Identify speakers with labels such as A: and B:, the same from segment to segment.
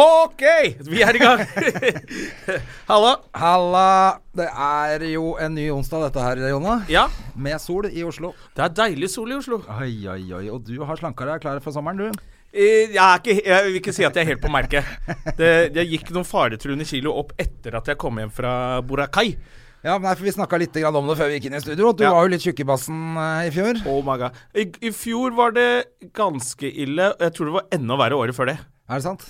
A: Ok, vi er i gang. Hallo.
B: Halla! Det er jo en ny onsdag dette her, Jonna.
A: Ja,
B: Med sol i Oslo.
A: det er deilig sol i Oslo.
B: Oi, oi, oi. Og du har slanka deg klar for sommeren, du.
A: Eh, Jeg, er ikke, jeg vil ikke si at jeg er helt på merket. Det, jeg gikk noen faretruende kilo opp etter at jeg kom hjem fra Boracay.
B: Ja, men nei, for Vi snakka litt grann om det før vi gikk inn i studio. Du
A: Ja.
B: var jo litt tjukk i bassen eh, i fjor.
A: Oh my god. I, I fjor var det ganske ille. og Jeg tror det var enda verre året før det.
B: Er det sant?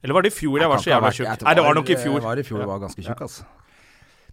A: Eller var det i fjor jeg var så
B: Kan ikke ha
A: jævla
B: vært- jeg
A: tjukk?
B: tror
A: Nei, det var nok i
B: Det
A: fjor.
B: var i fjor, det var ganske tjukk, altså.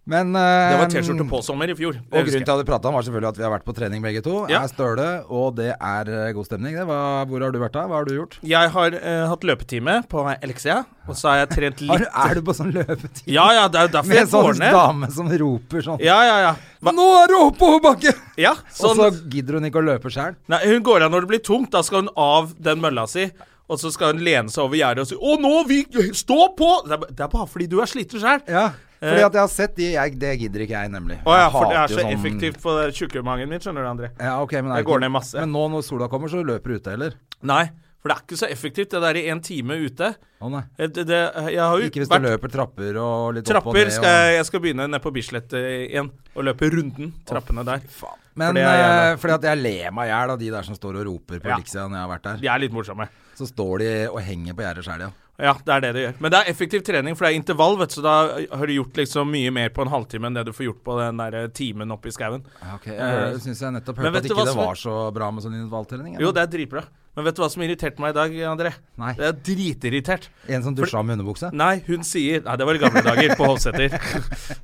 B: Men eh,
A: Det var T-skjorte på sommer i fjor. Det
B: Og
A: husker
B: grunnen
A: jeg.
B: til at vi prata om, var selvfølgelig at vi har vært på trening begge to.
A: Ja.
B: Er støle, og det er eh, god stemning. Det var, hvor har du vært da? Hva har du gjort?
A: Jeg har eh, hatt løpetime på Elixia, og så har jeg trent
B: Har du,
A: litt.
B: er du på sånn løpetid?
A: Ja ja, det er jo derfor
B: Med
A: jeg går
B: sånn
A: ned.
B: dame som roper sånn
A: Ja ja ja. Hva?
B: Nå er du oppoverbakke!
A: ja
B: Og
A: sånn.
B: så gidder hun ikke å løpe sjæl.
A: Nei, hun går av når det blir tungt. Da skal hun av den mølla si. Og så skal hun lene seg over gjerdet og si 'Å, nå! Vi, stå på!' Det er, ba- det er bare fordi du er sliten sjøl.
B: Ja, fordi
A: Eh.
B: at jeg har sett de jeg, Det gidder ikke jeg, nemlig.
A: Å ja,
B: Jeg
A: for det er
B: hater
A: så
B: jo sånn-
A: effektivt på det tjukke magen min, skjønner du, André.
B: Ja, ok, men er
A: Jeg
B: det ikke-
A: går ned masse.
B: Men nå når sola kommer, så løper du ute heller.
A: Nei, for det er ikke så effektivt, det der i en time ute.
B: Å nei.
A: Eh, Det, det, jeg har jo
B: Sånn, Ikke hvis du
A: vært
B: løper trapper og litt opp og
A: Trapper
B: ned.
A: skal jeg, jeg skal begynne nede på Bislett eh, igjen og løpe runden trappene der.
B: Og... Men
A: fordi
B: fordi,
A: jeg er
B: fordi at jeg ler meg i hjel av de der som står og roper på
A: Ja.
B: Elixia når jeg har vært der.
A: De er litt morsomme.
B: Så står de og henger på gjerdet sjæl, ja.
A: Ja, det er det det gjør. Men det er effektiv trening, for det er intervall, vet du, så da har du gjort liksom mye mer på en halvtime enn det du får gjort på den der eh, timen oppe i skauen.
B: Ja, Ok, Jeg syns jeg nettopp
A: Men
B: hørte
A: vet
B: at
A: du
B: ikke
A: hva
B: det
A: som er-
B: var så bra med sånn intervalltrening. jeg.
A: Jo, det er dritbra. Men vet du hva som irriterte meg i dag, André?
B: Nei.
A: Jeg er dritirritert.
B: En som dusja med underbukse.
A: Nei, hun sier Nei, det var i gamle dager, på Hovseter.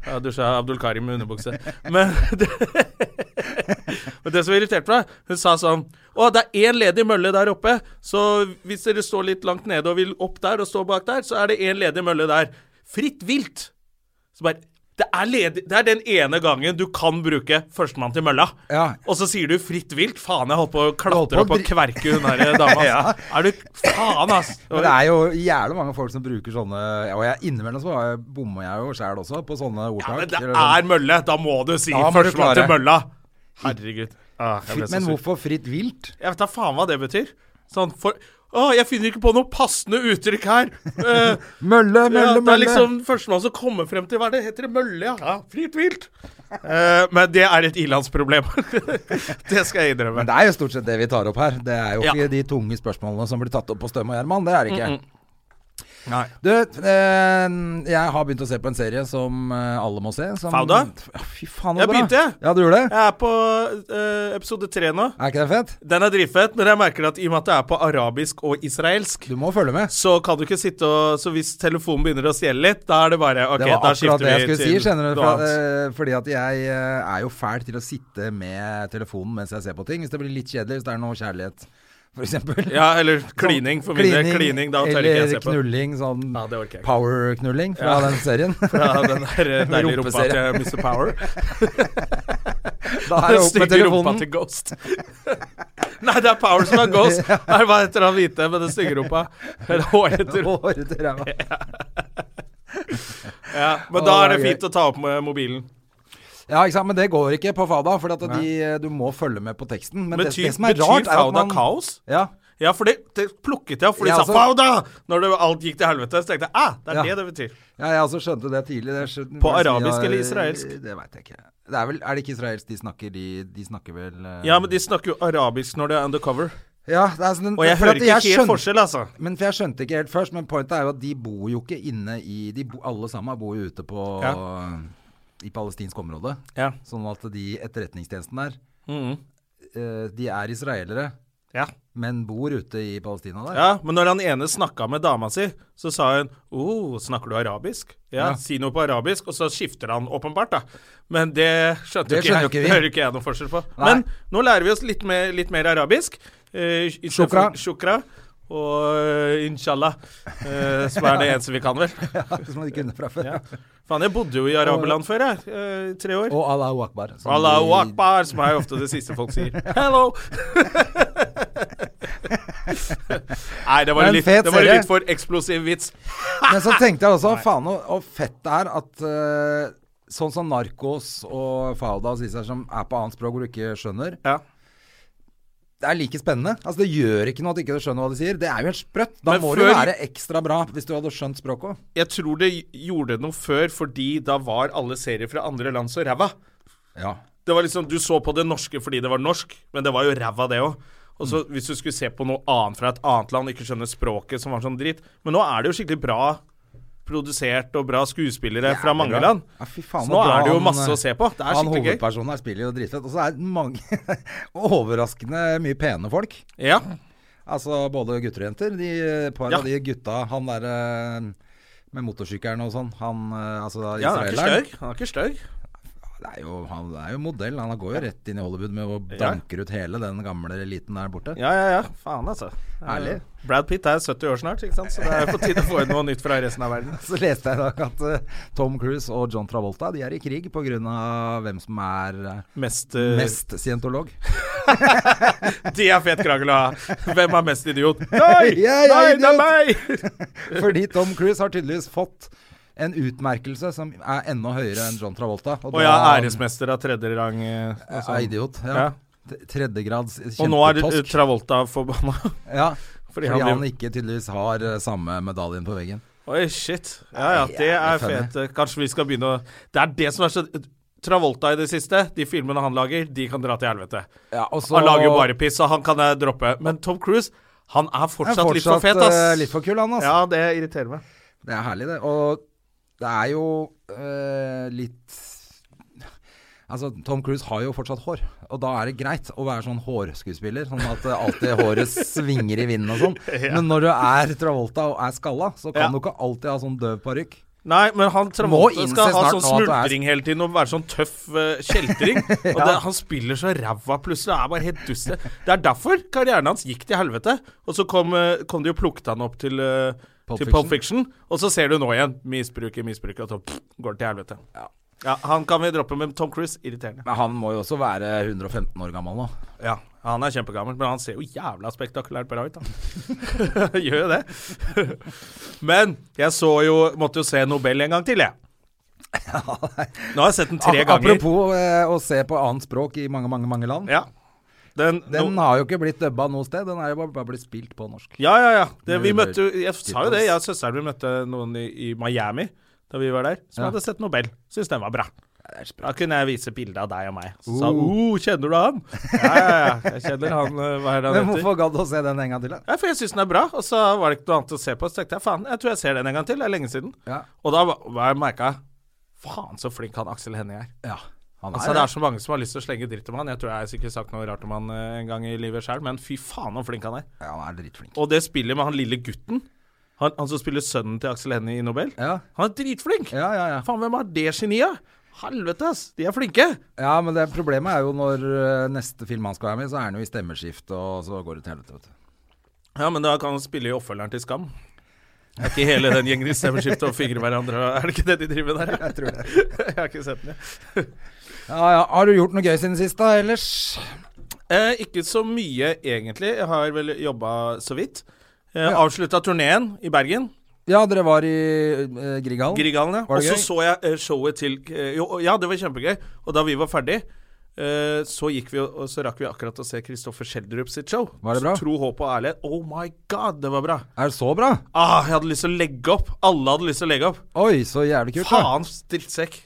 A: Ja, dusja Abdul Karim med underbukse. Men det, men det som irriterte meg, hun sa sånn Å, det er én ledig mølle der oppe, så hvis dere står litt langt nede og vil opp der og stå bak der, så er det én ledig mølle der. Fritt vilt! Så bare det er, ledig, det er den ene gangen du kan bruke førstemann til mølla.
B: Ja.
A: Og så sier du 'fritt vilt'. Faen, jeg holdt på å klatre
B: Holdt
A: opp
B: på å
A: og kverke hun der dama. ass. Er du Faen, ass!
B: Men det er jo jævlig mange folk som bruker sånne Og jeg innimellom så var jeg- bommer jeg jo sjæl også på sånne
A: Ja,
B: ordtak.
A: men det
B: eller sånn-
A: er mølle! Da må du si
B: Da må du
A: førstemann til
B: klare.
A: mølla! Herregud. Ah, jeg ble så
B: Men
A: sur.
B: hvorfor fritt vilt?
A: Jeg vet da faen hva det betyr. Sånn for Å, jeg finner ikke på noe passende uttrykk her! Eh,
B: Mølle,
A: ja,
B: mølle,
A: det er
B: mølle.
A: liksom førstemann som kommer frem til Hva er det heter det? Mølle, ja? ja fritt vilt! Eh, men det er et ilandsproblem. det skal jeg innrømme.
B: Men det er jo stort sett det vi tar opp her. Det er jo
A: Ja.
B: ikke de tunge spørsmålene som blir tatt opp på Støm og Gjerman. Det er det ikke.
A: Nei.
B: Du, eh, jeg har begynt å se på en serie som eh, alle må se. Som,
A: Fauda?
B: Ja, Fy faen,
A: Jeg
B: så bra.
A: begynte.
B: Ja, du gjorde det?
A: Jeg er på eh, episode tre nå.
B: Er ikke det fett?
A: Den er dritfett, men jeg merker at i og med at det er på arabisk og israelsk,
B: Du må følge med.
A: så kan du ikke sitte og Så hvis telefonen begynner å stjele litt, da er det bare OK,
B: Det var
A: da
B: akkurat
A: skifter
B: det
A: vi
B: jeg skulle si, skjønner du.
A: noe
B: For,
A: annet.
B: eh, fordi at jeg eh, er jo fæl til å sitte med telefonen mens jeg ser på ting. Hvis det blir litt kjedelig, hvis det er noe kjærlighet, f.eks.
A: Ja, eller klining, for min del. Klining, da tør ikke jeg se
B: eh, sånn eller
A: på.
B: knulling, sånn
A: Ja, det orker jeg ikke.
B: power-knulling fra den serien.
A: Ja, den der eh, deilige rumpa
B: Rumpeserie.
A: til Mr. Power.
B: da
A: Den
B: er det opp med
A: stygge rumpa
B: telefonen.
A: til Ghost. Nei, det er Power som er Ghost. Nei, hva heter han hvite med den stygge rumpa? Eller hårete rumpa.
B: Hårete ræva.
A: Ja, men da
B: Å,
A: er det
B: det er
A: fint å ta opp med mobilen.
B: Ja, ikke sant, men det går ikke på Fada, for at de, du må følge med på teksten. Men,
A: Men
B: det,
A: ty-
B: det som er
A: betyr
B: rart, er
A: Fauda
B: at man
A: kaos?
B: Ja.
A: Ja, for det, det plukket jeg opp, for de
B: Ja,
A: sa
B: altså-
A: 'Fauda!' når det, alt gikk til helvete. Så tenkte jeg ah, det er
B: Ja.
A: det det betyr.
B: ja, jeg også skjønte det tidlig. Det skjønte,
A: På
B: hva sier
A: arabisk
B: jeg?
A: eller israelsk?
B: Det veit jeg ikke. Det er, vel, er det ikke israelsk de snakker? De, de snakker vel eh,
A: Ja, men de snakker jo arabisk når det er undercover.
B: ja, det er sånn,
A: Og jeg
B: for
A: hører
B: at
A: ikke helt
B: skjønte-
A: forskjell, altså.
B: Men for Jeg skjønte ikke helt først, men pointet er jo at de bor jo ikke inne i de bo, Alle sammen bor jo ute på i palestinsk område.
A: Ja. Mm-hmm.
B: Sånn at de etterretningstjenesten der, eh, de er israelere,
A: Ja.
B: men bor ute i Palestina der.
A: Ja, men når han ene snakka med dama si, så sa hun oh, 'Snakker du arabisk?' Ja,
B: Ja.
A: si noe på arabisk, og så skifter han åpenbart, da. Men det skjønte ikke
B: Det skjønner
A: jeg.
B: jo ikke
A: Det
B: vi.
A: hører ikke jeg noe forskjell på.
B: Nei.
A: Men nå lærer vi oss litt mer, litt mer arabisk. Eh, i- i stedet
B: Shukra.
A: for- Shukra. og eh, inshallah, eh, som er det eneste vi kan, vel.
B: Hvis man ikke kunne fra før.
A: Ja. Faen, jeg bodde jo i araberland før, jeg. eh, i tre år.
B: Og Allahu akbar. som
A: Allahu
B: vi-
A: akbar, som er jo ofte det siste folk sier. Hello! Nei, det var,
B: Men
A: en litt,
B: fet
A: det var en
B: serie.
A: litt for eksplosiv vits.
B: Men så tenkte jeg også, faen og, og fett det er at eh, sånn som Narkos og Fauda og disse her som er på annet språk hvor du ikke skjønner,
A: Ja.
B: det er like spennende. Altså Det gjør ikke noe at du ikke skjønner hva de sier. Det er jo helt sprøtt. Da
A: Men
B: må det
A: før-
B: jo være ekstra bra hvis du hadde skjønt språket òg.
A: Jeg tror det gjorde noe før, fordi da var alle serier fra andre land så ræva.
B: Ja.
A: Det var liksom, Du så på det norske fordi det var norsk, men det var jo ræva, det òg. Og så Hvis du skulle se på noe annet fra et annet land, ikke skjønne språket som var sånn dritt Men nå er det jo skikkelig bra produsert og bra skuespillere fra mange land.
B: Ja, fy faen,
A: så nå
B: hvor bra
A: er det jo
B: han, eh,
A: masse å se på. Det er
B: Han
A: skikkelig gøy.
B: hovedpersonen her spiller jo dritfett. Og så er det mange overraskende mye pene folk.
A: Ja.
B: Altså både gutter og jenter. De eh, par
A: Ja.
B: av de gutta, han derre med motorsykkelen og sånn, han eh, altså da
A: ja, han er ikke
B: israeleren.
A: stygg. Han er ikke stygg.
B: Det er jo, han er jo modell. Han går jo rett inn i Hollywood med å danker ut hele den gamle eliten der borte.
A: Ja, ja, ja. Faen, altså. Eh,
B: Ærlig.
A: Brad Pitt er 70 år snart, ikke sant? så det er på tide å få inn noe nytt fra resten av verden.
B: Så leste jeg i dag at eh, Tom Cruise og John Travolta De er i krig pga. hvem som er eh,
A: Mest, eh,
B: mest scientolog.
A: Det er fet krangel å ha. Hvem er mest idiot? Nei,
B: Jeg er
A: nei, det er
B: idiot.
A: meg!
B: Fordi Tom Cruise har tydeligvis fått en utmerkelse som er enda høyere enn John Travolta. Og
A: Og jeg er æresmester av tredje rang. eh, og
B: Ja,
A: sånn.
B: idiot.
A: Ja.
B: Ja. T- Tredjegrads
A: Og nå er eh,
B: kjempetosk.
A: Travolta forbanna.
B: Ja,
A: Fordi
B: fordi
A: han
B: han
A: blir-
B: ikke tydeligvis har eh, samme medaljen på veggen.
A: Oi, shit. Ja ja, det er
B: funny.
A: fete. Kanskje vi skal begynne å Det er det som er så Travolta i det siste, de filmene han lager, de kan dra til helvete.
B: Ja, og så-
A: Han lager jo bare piss, så han kan jeg droppe. Men Tom Cruise, han er
B: Han
A: fortsatt,
B: er fortsatt
A: litt for fet, ass.
B: eh, litt for kul, han, altså.
A: Ja, det irriterer meg.
B: Det er herlig, det. Og det er jo eh, litt Altså, Tom Cruise har jo fortsatt hår, og da er det greit å være sånn hårskuespiller. Sånn at eh, alltid håret svinger i vinden og sånn. Men når du er Travolta og er skalla, så kan
A: Ja.
B: du ikke alltid ha sånn døv parykk.
A: Nei, men han
B: Må
A: Travolta
B: innse
A: skal ha
B: snart
A: sånn
B: nå at du er-
A: smuldring hele tiden og være sånn tøff eh, kjeltring. Og det, han spiller så ræva plutselig, det er bare helt duste. Det er derfor karrieren hans gikk til helvete. Og så kom, eh, kom de og plukket han opp til, eh,
B: Pulp
A: til Pulp Fiction, og så ser du nå igjen. Misbruker, misbruker, og så pff, går det til helvete. Ja. Han kan vi droppe, men Tom Cruise, irriterende.
B: Men han må jo også være 115 år gammel nå.
A: Ja, Han er kjempegammel, men han ser jo jævla spektakulært bra ut, da. Gjør jo det. men jeg så jo Måtte jo se Nobel en gang til, jeg. Nå har jeg sett den tre
B: Ap-
A: ganger.
B: Apropos eh, å se på annet språk i mange, mange mange land.
A: Ja. Den,
B: Den
A: no,
B: har jo ikke blitt dubba noe sted, den er jo bare, bare blitt spilt på norsk.
A: ja, ja, ja. Det, vi
B: Nubel-
A: møtte jo Jeg sa jo det,
B: Tittles.
A: jeg og søsteren min møtte noen i, i Miami da vi var der, som
B: Ja.
A: hadde sett Nobel. Syns den var bra. Da kunne jeg vise bilde av deg og meg. Så sa
B: Uh.
A: uh, kjenner du han? Ja, ja, ja. Jeg kjenner han. eh, Hva er det han
B: Men
A: heter?
B: hvorfor gadd å se den en gang til? da?
A: Ja, for jeg syns den er bra, og så var det ikke noe annet å se på. Så tenkte jeg faen, jeg tror jeg ser den en gang til. Det er lenge siden.
B: Ja.
A: Og da var- var jeg merka faen så flink han Aksel Hennie er.
B: Ja, han
A: Altså, det er så mange som har lyst til å slenge dritt om han. Jeg tror jeg har sikkert sagt noe rart om han eh, en gang i livet sjøl, men fy faen så flink han er.
B: ja, han er dritflink.
A: Og det spillet med han lille gutten Han, han som spiller sønnen til Aksel Hennie i Nobel
B: Ja.
A: Han er dritflink
B: Ja, ja, ja.
A: Faen, hvem har det geniet? Helvete ass, de er flinke
B: Ja, men det problemet er jo når eh, neste film han skal være med i, så er han jo i stemmeskift, og så går det til helvete, vet du.
A: Ja, men da kan han spille i oppfølgeren til Skam Er ikke hele den gjengen i stemmeskiftet og fingre hverandre Er det ikke det de driver med der? Jeg tror det Jeg har ikke sett den jeg.
B: Ja, ja. Har du gjort noe gøy siden sist, da, ellers?
A: eh, Ikke så mye egentlig Jeg har vel jobbet så vidt eh, Avsluttet turnéen i Bergen
B: Ja, dere var i eh, Grieghallen.
A: Grieghallen, ja.
B: Var
A: Og
B: det
A: så
B: gøy?
A: så jeg eh, showet til eh, jo, Ja, det var kjempegøy. Og da vi var ferdig, eh, så gikk vi og så rakk vi akkurat å se Kristoffer Schjelderup sitt show.
B: Var det bra?
A: Så Tro, håp og ærlighet. Oh my god, det var bra.
B: Er det så bra?
A: Ah, jeg hadde lyst til å legge opp. Alle hadde lyst til å legge opp.
B: Oi, så jævlig kult, da.
A: Faen, drittsekk.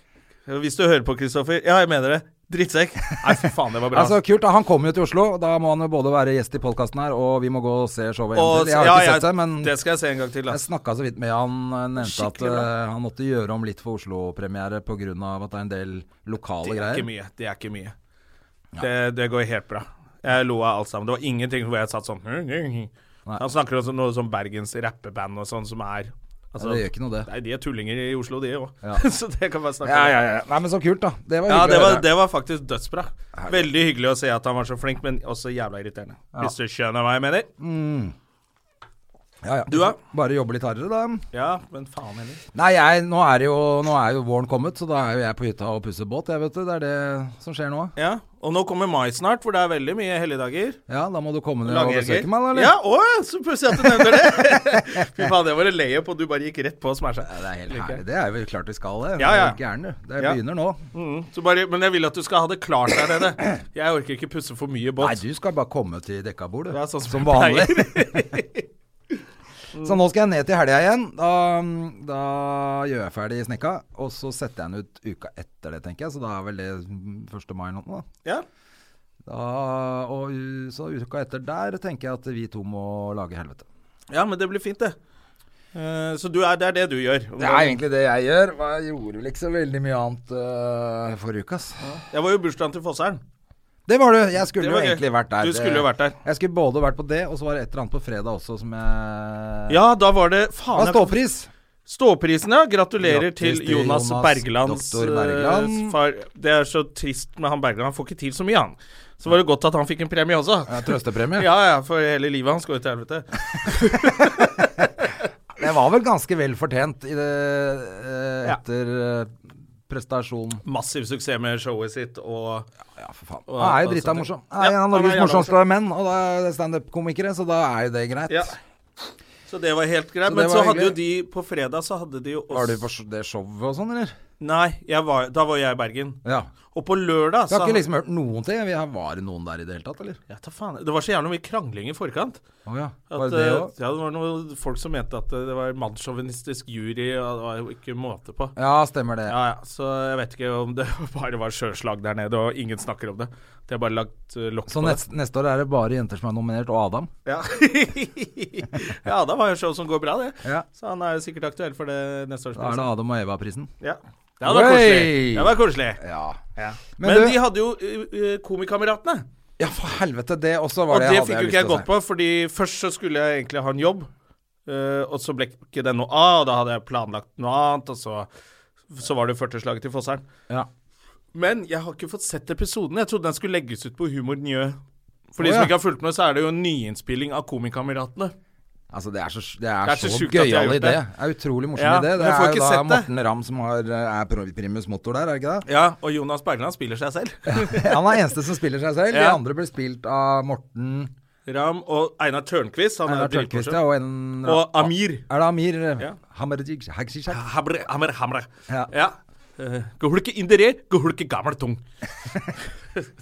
A: Hvis du hører på, Kristoffer. Ja, jeg mener det. Drittsekk. Nei, fy faen, det var bra.
B: Altså, kult, da. Han kommer jo til Oslo, og da må han jo både være gjest i podkasten her, og vi må gå og se showet.
A: Og-
B: Og, jeg har
A: ja,
B: ikke
A: ja,
B: sett det, men
A: Det skal jeg se en gang til, da.
B: jeg snakka så vidt med han. eh, Nevnte at
A: Skikkelig bra.
B: eh, han måtte gjøre om litt for Oslo-premiere pga. at det er en del lokale
A: Det er
B: greier.
A: ikke mye. Det er ikke mye. Det, det går helt bra. Jeg lo av alt sammen. Det var ingenting hvor jeg satt sånn Han snakker også om noe som Bergens rappeband og sånn, som er altså,
B: Ja, det gjør ikke noe, det.
A: Nei, de er tullinger i Oslo, de òg.
B: Ja.
A: så det kan bare snakke
B: Ja,
A: om.
B: ja, ja. Nei, men så kult, da. Det var
A: Ja,
B: hyggelig
A: det
B: å
A: var,
B: høre.
A: det var faktisk dødsbra. Veldig hyggelig å se at han var så flink, men også jævla irriterende. Hvis du skjønner hva jeg mener.
B: Ja, ja.
A: Du, ja?
B: Bare jobbe litt hardere, da.
A: Ja, men faen heller.
B: Nei, jeg, nå, er det jo, nå er jo våren kommet, så da er jo jeg på hytta og pusser båt. Jeg vet du, Det er det som skjer nå.
A: Ja, og nå kommer mai snart, hvor det er veldig mye helligdager.
B: Ja, Da må du komme ned og
A: Langhelger.
B: besøke meg, da. eller?
A: Ja, å, ja, så pussig at du nevner det. Fy faen, det var en layup, og du bare gikk rett på og smasha.
B: Det er helt herlig. Det er jo klart vi skal det.
A: Ja, ja.
B: Du er Gæren, du. Det
A: Ja.
B: begynner nå.
A: Mm, så bare, men jeg vil at du skal ha det klart der nede. Jeg orker ikke pusse for mye
B: Nei,
A: båt.
B: du skal bare komme til dekka bord, du.
A: Det er sånn som
B: som
A: jeg
B: vanlig.
A: pleier.
B: Så nå skal jeg ned til helga igjen. Da, da gjør jeg ferdig snekka, og så setter jeg den ut uka etter det, tenker jeg. Så da er vel det 1. mai eller noe. Da.
A: Ja.
B: Da, og u- så uka etter der tenker jeg at vi to må lage helvete.
A: ja, men det blir fint, det. Eh, så du er, det er det du gjør.
B: Det er egentlig det jeg gjør. men Jeg gjorde vel ikke så veldig mye annet øh, forrige uke, ass.
A: Jeg var jo i bursdagen til Fosseren.
B: Det var du. Jeg skulle
A: Det
B: jo
A: var gøy.
B: egentlig vært der.
A: Du skulle jo vært der.
B: Jeg skulle både vært på det, og så var det et eller annet på fredag også som jeg
A: Ja, da var det
B: Det
A: faen
B: var
A: jeg-
B: ståpris.
A: Ståprisen, ja. Gratulerer
B: Grattis
A: til
B: til
A: Jonas,
B: Jonas
A: Berglands
B: Dr. Bergland.
A: eh, far. Det er så trist med han Bergland. Han får ikke til så mye, han. Så var det godt at han fikk en premie også.
B: Ja, Trøstepremie.
A: Ja ja, for hele livet hans går jo til helvete.
B: Det var vel ganske vel fortjent i det, eh, etter eh, prestasjon.
A: Massiv suksess med showet sitt og
B: Ja, for faen.
A: Og-
B: Han er jo
A: og
B: drita
A: så-
B: morsom.
A: Ja,
B: Han er en av
A: han er
B: Norges
A: jævla
B: morsomste menn, og da er det standup-komikere, så da er jo det greit.
A: Ja. Så det var helt greit.
B: Så
A: Men
B: det
A: så
B: var
A: hadde jo de
B: hyggelig.
A: På fredag så hadde de jo også
B: Var du på sj- det showet og sånn, eller?
A: Nei, jeg var, da var jeg i Bergen.
B: Ja.
A: Og på lørdag
B: Vi
A: så
B: har ikke liksom hørt noen til. Vi har, var det noen der i det hele tatt, eller?
A: ja, ta faen. Det var så jævlig mye krangling i forkant.
B: Å ja.
A: At,
B: Var det det
A: eh,
B: òg?
A: ja, det var noen folk som mente at eh, det var mannssjåvinistisk jury, og det var jo ikke måte på.
B: Ja, stemmer det.
A: Ja, ja, Så jeg vet ikke om det bare var sjøslag der nede, og ingen snakker om det. Det er bare lagt eh, lokk
B: Så
A: på det.
B: neste, neste år er det bare jenter som er nominert, og Adam.
A: Ja. ja, da var jo show som går bra, det.
B: Ja.
A: Så han er jo sikkert aktuell for det neste års
B: Da er det
A: pris.
B: Adam og Eva-prisen.
A: Ja. Det hadde vært koselig.
B: Oi!
A: Det hadde vært koselig.
B: Ja.
A: Men,
B: Men du-
A: de hadde jo eh, eh, Komikameratene.
B: ja, for helvete. Det også
A: Og
B: var
A: det,
B: det jeg hadde
A: fikk jo
B: jeg
A: ikke jeg
B: lyst
A: gått
B: til å si.
A: på, fordi først så skulle jeg egentlig ha en jobb, eh, og så ble ikke det noe av, og da hadde jeg planlagt noe annet, og så, så var det jo 40-slaget til Fosseren.
B: Ja.
A: Men jeg har ikke fått sett episoden. Jeg trodde den skulle legges ut på Humor Njø. For
B: Å,
A: de
B: ja.
A: som ikke har fulgt med, så er det jo en nyinnspilling av Komikameratene.
B: Altså, det er så, det er
A: Det er
B: så,
A: så sjukt at de har
B: gøyal idé.
A: gjort
B: Det
A: det.
B: er utrolig morsom
A: Ja,
B: idé.
A: men
B: Det
A: jeg får
B: er
A: ikke
B: jo da
A: sett det.
B: Morten Ramm som har, eh, er pro- primus motor der, er det ikke det?
A: Ja, og Jonas Bergland spiller seg selv.
B: Han er eneste som spiller seg selv. De
A: Ja.
B: andre blir spilt av Morten
A: Ram og Einar Tørnquist. Han er
B: Einar Tørnquist
A: dritmorsom.
B: ja, og en
A: Og Amir.
B: Er det Amir eh,
A: Ja.
B: Hamerjig Hagsishak?
A: Hamre, hamre, hamre.
B: Ja.
A: ja. Uh, gehulke indere, gehulke gammel tung.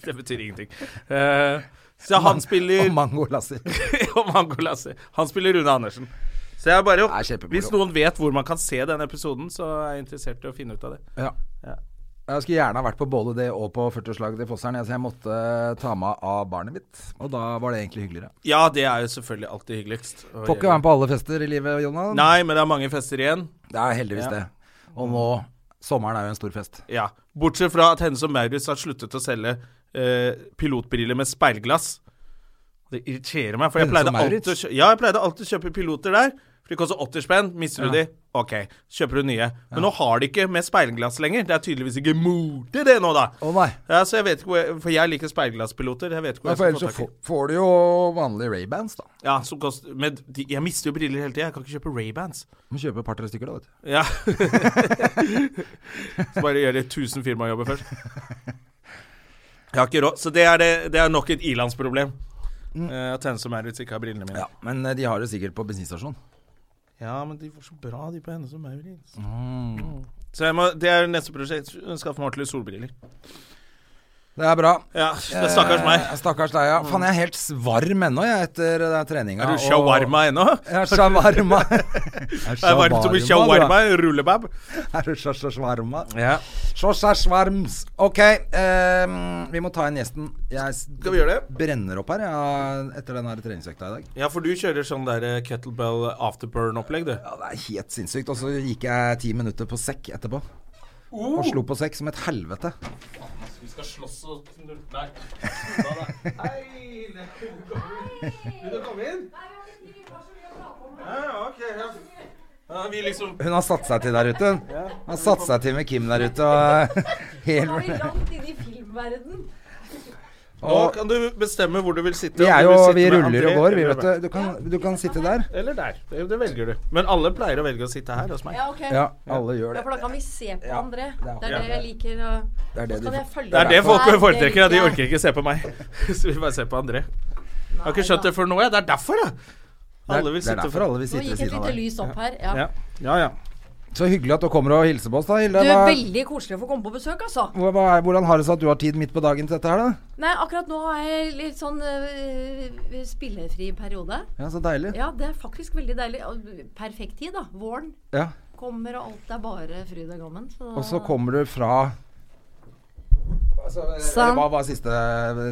A: det betyr ingenting. Eh, så han spiller
B: Og Mango Lassi.
A: og Mango Lassi. Han spiller Rune Andersen. Så jeg bare
B: Det er kjempemoro.
A: Hvis noen vet hvor man kan se denne episoden, så er jeg interessert i å finne ut av det.
B: Ja.
A: Ja.
B: Jeg skulle gjerne ha vært på både det og på 40-årslaget til Fosseren, jeg, så jeg måtte eh, ta meg av barnet mitt. Og da var det egentlig hyggeligere.
A: Ja, det er jo selvfølgelig alltid hyggeligst. å
B: Får ikke
A: gjøre.
B: være med på alle fester i livet, Jonah.
A: Nei, men det er mange fester igjen.
B: Det er heldigvis
A: Ja.
B: det. Og nå Sommeren er jo en stor fest.
A: Ja. Bortsett fra at Hennes og Maurits har sluttet å selge eh, pilotbriller med speilglass. Det irriterer meg, for jeg
B: Hennes
A: pleide,
B: og
A: alltid å
B: Maurits?
A: kjø ja, jeg pleide alltid å kjøpe piloter der. For de koster 80 spenn. Mister du de? Ok, kjøper du nye. Men nå har de ikke med speilglass lenger. Det er tydeligvis ikke mote, det nå, da.
B: Å nei.
A: Ja, så jeg vet ikke hvor jeg, For jeg liker speilglasspiloter. Jeg vet ikke hvor
B: For
A: jeg
B: ellers
A: skal
B: så
A: få tak i.
B: får, får du jo vanlige Ray-bands, da.
A: Ja, som koster, men de, jeg mister jo briller hele tida. Jeg kan ikke kjøpe Ray-bands.
B: Du må kjøpe et par-tre stykker, da, vet du.
A: Ja. så bare gjøre 1000 firmajobber først. Jeg har ikke råd. Så det er, det, det er nok et ilandsproblem. Eh, At Hennes og Maurits ikke har brillene mine. Ja.
B: Mm. Ja, Men eh, de har det sikkert på bensinstasjon.
A: men de var så bra, de på Hennes og Maurits.
B: Mm.
A: Mm. Så jeg må, det er neste prosjekt. Skaffe meg ordentlige solbriller.
B: Det er bra.
A: Ja, det er stakkars meg. Mm.
B: Eh, Stakkars deg, ja. Faen, jeg er helt varm ennå, jeg, etter eh, treninga.
A: Er du shawarma ennå?
B: Jeg er shawarma.
A: Det er varmt som i shawarma. Rullebab.
B: Er du shasharma?
A: Ja.
B: Shasharms. mm, Ok, ehm, vi må ta inn gjesten. Jeg s-
A: Skal vi gjøre det?
B: brenner opp her ja, etter den her treningsøkta i dag.
A: Ja, for du kjører sånn der eh, kettlebell afterburn-opplegg, du.
B: Ja, det er helt sinnssykt. Og så gikk jeg ti minutter på sekk etterpå. Og slo på sekk som et helvete.
A: Vi skal slåss og Nei. Hei! Vil du komme inn? Ja, ja, ok. Ja. Ja, vi liksom
B: Hun har satt seg til der ute. hun. Hun har satt seg til med Kim der ute. Og helt
C: Da er vi langt inn i filmverden.
A: Nå
B: Og
A: kan du bestemme hvor du vil sitte.
B: vi,
A: om
B: er
A: du
B: jo,
A: vil sitte
B: vi
A: med
B: ruller
A: André
B: og går, vi,
A: eller
B: vet
A: meg.
B: du. Du kan, du kan sitte der.
A: Eller der. Det, det velger du. Men alle pleier å velge å sitte her hos meg.
C: Ja, ok.
B: Ja, alle gjør
C: Ja,
B: det.
C: for da kan vi se på
B: Ja,
C: André.
B: det er
C: Det er det jeg liker. å-
B: Det er det
C: Kan
B: du
C: jeg følge
A: Det er det folk
C: Nei,
A: foretrekker. Ja. De
C: liker jeg.
A: orker ikke se på meg. Så vi bare ser på André. Jeg har ikke
C: Nei,
A: skjønt
C: da.
A: det før nå, jeg. Det er derfor, ja.
B: Det er,
A: Alle vil
B: det er
A: sitte
B: derfor alle vil
C: Nå
B: sitte ved
C: gikk et
B: siden av
C: lite
B: deg.
C: lys opp her. Ja.
A: Ja. ja, ja.
B: Så hyggelig at du kommer og hilser på oss, da, Hilde.
C: Du,
B: Hva,
C: veldig koselig å få komme på besøk, altså.
B: hva, hva er, hvordan har det seg at du har tid midt på dagen til dette her, da?
C: Nei, akkurat nå er jeg litt sånn øh, spillefri periode.
B: Ja, Så deilig.
C: Ja, det er faktisk veldig deilig. Og Perfekt tid, da. Våren
B: Ja.
C: kommer, og alt er bare fryd og gammen. så da-
B: Og så kommer du fra altså,
C: San-
B: Hva var siste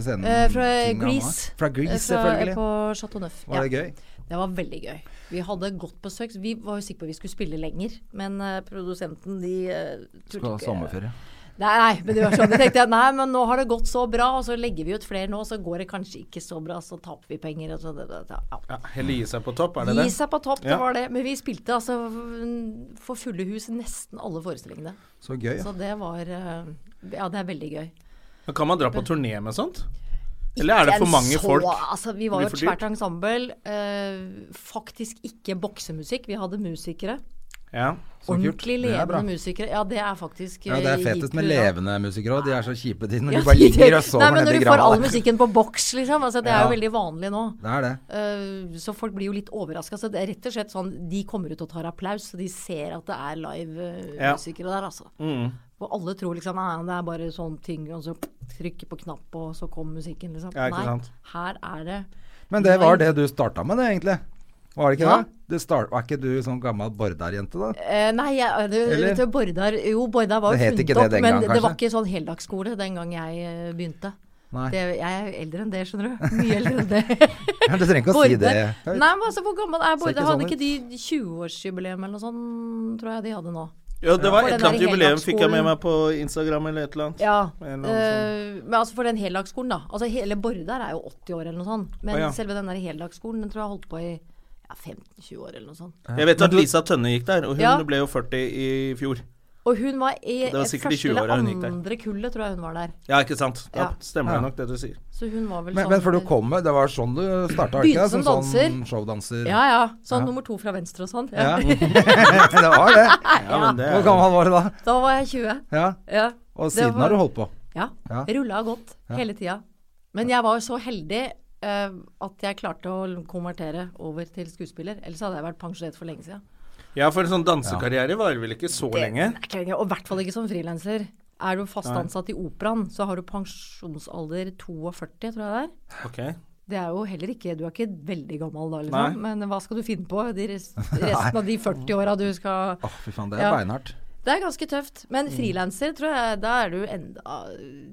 B: scenen?
C: Eh, fra
B: tingen han var?
C: Grease.
B: Fra Grease,
C: Eh, fra-
B: selvfølgelig.
C: På Chateau Neuf.
B: Var det gøy?
C: Det var veldig gøy. Vi hadde godt besøk. så Vi var jo sikre på at vi skulle spille lenger, men eh, produsenten de eh, turte
B: Skal ha
C: ikke-
B: sommerferie.
C: Nei, nei, men det var sånn. Da tenkte jeg nei, men nå har det gått så bra, og så legger vi ut flere nå, så går det kanskje ikke så bra, så taper vi penger. Og så, det, det, det, ja.
A: ja. Helle gi seg på topp, er det det?
C: Gi seg på topp, det
A: Ja.
C: var det. Men vi spilte altså mm, for fulle hus i nesten alle forestillingene.
B: Så gøy. Ja.
C: Så det var eh, Ja, det er veldig gøy.
A: Men kan man dra på turné med sånt? Eller er det for
C: en
A: mange
C: så,
A: folk?
C: Altså, vi var
A: Blir
C: jo et
A: for dyrt?
C: svært ensemble. eh, faktisk ikke boksemusikk. Vi hadde musikere.
A: Ja.
B: Så kult.
C: Ordentlig
B: Det er bra.
C: levende musikere. Ja, det er faktisk
B: Ja, det er
C: eh,
B: fetest med
C: hipp hurra.
B: levende musikere òg. De er så kjipe, de, når
C: Ja,
B: du bare ligger og
C: Nei,
B: sover
C: men
B: nedi
C: når du får
B: grava.
C: all musikken på boks, liksom. Altså, det er jo veldig vanlig nå.
B: Det er det.
C: Eh, så folk blir jo litt overraska. Så det er rett og slett sånn de kommer ut og tar applaus, så de ser at det er live eh,
A: Ja.
C: musikere der, altså.
B: Mm.
C: Og alle tror liksom nei, det er bare sånn ting, og så trykker på knapp, og så kom musikken, liksom.
A: Ja, ikke
C: nei,
A: sant.
C: her er det
B: Men det var det du starta med, det, egentlig. Var det ikke
C: Ja.
B: det? Du start, var ikke du sånn gammel Bordar-jente, da?
C: Eh, nei, jeg, det,
B: Eller?
C: vet du, Bordar Jo, Bordar var
B: Det het
C: jo
B: ikke
C: funnet
B: det
C: opp,
B: den
C: men
B: gang,
C: det var
B: kanskje?
C: ikke sånn heldagsskole den gang jeg eh, begynte.
B: Nei.
C: Det, jeg er jo eldre enn det, skjønner du. Mye eldre enn det.
B: Ja, du trenger ikke å si det.
C: Bordar- Nei, men altså, hvor gammel er
B: ikke
C: Bordar?
B: sånn
C: Hadde ikke de 20-årsjubileum eller noe sånt, tror jeg de hadde nå?
A: Ja, det var et
C: For den
A: eller annet
C: der
A: jubileum fikk jeg med
C: heldagsskolen.
A: meg på Instagram eller et eller annet.
C: Ja.
A: Eller noe
C: eh,
B: sånn.
C: men altså for den heldagsskolen, da. Altså hele Bordar er jo 80 år eller noe sånt. Men
A: Å, ja.
C: selve den der heldagsskolen, den tror jeg har holdt på i ja, 15-20 år eller noe sånt.
A: Jeg vet at Lisa Tønne gikk der, og hun
C: Ja.
A: ble jo 40 i fjor.
C: Og hun var i
A: Det var sikkert i
C: første
A: 20-åra
C: eller
A: hun gikk der.
C: andre kullet, tror jeg hun var der.
A: Ja, ikke sant. Da
C: Ja.
A: stemmer det nok det du sier.
C: Så hun var vel
B: Men,
C: sånn
B: men for du kom med Det var sånn du starta, ikke
C: Begynte
B: det?
C: som
B: sånn
C: danser.
B: showdanser.
C: Ja ja. Sånn nummer to fra venstre og sånn.
B: Ja.
C: Ja.
B: det var det.
A: Ja, men det
B: Hvor
A: er
B: gammel var du da?
C: Da var jeg 20.
B: Ja.
C: Ja.
B: Og
C: Det
B: siden
C: var-
B: har du holdt på.
C: Ja.
B: Ja.
C: Rulla godt hele tida. Men jeg var jo så heldig eh, at jeg klarte å konvertere over til skuespiller. Ellers hadde jeg vært pensjonert for lenge siden.
A: Ja, for en sånn dansekarriere varer vel ikke så lenge?
C: Det er ikke lenge, Og i hvert fall ikke som frilanser. Er du fast ansatt i operaen, så har du pensjonsalder 42, tror jeg det er.
A: Ok.
C: Det er jo heller ikke Du er ikke veldig gammel da,
A: Nei.
C: liksom. Men hva skal du finne på de rest, resten av de 40 åra du skal
B: Å, fy faen, det er
C: Ja.
B: beinhardt.
C: Det er ganske tøft.
B: Mm.
C: Men frilanser, tror jeg, da er du enda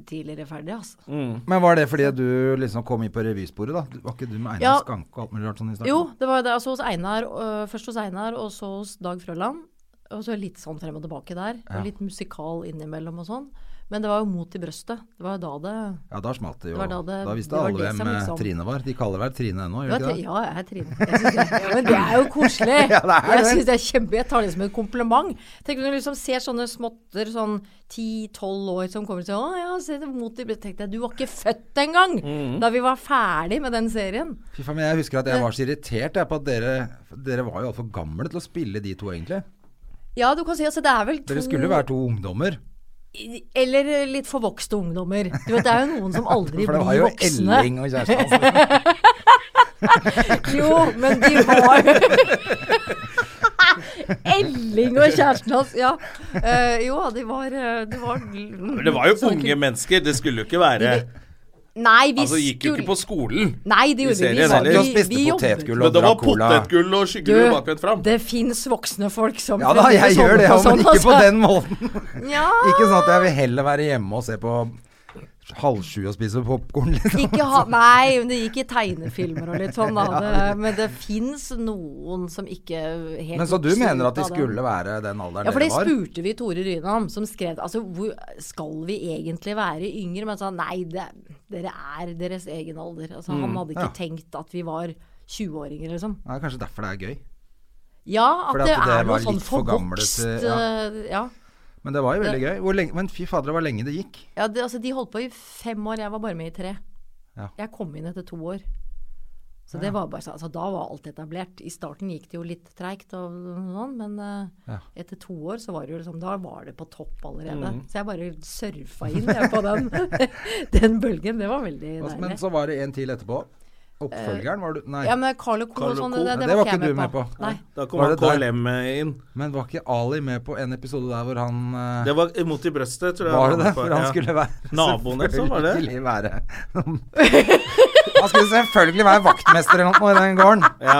C: tidligere ferdig, altså.
B: Men var det fordi du liksom kom inn på revysporet, da? Du- Var ikke du med Einar
C: Ja.
B: Skanke og alt mulig rart sånn i starten?
C: Jo, det var jo det. Altså hos Einar, øh, først hos Einar, og så hos Dag Frøland. Og så litt sånn frem og tilbake der. Og litt musikal innimellom og sånn. Men det var jo mot i brøstet. Det var jo da det
B: Ja, da smalt det jo.
C: Det
B: Da,
C: var da det-
B: visste
C: det var
B: alle
C: det
B: hvem
C: som
B: eh,
C: liksom-
B: Trine var. De kaller vel Trine ennå,
C: det
B: gjør
C: var,
B: de
C: tri-
B: ikke det?
C: ja, jeg er Trine. Jeg synes det, ja, men det er jo koselig. jeg synes det er kjempe, jeg tar det som en kompliment. Tenk når du liksom ser sånne småtter, sånn 10-12 år, som kommer og sier 'Å ja, se det mot i brøstet'. Tenkte jeg, du var ikke født engang!
B: Mm.
C: Da vi var ferdig med den serien.
B: Fy faen, men jeg husker at jeg var så irritert jeg, på at dere Dere var jo altfor gamle til å spille de to, egentlig.
C: Ja, du kan si altså, det er vel to
B: Dere skulle jo være to ungdommer.
C: Eller litt forvokste ungdommer. Du vet, Det er jo noen som aldri
B: For det
C: blir
B: var jo
C: voksne.
B: Elling og kjæresten hans.
C: Jo, men de var Elling og kjæresten hans, ja. Eh, jo, de var, eh, de var
A: Men det var jo unge mennesker, det skulle jo ikke være
C: Nei, vi
A: Altså, gikk jo
C: skulle
A: ikke på skolen.
C: Nei, det gjorde vi
A: serien
C: ikke.
A: heller.
C: Vi-
A: Vi
B: Og spiste
C: vi jobbet-
B: potetgull
A: Men
B: og
A: det var
B: drakk cola.
A: potetgull og skyggegull bakvendt fram.
C: Du, det fins voksne folk som
B: Ja da, jeg
C: fremdeles holder
B: gjør det, ja,
C: på
B: men
C: sånn,
B: ikke på
C: altså.
B: den måten.
C: Ja,
B: Ikke sånn at jeg vil heller være hjemme og se på halv sju og spise popkorn, liksom.
C: ikke ha, nei, men det gikk i tegnefilmer og litt sånn, da. Det, men det fins noen som ikke helt
B: Men så du
C: vokser
B: mener
C: ut
B: at de
C: av det.
B: skulle være den alderen
C: Ja, for
B: dere
C: det
B: var?
C: spurte vi Tore Ryne om, som skrev altså, hvor skal vi egentlig være yngre? Men han sa nei, det, dere er deres egen alder. Altså, han hadde ikke
B: Mm, ja.
C: tenkt at vi var 20-åringer, liksom.
B: Ja, kanskje derfor det er gøy.
C: Ja, at
B: Fordi
C: det
B: at dere
C: er
B: var
C: noe sånn
B: litt for gamle
C: forvokst
B: til-
C: ja.
B: ja.
C: ja.
B: Men det var jo veldig gøy. Hvor lenge, men fy fader, det var lenge det gikk.
C: ja det, altså, de holdt på i fem år, jeg var bare med i tre.
B: Ja.
C: Jeg kom inn etter to år. Så det var bare, så- altså, da var alt etablert. I starten gikk det jo litt treigt, og sånn, men eh,
B: Ja.
C: etter to år så var det jo liksom, da var det på topp allerede.
B: Mm.
C: Så jeg bare surfa inn jeg, på den, den bølgen. Det var veldig
B: Og-
C: deilig.
B: Men så var det en til etterpå. Oppfølgeren var du Nei.
C: ja, men Carlo Co. og
A: Carlo
C: sånn,
A: Co.
C: det,
B: Det
C: det, var
B: var
C: ikke
B: ikke
C: jeg
B: du
C: med på.
B: med på.
C: Nei.
A: Da kom
B: Var
A: han
B: det der?
A: KLM inn.
B: Men var ikke Ali med på en episode der hvor han eh,
A: Det var imot i brøstet, tror jeg.
B: Var
A: han
B: det det?
A: på,
B: For han
A: ja.
B: skulle være
A: Naboen, eller så var det?
B: selvfølgelig Være. han skulle selvfølgelig være vaktmester eller noe i den gården.
A: Ja.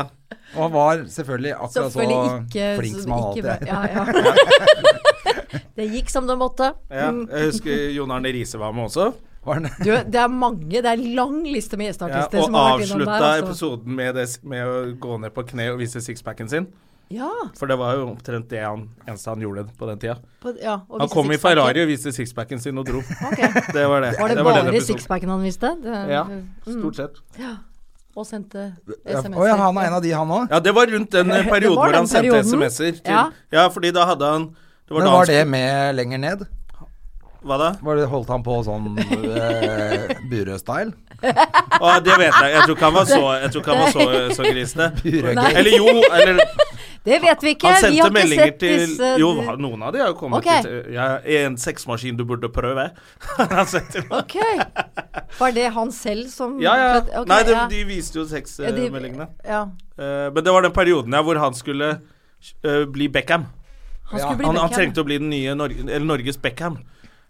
B: Og han var selvfølgelig akkurat så
C: Selvfølgelig ikke
B: Altså, flink som han alltid
C: ikke-
B: er.
C: Ja, ja. det gikk som det måtte. Mm.
A: ja. Jeg husker Jon Arne Riise var med også.
B: Var han-
C: Du, det er mange, det er en lang liste med
A: Ja,
C: gjesteartister
A: og
C: som har vært innom
A: avslutta
C: der. Altså.
A: episoden med, det, med å gå ned på kne og vise sixpacken sin.
C: Ja,
A: For det var jo omtrent det han, eneste han gjorde på den tida.
C: på, ja, og
A: Han
C: viste
A: kom i
C: sixpacken.
A: Ferrari og viste sixpacken sin og dro.
C: Ok.
A: Det var det.
C: Var det,
A: den
C: bare
A: episoden.
C: sixpacken Mm. han visste? Det,
A: Ja, stort sett.
C: Og sendte
B: Ja,
C: SMS-er.
B: Å ja, han er en av de, han òg?
A: Ja, det var rundt den eh, perioden
C: var
A: hvor
C: den
A: han sendte
C: perioden.
A: SMS-er. til-
C: Ja.
A: ja, fordi da hadde han det var
B: Men
A: da han
B: var det
A: skulle-
B: med lenger ned?
A: Hva da?
B: Var det, holdt han på sånn eh, Burøe-style?
A: Å, det vet jeg. Jeg tror ikke han var så, jeg tror ikke han var så, så grisende.
B: Nei.
A: Eller jo, eller
C: Det vet vi ikke!
A: Han
C: vi
A: sendte
C: har ikke
A: meldinger
C: sett
A: til
C: disse
A: Jo, noen av de har jo kommet
C: Ok.
A: til ja, En sexmaskin du burde prøve. Han sendte
C: Ok. Var det han selv som
A: Ja, ja.
C: Ok,
A: Nei, de,
C: ja.
A: de eh, viste jo
C: Ja, de-
A: sexmeldingene. Eh,
C: Ja.
A: men det var den perioden ja, hvor han skulle eh, bli Beckham.
C: Han skulle bli
A: Han, han eh,
C: Beckham.
A: trengte å bli den nye Nor eller Norges Beckham.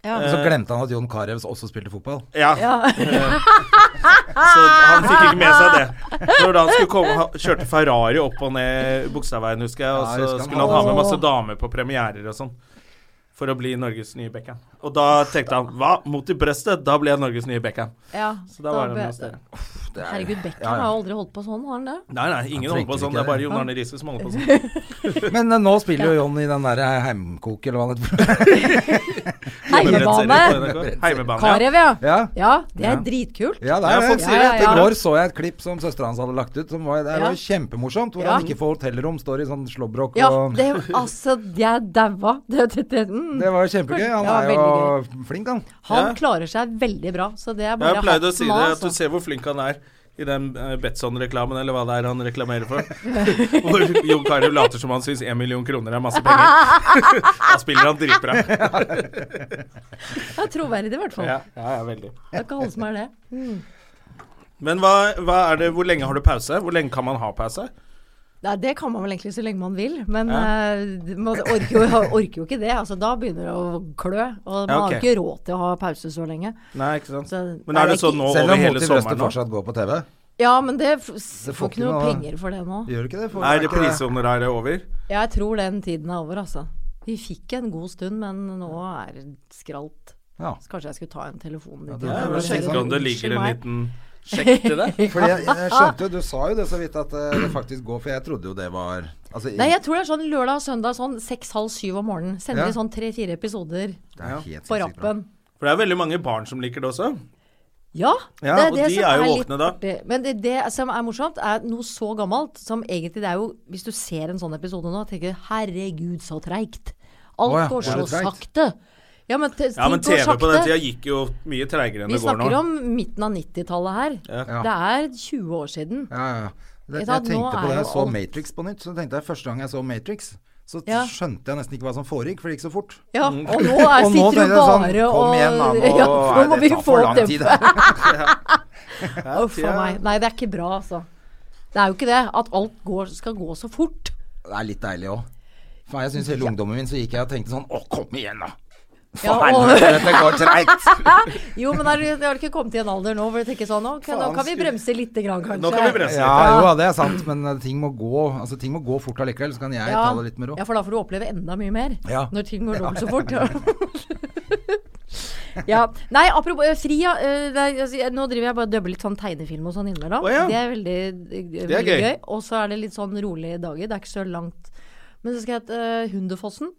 C: ja.
B: Så glemte han at Jon Carew også spilte fotball.
A: Ja.
C: ja.
A: Så han fikk ikke med seg det. Så da han skulle komme, han kjørte Ferrari opp og ned Bogstadveien, husker jeg, og
B: Ja, jeg
A: så
B: husker han.
A: skulle han ha med masse damer på premierer og sånn. For å bli Norges nye Beckham. Og da tenkte han hva, mot i brøstet? Da blir jeg Norges nye Beckham.
C: ja.
A: Så da var det
C: ble-
A: med oss der.
C: Herregud, Beckham
B: Ja, ja.
C: har jo aldri holdt på sånn, har han det?
A: Nei, nei, ingen
B: Han
A: holder på
B: trengte
A: sånn.
B: ikke
A: Det er bare
B: det.
A: Jon Arne Riise som holder på sånn.
B: Men eh, nå spiller jo Jon i den derre Heimkok, eller hva det heter.
C: Heimebane!
A: Heimebane, ja.
C: Karev, ja.
B: Ja.
C: Ja, det er
A: Ja.
C: dritkult.
B: Ja, det
A: Ja,
B: er
A: folk
B: det.
A: sier
C: det.
B: I
C: Ja, ja.
B: går så jeg et klipp som søstera hans hadde lagt ut. Som var, det
C: Ja.
B: var kjempemorsomt. Hvor
C: Ja.
B: han ikke får hotellrom, står i sånn slåbrok
C: Ja,
B: og
C: det, altså, jeg daua. Det, det, det, mm.
B: Det var jo kjempegøy. Han
C: Ja,
B: er
C: veldig
B: jo flink, han.
C: Han
A: Ja.
C: klarer seg veldig bra, så det er bare
A: Jeg pleide å
C: hatten
A: si
C: av,
A: det, at
C: altså.
A: du ser hvor flink han er i den eh, Betson-reklamen, eller hva det er han reklamerer for. Hvor Jon Carew later som han syns én million kroner er masse penger. da spiller han dritbra.
C: Det er troverdig, i hvert fall.
A: Ja, ja, ja, veldig.
C: Det er ikke alle som er det.
A: Men hva, hva er det, hvor lenge har du pause? Hvor lenge kan man ha pause?
C: Nei, det kan man vel egentlig så lenge man vil, men
A: Ja.
C: eh, man orker jo, orker jo ikke det. Altså, da begynner det å klø, og man
A: Ja,
C: har
A: ok.
C: ikke råd til å ha pause så lenge.
A: Nei, ikke sant.
C: Så-
A: Men
C: Nei,
A: er det
C: det er
A: sånn
C: ikke-
A: nå over
B: Selv om Mot
A: hele
B: i brøstet
A: sommeren nå?
B: fortsatt går på TV.
C: Ja, men det, f s-
B: Det
C: får ikke noe penger for det nå.
B: Gjør det ikke det? For
A: Er
B: det ikke det-
A: reprisehonoraret over?
C: Jeg tror den tiden er over, altså. Vi fikk en god stund, men nå er det skralt.
B: Ja.
C: Så kanskje jeg skulle ta en telefon.
B: Ja,
C: dit.
B: det
A: Ja,
B: er
A: jeg
B: vel
A: må sjekke om det
C: Unnskyld
A: ligger en
C: meg.
A: liten sjekk til det.
B: Fordi jeg, jeg skjønte jo, Du sa jo det så vidt at eh, det faktisk går, for jeg trodde jo det var altså, i-
C: Nei, jeg tror det er sånn lørdag og søndag sånn seks-halv syv om morgenen. Sender
B: Ja.
C: de sånn tre-fire episoder
B: Det er helt
C: på
B: sinnssykt bra.
C: rappen.
A: For det er veldig mange barn som liker det også.
C: Ja,
A: Ja, og de er jo våkne da.
C: artig. Men det, det som er morsomt, er noe så gammelt som egentlig det er jo Hvis du ser en sånn episode nå, tenker du 'herregud, så treigt'. Alt
B: Å ja,
C: går
B: var det
C: så
B: treigt?
C: sakte. Ja, men, te-
A: Ja,
C: ting
A: men
C: går
A: TV på den
C: sakte.
A: tida gikk jo mye treigere enn
C: Vi
A: det går nå.
C: snakker om midten av 90-tallet her.
B: Ja.
C: Det er 20 år siden.
B: Ja, ja. Det, jeg
C: Vet du at nå
B: tenkte på
C: er
B: det. Jeg
C: jo
B: så
C: alt-
B: Matrix på nytt. Så tenkte jeg første gang jeg så Matrix, så t-
C: Ja.
B: skjønte jeg nesten ikke hva som foregikk, for det gikk så fort.
C: Ja,
A: Mm.
C: og nå er,
B: Og nå
C: sitter du
B: tenker jeg sånn,
C: bare og
B: kom igjen, da, nå
C: ja, nå
B: er
C: må
B: det-
C: vi
B: tar
C: få
B: for
C: opp
B: lang tid.
C: tempoet. Uff a meg. Nei, det er ikke bra, altså. Det er jo ikke det. At alt går, skal gå så fort.
B: Det er litt deilig òg. Jeg syns hele ungdommen min så gikk jeg og tenkte sånn Å, kom igjen, da! For
C: Ja, og-
B: helvete, dette går treigt!
C: Jo, men er du- jeg har ikke kommet i en alder nå hvor du tenker sånn Ok, nå kan vi bremse litt, grann, kanskje.
A: Nå kan vi bremse.
B: Ja, jo, ja, det er sant, men eh, ting må gå Altså ting må gå fort allikevel, så kan jeg ta det litt med ro.
C: ja, for da får du oppleve enda mye mer.
B: Ja.
C: Når ting går dobbelt så fort. ja. Nei, apropos eh, fri, ja. eh, nei, altså, jeg- Nå driver jeg bare og dubber litt sånn tegnefilm og sånn innimellom.
A: Å, ja.
C: Det er veldig, eh,
A: Det er
C: veldig
A: gøy.
C: gøy. Og så er det litt sånn rolige dager. Det er ikke så langt. Men så skal jeg til eh, Hunderfossen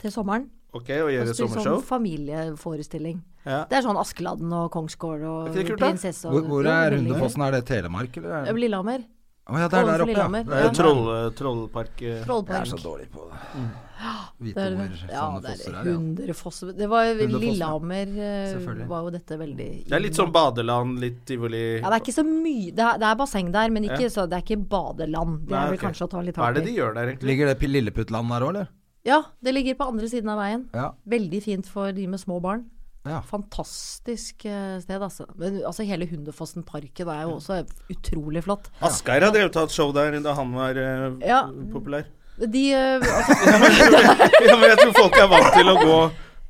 C: til sommeren.
A: Ok, og gjøre
C: Spille
A: sommershow.
C: sånn familieforestilling.
A: Ja.
C: Det er sånn Askeladden og Kongsgård og
A: Er ikke det kult, da?
C: prinsesse og
B: Hvor, hvor
C: Ja,
B: er
C: veldig gøy.
B: Rundefossen? Er det Telemark, eller? er det-
C: Lillehammer.
B: Å ja, det er der
C: Ovenfor
B: oppe, ja.
C: Lillehammer.
B: Det
A: Det er jo troll, trollpark eh.
B: Jeg er
C: Trollpark.
B: så dårlig på det. Vite
C: Det er,
B: hvor
C: ja,
B: sånne
C: det
B: fosser
C: er
B: er. Ja.
C: 100 fosser Det var
B: fosser, ja.
C: Lillehammer eh,
B: Selvfølgelig.
C: var jo dette veldig
A: Det er litt sånn badeland, litt tivoli
C: Ja, det er ikke så mye Det er, det er basseng der, men ikke,
A: Ja.
C: så det er ikke badeland. Det
A: Nei,
C: er vel
A: ok.
C: kanskje å ta litt
A: Hva er
C: hardt
A: det de
C: i.
A: gjør der, egentlig?
B: Ligger det på Lilleputtland der òg, eller?
C: Ja, det ligger på andre siden av veien.
B: Ja.
C: Veldig fint for de med små barn.
B: ja.
C: Fantastisk eh, sted, altså. Men altså, hele Hunderfossen-parken er jo også utrolig flott.
A: Asgeir har drevet og hatt show der da han var eh,
C: Ja.
A: populær.
C: De eh,
A: Ja, men jeg tror folk er vant til å gå,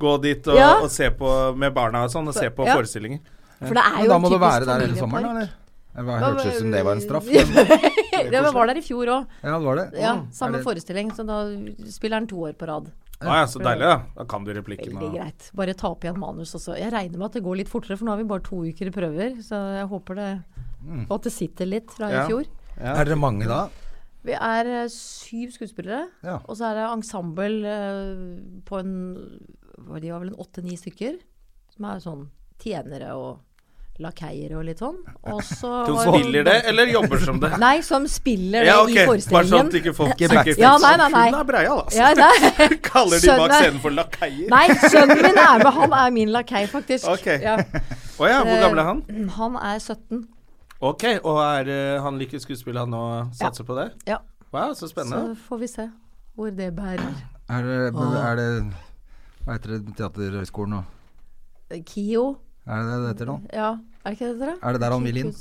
A: gå dit og,
C: Ja.
A: og se på med barna og sånn, og se på
C: Ja.
A: forestillinger.
C: For det er
B: Men
C: jo
B: da
C: en
B: må du
C: typisk
B: være der hele sommeren,
C: familiepark.
B: eller? Det var- hørtes ut som det var en straff.
C: Ja,
B: men-
C: men jeg var der i fjor òg.
B: Ja, det var det.
C: Ja,
B: Å, er
C: samme
B: det-
C: forestilling, så da spiller han to år på rad.
A: Ah, ja, så deilig, da. Da kan du replikken.
C: Veldig
A: Og...
C: greit. Bare ta opp igjen manus også. Jeg regner med at det går litt fortere, for nå har vi bare to uker i prøver. Så jeg håper det,
B: Mm.
C: og at det sitter litt fra
A: Ja.
C: i fjor.
B: Er dere mange da?
C: Vi er eh, syv skuespillere,
B: Ja.
C: og så er det ensemble eh, på en hva, De var vel en åtte-ni stykker. Som er sånn tjenere og lakeier og litt sånn. Og så
A: Hun
C: har-
A: spiller det, eller jobber som det?
C: Nei, som spiller det
A: Ja, ok.
C: i
A: Bare sånn at
C: forestillingen.
A: ikke folk
B: Ikke
A: tenker
C: Ja, nei, nei, nei.
A: Hun er breial, altså.
C: Ja, nei.
A: Kaller de bak
C: Skjønner.
A: scenen for lakeier?
C: nei, sønnen min er med. Han er min lakei, faktisk.
A: Ok.
C: Ja.
A: Å ja,
C: Eh.
A: hvor gammel er han?
C: Han er 17.
A: Ok, og er eh, han like skuespiller han og satser på det?
C: Ja.
A: Wow, så spennende.
C: Så får vi se hvor det bærer.
B: Er det, er det Hva heter det Teaterhøgskolen nå?
C: Kio,
B: Er det det det heter nå?
C: ja. Er det ikke det dere?
B: Er det der han vil inn?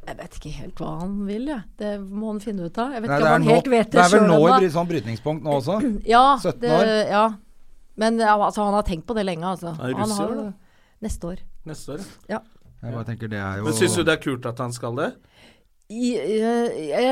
C: Jeg vet ikke helt hva han vil, jeg. Det må han finne ut av. Jeg vet
B: Nei,
C: ikke
B: det,
C: om
B: er
C: han
B: nå,
C: helt vet
B: det
C: det
B: er vel
C: sjøl
B: nå i
C: ennå.
B: bry- sånn brytningspunkt nå også?
C: Ja,
B: 17
C: det-
B: år.
C: Ja. Men ja, altså, han har tenkt på det lenge, altså.
A: Han er
C: Han har
A: russer,
C: jo-
A: da.
C: Neste år.
A: Neste år. ja.
B: Jeg bare tenker det er jo
A: Men syns du det er kult at han skal det?
C: I, eh, jeg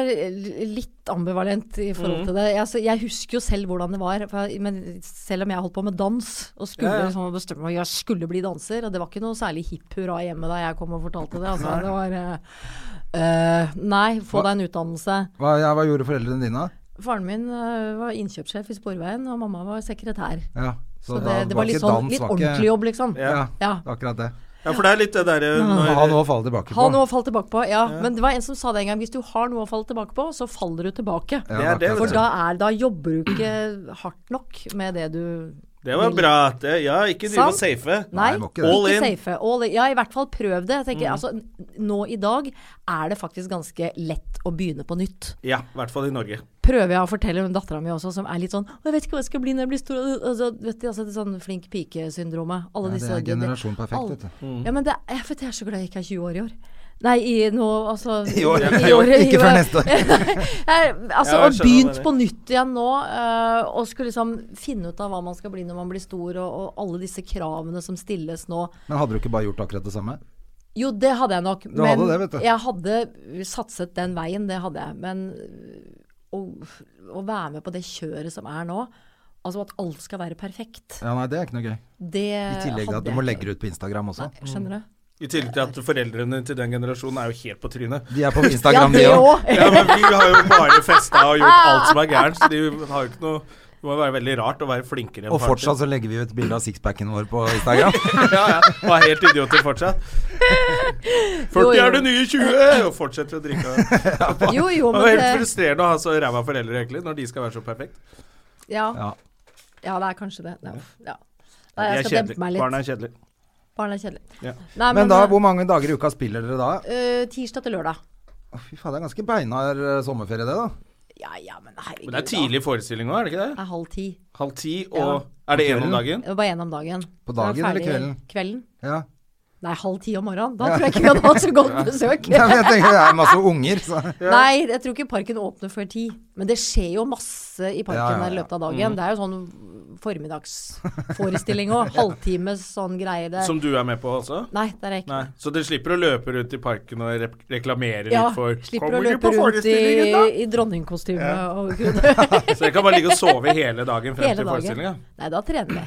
C: er litt ambivalent i forhold
B: Mm.
C: til det. Jeg, altså, jeg husker jo selv hvordan det var. For, jeg- men selv om jeg holdt på med dans, og skulle
A: Ja, ja.
C: Liksom, bestemme meg jeg skulle bli danser, og det var ikke noe særlig hipp hurra hjemme da jeg kom og fortalte det. Altså, det var eh, eh, Nei, få deg en utdannelse.
B: hva, ja, hva gjorde foreldrene dine? da?
C: Faren min eh, var innkjøpssjef i Sporveien, og mamma var sekretær.
B: Ja,
C: Så, det,
B: da
C: det var litt
B: ikke
C: sånn
B: dans,
C: litt
B: var ikke-
C: ordentlig jobb, liksom.
B: Ja,
C: Ja.
B: det var akkurat det.
A: Ja, for det er litt det derre når
B: Ha noe å falle tilbake på.
C: Ha noe å falle tilbake på. Ja. Men det var en som sa det en gang. Hvis du har noe å falle tilbake på, så faller du tilbake.
A: Det
B: Ja,
A: er det, vet
B: akkurat
C: For da, er, da jobber du ikke hardt nok med det du
A: Det var bra. at det- Ja, ikke drive og
C: Sant.
A: safe.
C: Nei,
B: må ikke
C: ikke
B: det.
A: All in. Mm.
C: safe. All in. Ja, i hvert fall prøv det. Jeg tenker, altså, n- nå i dag er det faktisk ganske lett å begynne på nytt.
A: Ja, i hvert fall i Norge.
C: Prøver jeg å fortelle om dattera mi også, som er litt sånn «Å, 'Jeg vet ikke hva jeg skal bli når jeg blir stor'. Altså, vet du, altså, det er sånn flink pike-syndromet. Alle
B: Ja, det
C: disse
B: er generasjon perfekt,
C: alle-
B: vet du.
A: Mm.
C: Ja, men det, jeg, vet, jeg er så glad jeg ikke er 20 år i år. Nei, i nå, altså I
B: år, ja.
C: i år,
B: Ikke
C: i
B: før
C: år.
B: neste år.
C: Nei,
A: Ja,
C: altså,
A: jeg
C: og
A: skjønner
C: begynt
A: hva du
C: på nytt igjen nå, eh, og skulle liksom finne ut av hva man skal bli når man blir stor, og, og alle disse kravene som stilles nå.
B: Men hadde du ikke bare gjort akkurat det samme?
C: Jo, det hadde jeg nok,
B: Du hadde
C: men
B: det, vet du.
C: jeg hadde satset den veien, det hadde jeg. Men øh, å, å være med på det kjøret som er nå, altså at alt skal være perfekt,
B: Ja, nei, det er ikke noe gøy.
C: det
B: I tillegg til at du må legge det ut på Instagram også.
C: Nei, skjønner du?
A: I tillegg til at foreldrene til den generasjonen er jo helt på trynet.
B: De er på Instagram, de
C: det
B: òg.
C: også.
A: Ja, men vi har jo bare festa og gjort alt som er gærent, så de har jo ikke noe Det må jo være veldig rart å være flinkere enn
B: Og fortsatt så legger vi ut bilde av sixpacken vår på Instagram.
A: partner. Ja, ja. Og er helt idioter fortsatt. 40
C: jo.
A: er det nye 20! Og fortsetter å drikke.
C: Jo, jo,
A: Det er
C: men
A: helt
C: det,
A: frustrerende å ha så ræva foreldre, egentlig, når de skal være så perfekt.
C: ja,
B: Ja.
C: ja, det er kanskje det. Ja. Ja. Nei,
A: De
C: jeg
A: er
C: skal dempe meg
A: kjedelige.
C: litt.
A: Barna er kjedelige.
C: Barn er kjedelig.
A: Ja.
C: Nei, eh,
B: Men da, hvor mange dager i uka spiller dere da?
C: øh, Tirsdag til lørdag.
B: Å, Fy faen, det er ganske beinhard eh, sommerferie det, da.
C: Ja ja, men herregud.
A: Men det er
C: da.
A: tidlig forestilling òg, er det ikke
C: Det
A: det?
C: er halv ti.
A: Halv ti, og er det én om dagen?
C: Det var bare én om dagen.
B: På
C: Da er vi
B: dagen eller
C: ferdig-
B: kvelden?
C: Kvelden.
B: Ja.
C: Nei, halv ti om morgenen. Da tror jeg ikke vi hadde hatt så godt besøk.
B: Nei, men jeg tenker det er masse unger, så
C: Nei, jeg tror ikke parken åpner før ti. Men det skjer jo masse i parken
B: Ja, ja, Mm. ja.
C: der i løpet av dagen. Det er jo sånn formiddagsforestilling òg. Halvtimes sånn greie. Det.
A: Som du er med på også?
C: Nei, der er jeg ikke.
A: Nei. Så dere slipper å løpe rundt i parken og rep- reklamere
C: Ja,
A: litt for
C: slipper å
A: Kommer du
C: løpe
A: på
C: rundt i,
A: forestillingen, da?
C: i dronningkostyme og Hele
A: Så dere kan bare ligge og sove hele dagen frem til
C: dagen.
A: forestillinga?
C: Nei, da trener vi.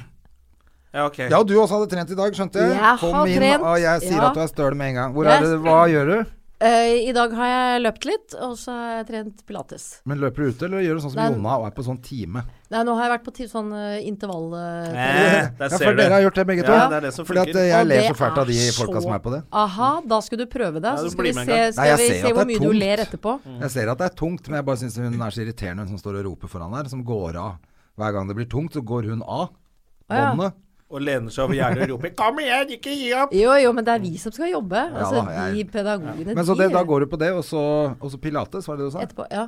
A: Ja, ok.
B: Ja, du også hadde trent i dag, skjønte jeg.
C: Jeg har
B: Kom inn,
C: trent,
B: og jeg sier
C: ja.
B: at du er støl med en gang. Hvor
C: Jeg
B: er
C: er
B: det, hva gjør du?
C: Eh, I dag har jeg løpt litt, og så har jeg trent pilates.
B: Men løper du ute, eller gjør du sånn som
C: Nei.
B: Jonna og er på sånn time?
C: Nei, nå har jeg vært på ti- sånn eh, intervall...
A: Eh,
C: eh,
A: der
B: Ja,
A: ser
B: for
A: du.
B: dere har gjort det begge to.
A: Ja, det er det som
B: Fordi at
A: funker.
B: eh,
C: Og
B: jeg ler
C: det
B: så fælt av de
C: er
B: folka
C: så-
B: som er på det.
C: Aha, da skulle du prøve det.
A: du
C: Så skal
A: blir
C: vi
A: med en
C: se,
A: gang. Mm.
B: Nei,
C: skal
B: jeg
C: vi
B: ser
C: se
B: at
C: hvor
B: det er
C: mye du
B: tungt.
C: ler etterpå.
B: Jeg ser at det er tungt, men jeg bare syns hun er så irriterende, hun som står og roper foran her, som går av. Hver gang det blir tungt, så går hun av.
C: ja.
B: Båndet.
A: Og lener seg over gjerdet og roper 'Kom igjen, ikke gi opp!'
C: Jo, jo, men det er vi som skal jobbe. Altså,
B: da, jeg-
C: de pedagogene,
B: Men så det,
C: de
B: da går du på det, og så, og så pilates, var det det du sa?
C: etterpå. Ja.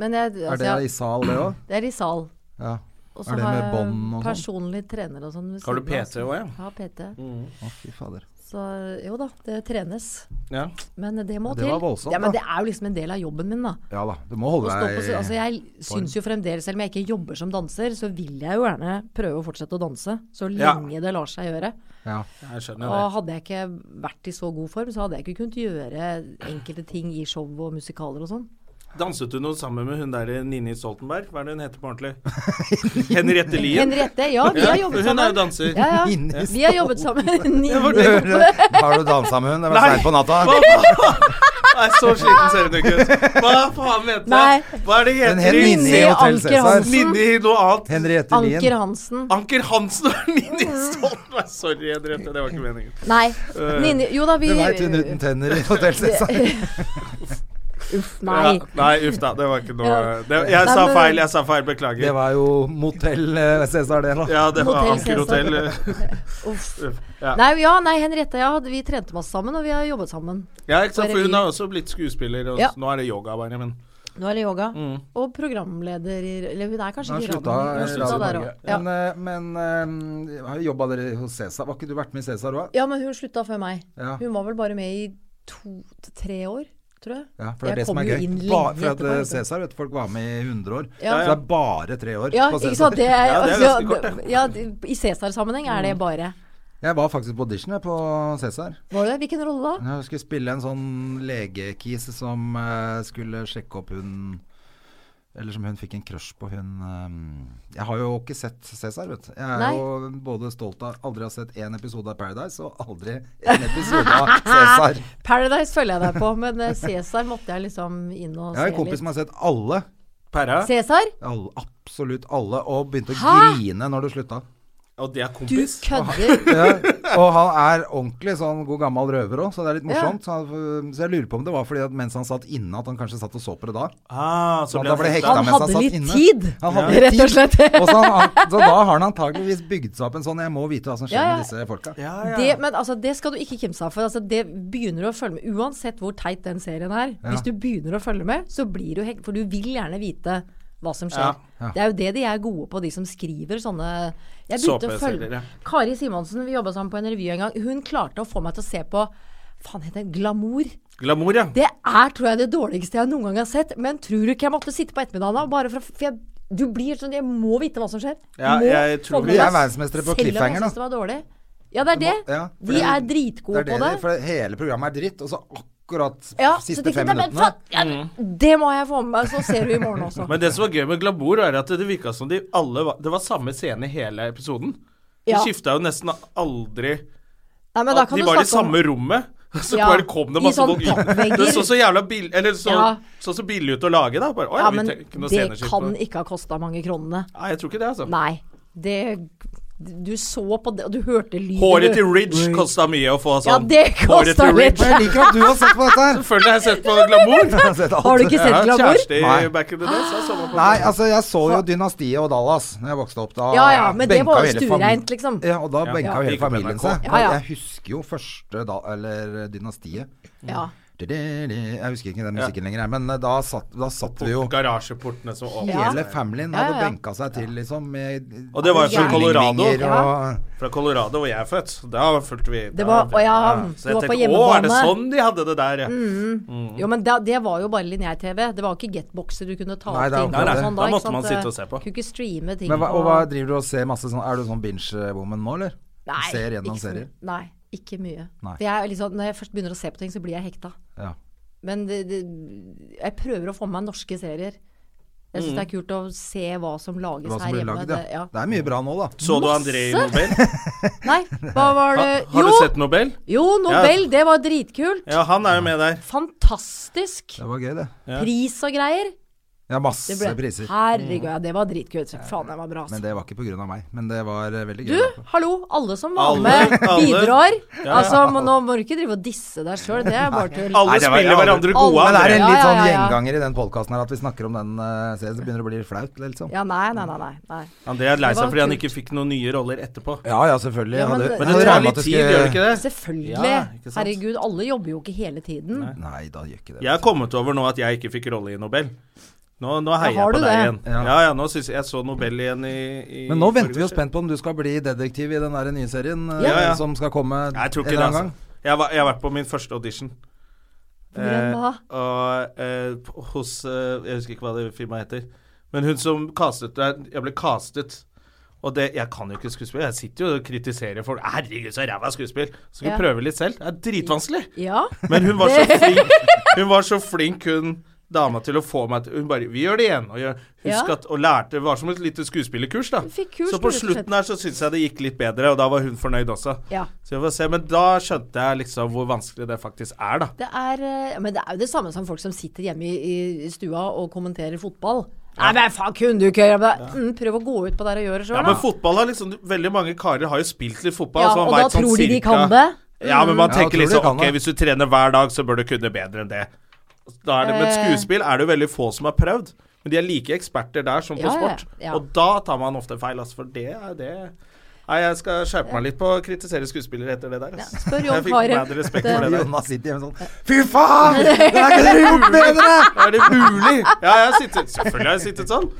C: Men jeg, altså,
B: Er det
C: jeg-
B: i sal, det òg?
C: det er i sal.
B: Ja.
C: Og
B: Er
C: så
B: det
C: har
B: med
C: jeg
B: bånd og sånn?
C: personlig trener og sånn. ved
A: Har du
C: siden av,
A: PT
C: så-
A: også, ja? Mm.
C: Ja, PT.
B: Å, fy fader.
C: Så jo da, det trenes.
A: Ja.
C: Men det må
B: Ja, det
C: til.
B: var voldsomt,
C: ja, men
B: da.
C: det er jo liksom en del av jobben min, da.
B: Ja da, du må holde
C: Å stå på,
B: deg
C: scenen. altså jeg syns jo fremdeles, selv om jeg ikke jobber som danser, så vil jeg jo gjerne prøve å fortsette å danse. Så
A: Ja.
C: lenge det lar seg gjøre.
B: ja.
A: Jeg skjønner
C: Og
A: det.
C: hadde jeg ikke vært i så god form, så hadde jeg ikke kunnet gjøre enkelte ting i show og musikaler og sånn.
A: Danset du noe sammen med hun der Nini Stoltenberg? Hva er det hun heter på ordentlig? Henriette Lien?
C: Henriette, ja, vi har jobbet
A: Hun er jo
C: sammen.
A: danser.
C: Ja, ja.
B: Inni
C: Vi har jobbet sammen.
B: Har du dansa med hun? Det var
A: Nei.
B: seint på natta.
A: Hva faen? Nei, så sliten ser hun ikke ut. Hva faen mente
C: Nei.
A: jeg? Hva er det heter?
B: Men Hen-
A: i-
B: Ninni i Hotel
C: Anker
B: Cæsar.
C: Hansen.
A: Ninni noe annet.
B: Henriette
C: Anker
B: Lien.
C: Hansen.
A: Anker Hansen og Ninni Stoltenberg. Sorry, Henriette. Det var ikke meningen.
C: Nei.
A: Øh,
C: Nini, jo da, vi
B: Du veit hun uten tenner i Hotell Cæsar.
C: Uff, nei.
A: Ja, nei, uff da. Det var ikke noe
C: Ja.
A: det, Jeg
C: Nei,
A: sa
C: men-
A: feil. Jeg sa feil. Beklager.
B: Det var jo Motell eh, Cæsar, det, da.
A: ja, det var
C: Hotel
A: Anker Hotell.
C: Uff.
A: Ja.
C: Nei, ja, nei, Henriette, ja, vi trente masse sammen, og vi har jobbet sammen.
A: Ja, ikke sant?
C: Bare
A: For hun
C: vi-
A: har også blitt skuespiller, og
C: Ja.
A: nå er det yoga bare. Men
C: Nå er det yoga. Og programleder i Eller hun
B: Mm.
C: er
B: Nå
C: kanskje
B: har
C: ikke i
B: slutta
C: radioen. Hun
B: eh,
C: slutta
B: Radio
C: der
B: Norge.
C: også. Ja.
B: Men, eh, men eh, har jobba dere hos Cæsar? Var ikke du vært med i Cæsar òg?
C: ja, men hun slutta før meg.
B: Ja.
C: Hun var vel bare med i to til tre år, tror jeg.
B: Ja, for det er
C: Jeg
B: det som
C: kom
B: er
C: jo
B: gøy.
C: inn lenge
B: Ba, for at
C: etterpå, liksom.
B: eh,
C: vet du.
B: Cæsar vet du, folk var med i 100 år.
C: Ja.
B: Så det er bare tre år
C: Ja,
B: på
C: ikke
B: Cæsar.
C: sant. Det er,
A: Ja, det er
C: altså,
A: ganske kort,
C: ja, det- I Cæsar-sammenheng er
B: Mm.
C: det bare
B: Jeg var faktisk på audition jeg, på Cæsar.
C: Var det? Hvilken rolle da?
B: Jeg skulle spille en sånn legekise som eh, skulle sjekke opp hun Eller som hun fikk en crush på hun eh, Jeg har jo ikke sett Cæsar, vet du. Jeg er
C: Nei.
B: jo både stolt av aldri å ha sett én episode av Paradise, og aldri en episode av Cæsar.
C: Paradise følger jeg deg på, men eh, Cæsar måtte jeg liksom inn og
B: Jeg har
C: se
B: en kompis
C: litt.
B: som har sett alle.
A: Perra
C: Cæsar?
B: alle absolutt alle, og begynte å
C: Hæ?
B: grine når det slutta.
A: Og det er
C: Du
A: kompis.
C: kødder!
B: Ja, og han er ordentlig sånn god gammel røver òg, så det er litt morsomt. Så, han, så jeg lurer på om det var fordi at mens han satt inne, at han kanskje satt og så på det da.
A: Ah, så
B: Så
A: ble
B: da ble
A: han
B: hekta
A: hekta.
C: Han
B: mens
C: hadde
B: han satt
C: litt
B: inne.
C: tid,
B: Han hadde litt
C: rett og
B: tid.
C: slett.
B: Og så, han, så da har han antakeligvis bygd seg opp en sånn Jeg må vite hva som skjer
C: Ja, ja.
B: med disse folka.
A: Ja,
C: Det, men altså, det skal du ikke kimse av, for altså, det begynner du å følge med. Uansett hvor teit den serien er, hvis du begynner å følge med, så blir du hekt, for du vil gjerne vite hva som skjer.
A: Ja,
C: Det er jo det de er gode på, de som skriver sånne Jeg begynte å
A: Såpeserier,
C: følge
A: ja.
C: Kari Simonsen, vi jobba sammen på en revy en gang, hun klarte å få meg til å se på Faen, heter det Glamour?
A: Glamour, ja.
C: Det er, tror jeg, det dårligste jeg noen gang har sett. Men tror du ikke jeg måtte sitte på ettermiddagen da, bare for å For jeg, du blir sånn Jeg må vite hva som skjer.
A: Ja,
C: Må
A: jeg tror
C: få
B: vi
C: med
B: er
C: meg,
B: verdensmestere på
C: selv om jeg
B: cliffhanger, da.
C: synes det var dårlig. Ja, det er det.
B: ja, for
C: de
B: det-
C: er
B: Det
C: dritgode
B: er det,
C: på det.
B: de- for hele programmet er dritt, og så akkurat
C: Ja, så
B: siste
C: tenker jeg,
B: fem
C: "Nei, men
B: minuttene
C: faen, ja, det må jeg få med meg, så ser du i morgen også.
A: Men det som var gøy med Glamour, er at det virka som de alle var Det var samme scene i hele episoden. De
C: Ja.
A: skifta jo nesten aldri
C: Nei, men da
A: at
C: kan
A: De
C: du
A: var i
C: snakke om-
A: samme rommet. Så
C: Ja,
A: bare kom det
C: i
A: masse
C: sånn
A: folk ut.
C: pappvegger.
A: Det så så jævla billig Eller så,
C: Ja.
A: så så billig ut å lage, da. Bare, å,
C: Ja,
A: vi
C: men
A: trenger ikke noe
C: det
A: sceneskift
C: kan
A: på-
C: ikke ha kosta mange kronene.
A: Nei, jeg tror ikke det, altså.
C: Nei. Det Du så på det, og du hørte lyden.
A: Håret
C: du-
A: til Ridge kosta mye å få
C: Ja,
A: sånn.
C: det
A: Håret
C: kosta
A: til
C: litt.
A: Ridge.
B: Men jeg liker at du har sett på dette her.
A: Selvfølgelig har jeg sett på Glamour.
B: Jeg har sett alt.
C: Har du ikke
A: Jeg
C: sett
A: har
C: Glamour?
A: kjæreste
B: Nei.
A: i back in the days. Jeg så meg på
B: Nei, altså jeg så jo Dynastiet og Dallas Når jeg vokste opp. Da
C: Ja ja, men det
B: benka
C: var
B: jo
C: jo
B: hele fami-
C: stuereint, liksom.
B: Ja, og da
A: Ja.
B: benka
A: Ja.
B: jo hele
A: Gikk på
B: familien
A: NRK.
B: seg.
C: Ja, ja.
B: Jeg husker jo første da, eller eh, Dynastiet.
C: Ja.
B: Jeg husker ikke den musikken lenger, jeg, men eh, da satt, da satt vi jo
A: Garasjeportene som åpna
C: Ja.
B: Hele familien
C: Ja, ja,
B: hadde
C: ja.
B: benka seg til, liksom. Med
A: Og det var jo fra Colorado.
B: kyllingvinger
C: Ja.
B: Og,
A: fra Colorado, hvor jeg er født. Da fulgte vi
C: Det var-
A: da-
C: å ja,
A: Så
C: det
A: jeg
C: var på
A: tenkte å, er det
C: hjemmebane." Mm,
A: sånn de hadde det der, ja?
C: Jo, men da, det var jo bare lineær-TV. Det var jo ikke getboxer du kunne ta
B: Nei,
C: opp
B: det er
C: ting
B: akkurat
C: på og
B: det.
C: sånn
A: Da
C: ikke
A: måtte
C: sant?
A: man sitte og se på.
C: Kunne ikke streame ting.
B: men hva,
C: på-
B: og hva driver du og ser masse sånn Er du sånn binge-woman nå, eller?
C: Nei,
B: ser gjennom
C: ikke så
B: serier?
C: mye. Nei, ikke mye.
B: Nei.
C: For jeg er litt sånn, når jeg først begynner å se på ting, så blir jeg hekta.
B: Ja.
C: Men det, det, jeg prøver å få med meg norske serier. Jeg
A: Mm.
C: syns det er kult å se hva som lages
B: Hva som
C: her
B: blir
C: hjemme.
B: lagd,
C: det, ja.
B: ja. Det er mye bra nå, da.
A: Så du André i Nobel?
C: Nei, hva
A: Ha,
C: var det
A: har
C: Eh, Jo,
A: du sett Nobel?
C: jo Nobel! Det var dritkult.
A: Ja, han er jo med der.
C: Fantastisk.
B: Det var gøy, det.
A: Ja.
C: Pris og greier.
B: Ja, masse
C: Det ble,
B: priser. Mm.
C: herregud, ja, det var dritkult. Faen, det var bra. altså.
B: Men det var ikke pga. meg. Men det var eh, veldig gøy.
C: Du,
B: da.
C: hallo, alle som var
A: Alle,
C: med,
A: alle.
C: bidrar.
A: ja.
C: Altså, må- Nå må du ikke drive og disse deg sjøl, det er bare tull.
A: Alle
B: Nei, det var-
A: spiller
B: ja,
A: hverandre
C: alle-
A: gode,
B: Men det er
A: André.
B: en
C: Ja,
B: litt
C: ja,
B: sånn
C: ja, ja.
B: gjenganger i den podkasten her at vi snakker om den eh, serien, så begynner det å bli litt flaut, liksom.
C: Ja, nei, nei, nei. nei, nei.
A: André er lei
C: Det
A: seg
C: var
A: fordi han
C: kult.
A: ikke fikk noen nye roller etterpå.
B: Ja ja, selvfølgelig.
C: Ja,
B: Jeg
C: men
B: hadde-
C: det-
B: jeg
A: Men
B: hadde
A: det tar
B: regnet med
A: litt
B: at
A: tid, gjør det
B: skulle-
A: ikke det?
C: Selvfølgelig.
A: Ja, ikke sant.
C: Herregud, alle jobber jo ikke hele tiden.
B: Nei, da gjør ikke det.
A: Jeg har kommet over nå at jeg ikke fikk rolle i Nobel. Nå, nå heier
C: har
A: jeg på
C: du
A: deg igjen.
C: det?
B: Ja.
A: Ja, ja, nå syns jeg jeg så Nobel igjen i, i
B: Men nå venter vi jo
A: forgårs.
B: spent på om du skal bli detektiv i den der nye serien eh,
A: Ja, ja.
B: som skal komme en
A: Jeg tror ikke det,
B: eller annen
A: altså.
B: gang.
A: Jeg, var, jeg har vært på min første audition. Eh,
C: grunn av?
A: og eh, p- hos eh, Jeg husker ikke hva det firmaet heter. Men hun som castet deg Jeg ble castet. Og det, jeg kan jo ikke skuespill. Jeg sitter jo og kritiserer folk. 'Herregud, så ræva skuespill!' Så skal vi
C: Ja.
A: prøve litt selv. Det er dritvanskelig.
C: Ja.
A: Men hun var så flink, hun var så flink hun dama til å få meg til Hun bare 'Vi gjør det igjen.' Og, gjør, husk
C: Ja.
A: at, og lærte Det var som et lite skuespillerkurs, da.
C: Fikk kurs,
A: så på
C: rett og slett.
A: slutten her så syns jeg det gikk litt bedre, og da var hun fornøyd også.
C: Ja.
A: Så vi får se. Men da skjønte jeg liksom hvor vanskelig det faktisk er, da.
C: Det er, eh, men det er jo det samme som folk som sitter hjemme i, i stua og kommenterer fotball. Nei, men faen, kunne du ikke gjøre det? Mm, prøv å gå ut på der og gjøre det
A: Ja,
C: sjøl,
A: men
C: da.
A: fotball har liksom Veldig mange karer har jo spilt litt fotball.
C: Ja,
A: så man
C: og da
A: vet sånn
C: tror de de
A: cirka-
C: kan det.
A: Ja, men man
B: Mm. Ja,
A: tenker
B: tror de
A: liksom
B: kan
A: Ok,
B: det.
A: hvis du trener hver dag, så bør du kunne bedre enn det. Da er det men
C: Eh.
A: skuespill er det jo veldig få som har prøvd. Men de er like eksperter der som på
C: Ja, ja,
A: sport.
C: ja.
A: Og da tar man ofte feil, altså. For det er det Nei, jeg skal skjerpe meg litt på å kritisere skuespillere etter det der. Altså.
C: spør Jon
A: jeg fikk
C: Carew.
A: mer respekt
C: Det-
A: for det der.
B: Jonas sitter hjemme sånn Fy faen! Det er ikke dere gjort bedre!
A: Er det mulig? Ja, jeg har sittet, selvfølgelig har jeg sittet sånn.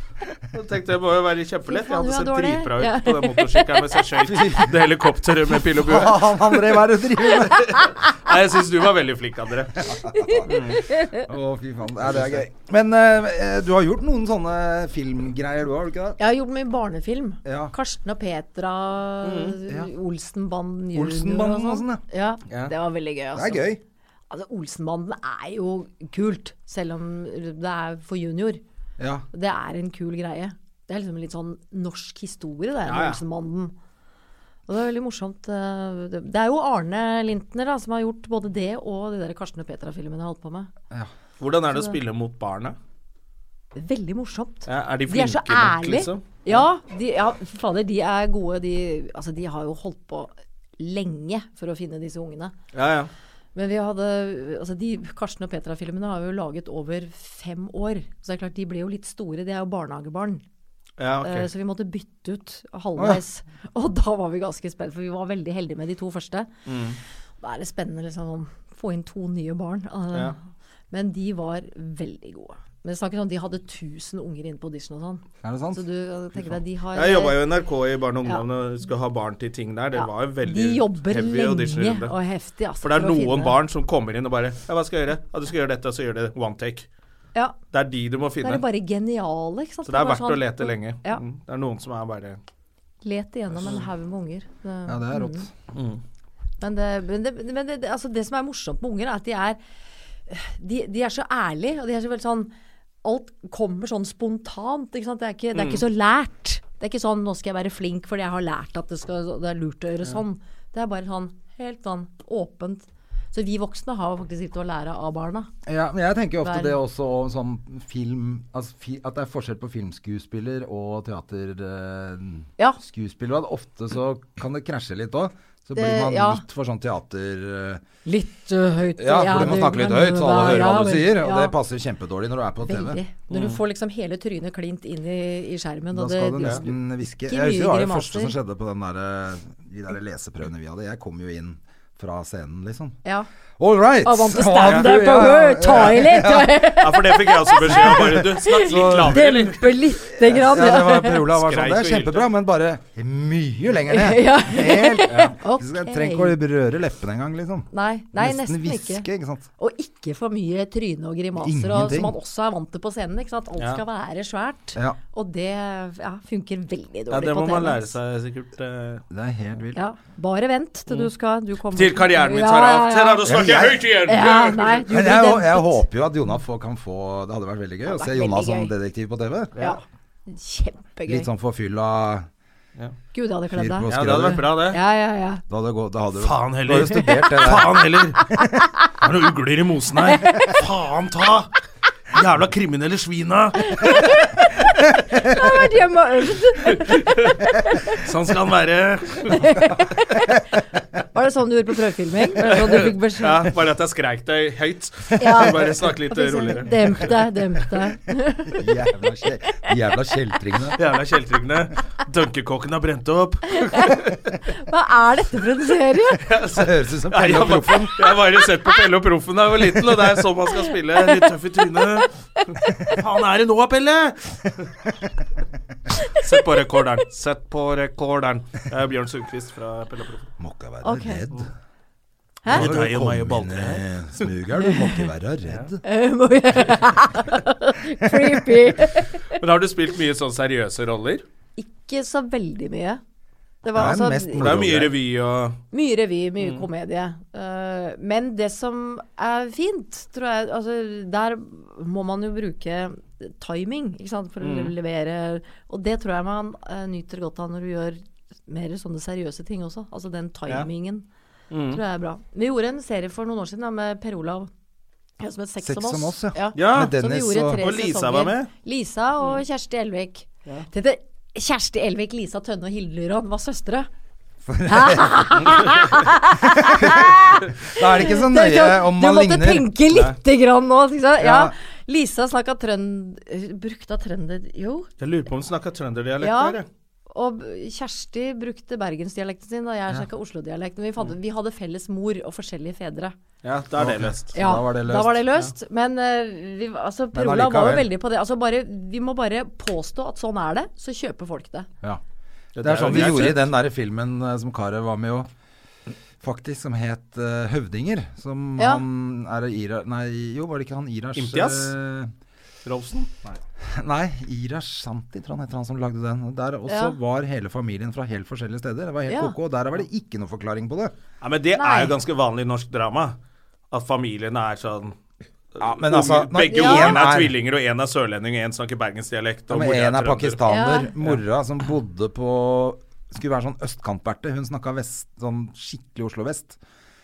A: Jeg tenkte det må jo være kjempelett. Jeg hadde
C: Fy faen,
A: sett
C: du er dårlig.
A: dritbra ut
C: Ja.
A: på den motorsykkelen mens jeg skjøt det helikopteret med pil og bue.
B: Faen, André, hva er det du driver med?
A: Nei, jeg syns du var veldig flink, André.
B: Å, fy faen. Ja, det er gøy. Men eh, du har gjort noen sånne filmgreier, du, har du ikke det?
C: Jeg har gjort mye barnefilm.
B: Ja. Mm,
C: Karsten og Petra,
B: ja.
C: Olsenbanden junior
B: Olsenbanden og sånn,
C: ja.
B: Ja.
C: Det var veldig gøy, altså.
B: Det er gøy.
C: Altså, Olsenbanden er jo kult, selv om det er for junior.
B: Ja.
C: Det er en kul greie. Det er liksom litt sånn norsk historie, det,
A: Ja, ja.
C: Olsenbanden. Og det er veldig morsomt. eh, Det det er jo Arne Lintner da, som har gjort både det og de der Karsten og Petra-filmene jeg holdt på med.
A: Hvordan er det å spille mot barna?
C: Veldig morsomt.
A: Ja, er de
C: De er så
A: flinke nok,
C: ærlige.
A: liksom?
C: Ja, de, ja, fy fader, de er gode. De, altså, de har jo holdt på lenge for å finne disse ungene.
A: Ja, ja.
C: Men vi hadde altså de Karsten og Petra-filmene har vi jo laget over fem år. Så det er klart, de ble jo litt store. De er jo barnehagebarn.
A: ja
C: Eh,
A: ok.
C: Så vi måtte bytte ut halvveis. Og da var vi ganske spent, for vi var veldig heldige med de to første.
A: Mm.
C: Da er det spennende liksom, å få inn to nye barn. Eh,
A: Ja.
C: Men de var veldig gode. Men det er ikke sånn, De hadde 1000 unger inne på audition og sånn.
B: Er det sant?
C: Så du eh, tenker deg, de har
A: Jeg jobba jo i NRK i Barne- og ungdommen og skulle ha barn til ting der. Det
C: Ja,
A: var jo veldig
C: De jobber
A: heavy
C: lenge
A: auditionrunde.
C: og heftig. Altså,
A: For det er
C: å
A: noen
C: finne-
A: barn som kommer inn og bare Ja, hva skal jeg gjøre? Ja, du skal gjøre dette, og så gjør det one take.
C: Ja,
A: Det er de du må
C: Da
A: finne.
C: er de bare geniale. ikke sant?
A: Så det er
C: bare sånn.
A: verdt å lete lenge.
C: Ja.
A: Mm. Det er noen som er bare
C: Let igjennom en haug med unger. Det,
B: Ja, det er rått.
C: Men, det, men, det, men det, det- altså det som er morsomt med unger, er at de er De, de er så ærlige, og de er så veldig sånn Alt kommer sånn spontant. Ikke sant? Det, er ikke, det er ikke så lært. Det er ikke sånn 'nå skal jeg være flink fordi jeg har lært at det, skal, det er lurt å gjøre sånn'. Det er bare sånn helt sånn åpent. Så vi voksne har jo faktisk litt å lære av barna.
B: Ja, men jeg tenker jo ofte
C: Hver-
B: det også om sånn film altså fi, At det er forskjell på filmskuespiller og eh, teaterskuespiller.
C: Ja.
B: at ofte så kan det krasje litt òg. Så
C: Det-
B: blir man
C: ja.
B: litt for sånn teater... eh,
C: Litt øh, høyt.
B: ja, for du må
C: det-
B: snakke litt
C: men-
B: høyt, så alle hører hva
C: ja,
B: du
C: vel,
B: sier. Og
C: ja.
B: det passer kjempedårlig når du er på TV.
C: Veldig. Når du får liksom hele trynet klint inn i, i skjermen.
B: Da
C: og
B: skal du
C: det,
B: nesten hviske.
C: Ikke
B: Jeg husker det var det
C: mye
B: første som
C: grimaser.
B: skjedde på den der, eh, de der leseprøvene vi hadde. Jeg kom jo inn fra scenen, liksom.
C: Ja.
B: All right!
C: Og vant til
B: Ja, du-
C: standup
B: ja,
C: og
B: ja,
C: ta i litt.
A: Ja, for det fikk jeg også beskjed om. Bare du, snakk litt lavere, eller?
C: Dempe lite grann.
B: Ja, det var,
C: Ja.
B: Per Olav var
A: Skreik
B: sånn. Det er
A: og hylte.
B: kjempebra, men bare mye lenger ned.
C: Ja.
B: Helt, ja.
C: Ok.
B: Så jeg trenger ikke å røre leppene engang, liksom.
C: Nei, nei, nesten
B: hviske,
C: ikke.
B: ikke. sant.
C: Og ikke for mye tryne og grimaser, og,
B: Ingenting.
C: som man også er vant til på scenen. Ikke sant? Alt
A: Ja.
C: skal være svært.
B: Ja.
C: Og det ja, funker veldig dårlig
A: Ja, det
C: på
A: må
C: TV.
A: man lære seg sikkert. eh.
B: Det er helt vilt.
C: Ja, bare vent til du skal du kommer
A: Til karrieren min tar av. Til da du
B: Ja,
A: ikke høyt igjen!
C: Ja, nei, du
B: Men
C: blir
B: jeg, hå- jeg
C: dempet.
B: håper jo at Jonna får- kan få Det hadde vært veldig gøy å se
C: hadde vært
B: Jonna
C: veldig
B: som
C: gøy.
B: detektiv på TV.
C: Ja. Kjempegøy.
B: Litt sånn forfylla
C: Gud, jeg hadde
B: fyr
C: kledd
B: på
C: deg.
A: Ja, det hadde vært bra, det.
C: Ja, ja, ja.
B: Da hadde, det gå- da hadde du-
A: Faen
B: da
A: heller.
B: hadde du studert det der.
A: Faen heller! Det er noen ugler i mosen her. Faen ta! Jævla kriminelle svina!
C: Jeg har vært hjemme og øvd.
A: Sånn skal han være.
C: Var det sånn du gjorde på prøvefilming? Var det sånn du fikk beskjed?
A: Ja, bare at jeg skreik deg høyt.
C: Ja.
A: Bare snakke litt
C: sånn
A: roligere.
C: Demp deg, demp deg.
B: Jævla, kje- jævla kjeltringene.
A: Jævla kjeltringene. Dunkekokken har brent opp.
C: Hva er dette for en serie?
B: Det høres ut som
A: Nei,
B: Pelle
A: jeg,
B: og
A: har
B: Proffen.
A: bare- jeg har bare sett på Pelle og Proffen da jeg var liten, og det er sånn man skal spille. Litt tøff i trynet. Faen er det nå, Pelle? Sett på rekorderen. Sett på rekorderen. Det er Bjørn Sundquist fra Pelle og Proffen.
B: Må ikke være
C: Ok.
B: redd.
C: Hæ?
B: Nå har
A: Det
B: du
A: er jo meg og
B: kommet
A: Balder her.
B: inn i Smugeren, du må ikke være redd.
C: Eh, må jeg- Creepy.
A: Men har du spilt mye sånn seriøse roller?
C: Ikke så veldig mye. Det
B: Det
C: var
B: er
C: altså
B: mest
A: For det er jo mye
B: Roller.
A: revy og
C: mye revy, mye
A: Mm.
C: komedie. Eh, men det som er fint, tror jeg altså, Der må man jo bruke timing ikke sant, for
A: Mm.
C: å levere. Og det tror jeg man eh, nyter godt av når du gjør mer sånne seriøse ting også. Altså den timingen.
A: Mm.
C: Tror jeg er bra. Vi gjorde en serie for noen år siden da, med Per Olav. Ja, som het Sex,
B: Sex
C: om oss.
B: ja.
A: Ja,
B: Med
C: Som vi
B: Dennis
C: gjorde
B: og
C: tre
A: Og Lisa
C: sesonger.
A: var med? Mm.
C: Lisa og Kjersti Elvik. Tenkte, Kjersti Elvik, Lisa Tønne og Hilde Lyron var søstre.
B: Da er det ikke så nøye om man
C: Du måtte
B: ligner.
C: tenke lite grann nå. Ikke sant? Ja.
B: Ja.
C: Lisa snakka trønd... Brukte trønder... Jo.
A: Jeg lurer på om hun snakka trønderdialekt
C: Ja.
A: der, jeg.
C: Og Kjersti brukte bergensdialekten sin, og jeg snakka Oslo-dialekten. Vi,
B: Mm.
C: fant- vi hadde felles mor og forskjellige fedre.
A: Ja, da er det løst.
C: Ja,
B: da var det
C: Da var
B: løst.
C: det løst. Men eh, vi, altså, Per
B: Men
C: Olav var jo
B: allikevel.
C: veldig på det. Altså, bare, vi må bare påstå at sånn er det, så kjøper folk det.
B: Ja. Det
A: det er
B: er sånn
A: jo
B: de
A: greit,
B: gjorde
A: det.
B: i den der filmen eh, som Karev var med i òg. Faktisk, som het eh, Høvdinger. Som
C: Ja.
B: han er det Ira... Nei, jo, var det ikke han Irash
A: Imtias?
B: eh,
A: Rolfsen?
B: Nei, Irash Santi, tror jeg han heter, han som lagde den. Og Der også
C: Ja.
B: var hele familien fra helt forskjellige steder. Det var helt
C: Ja.
B: ok. Og der var det ikke noe forklaring på det.
A: Ja, men det
C: Nei.
A: er jo ganske vanlig norsk drama. At familiene er sånn
B: Ja, men altså,
A: Unge-
B: når
A: Begge
B: en
A: ungene er
B: er-
A: tvillinger, og én er sørlending, og én snakker bergensdialekt. og
B: Ja, men
A: mora
B: en er
A: trønder.
B: pakistaner.
C: Ja.
B: Mora som bodde på Skulle være sånn østkantberte. Hun snakka vest, sånn skikkelig Oslo vest.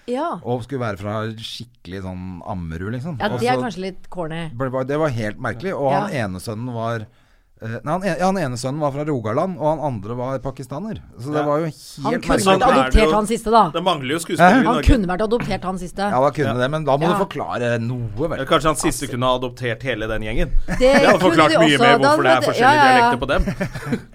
C: Ja.
B: Og skulle være fra skikkelig sånn Ammerud, liksom.
C: ja
B: Og
C: det er
B: så
C: kanskje litt corny.
B: ble- var- Det var helt merkelig. Og han
C: Ja.
B: ene sønnen var eh, Nei, han, en- ja, han ene sønnen var fra Rogaland, og han andre var pakistaner. Så det
A: Ja.
B: var jo
C: Han
B: helt
C: kunne
B: merkelig.
A: Sånn er
C: vært
A: det jo.
C: adoptert, han siste, da.
A: Det mangler jo skuespillere i
C: Han
A: Norge.
C: kunne vært adoptert, han siste.
B: Ja, da kunne
A: Ja.
B: det, men da må
C: Ja.
B: du forklare noe, vel.
A: Eller Kanskje han siste kunne ha adoptert hele den gjengen.
C: Det,
A: Det hadde
C: kunne
A: forklart
C: de
A: mye
C: også.
A: mer
C: Da
A: hvorfor det
C: hadde-
A: er forskjellige
C: ja, ja, ja.
A: dialekter på dem.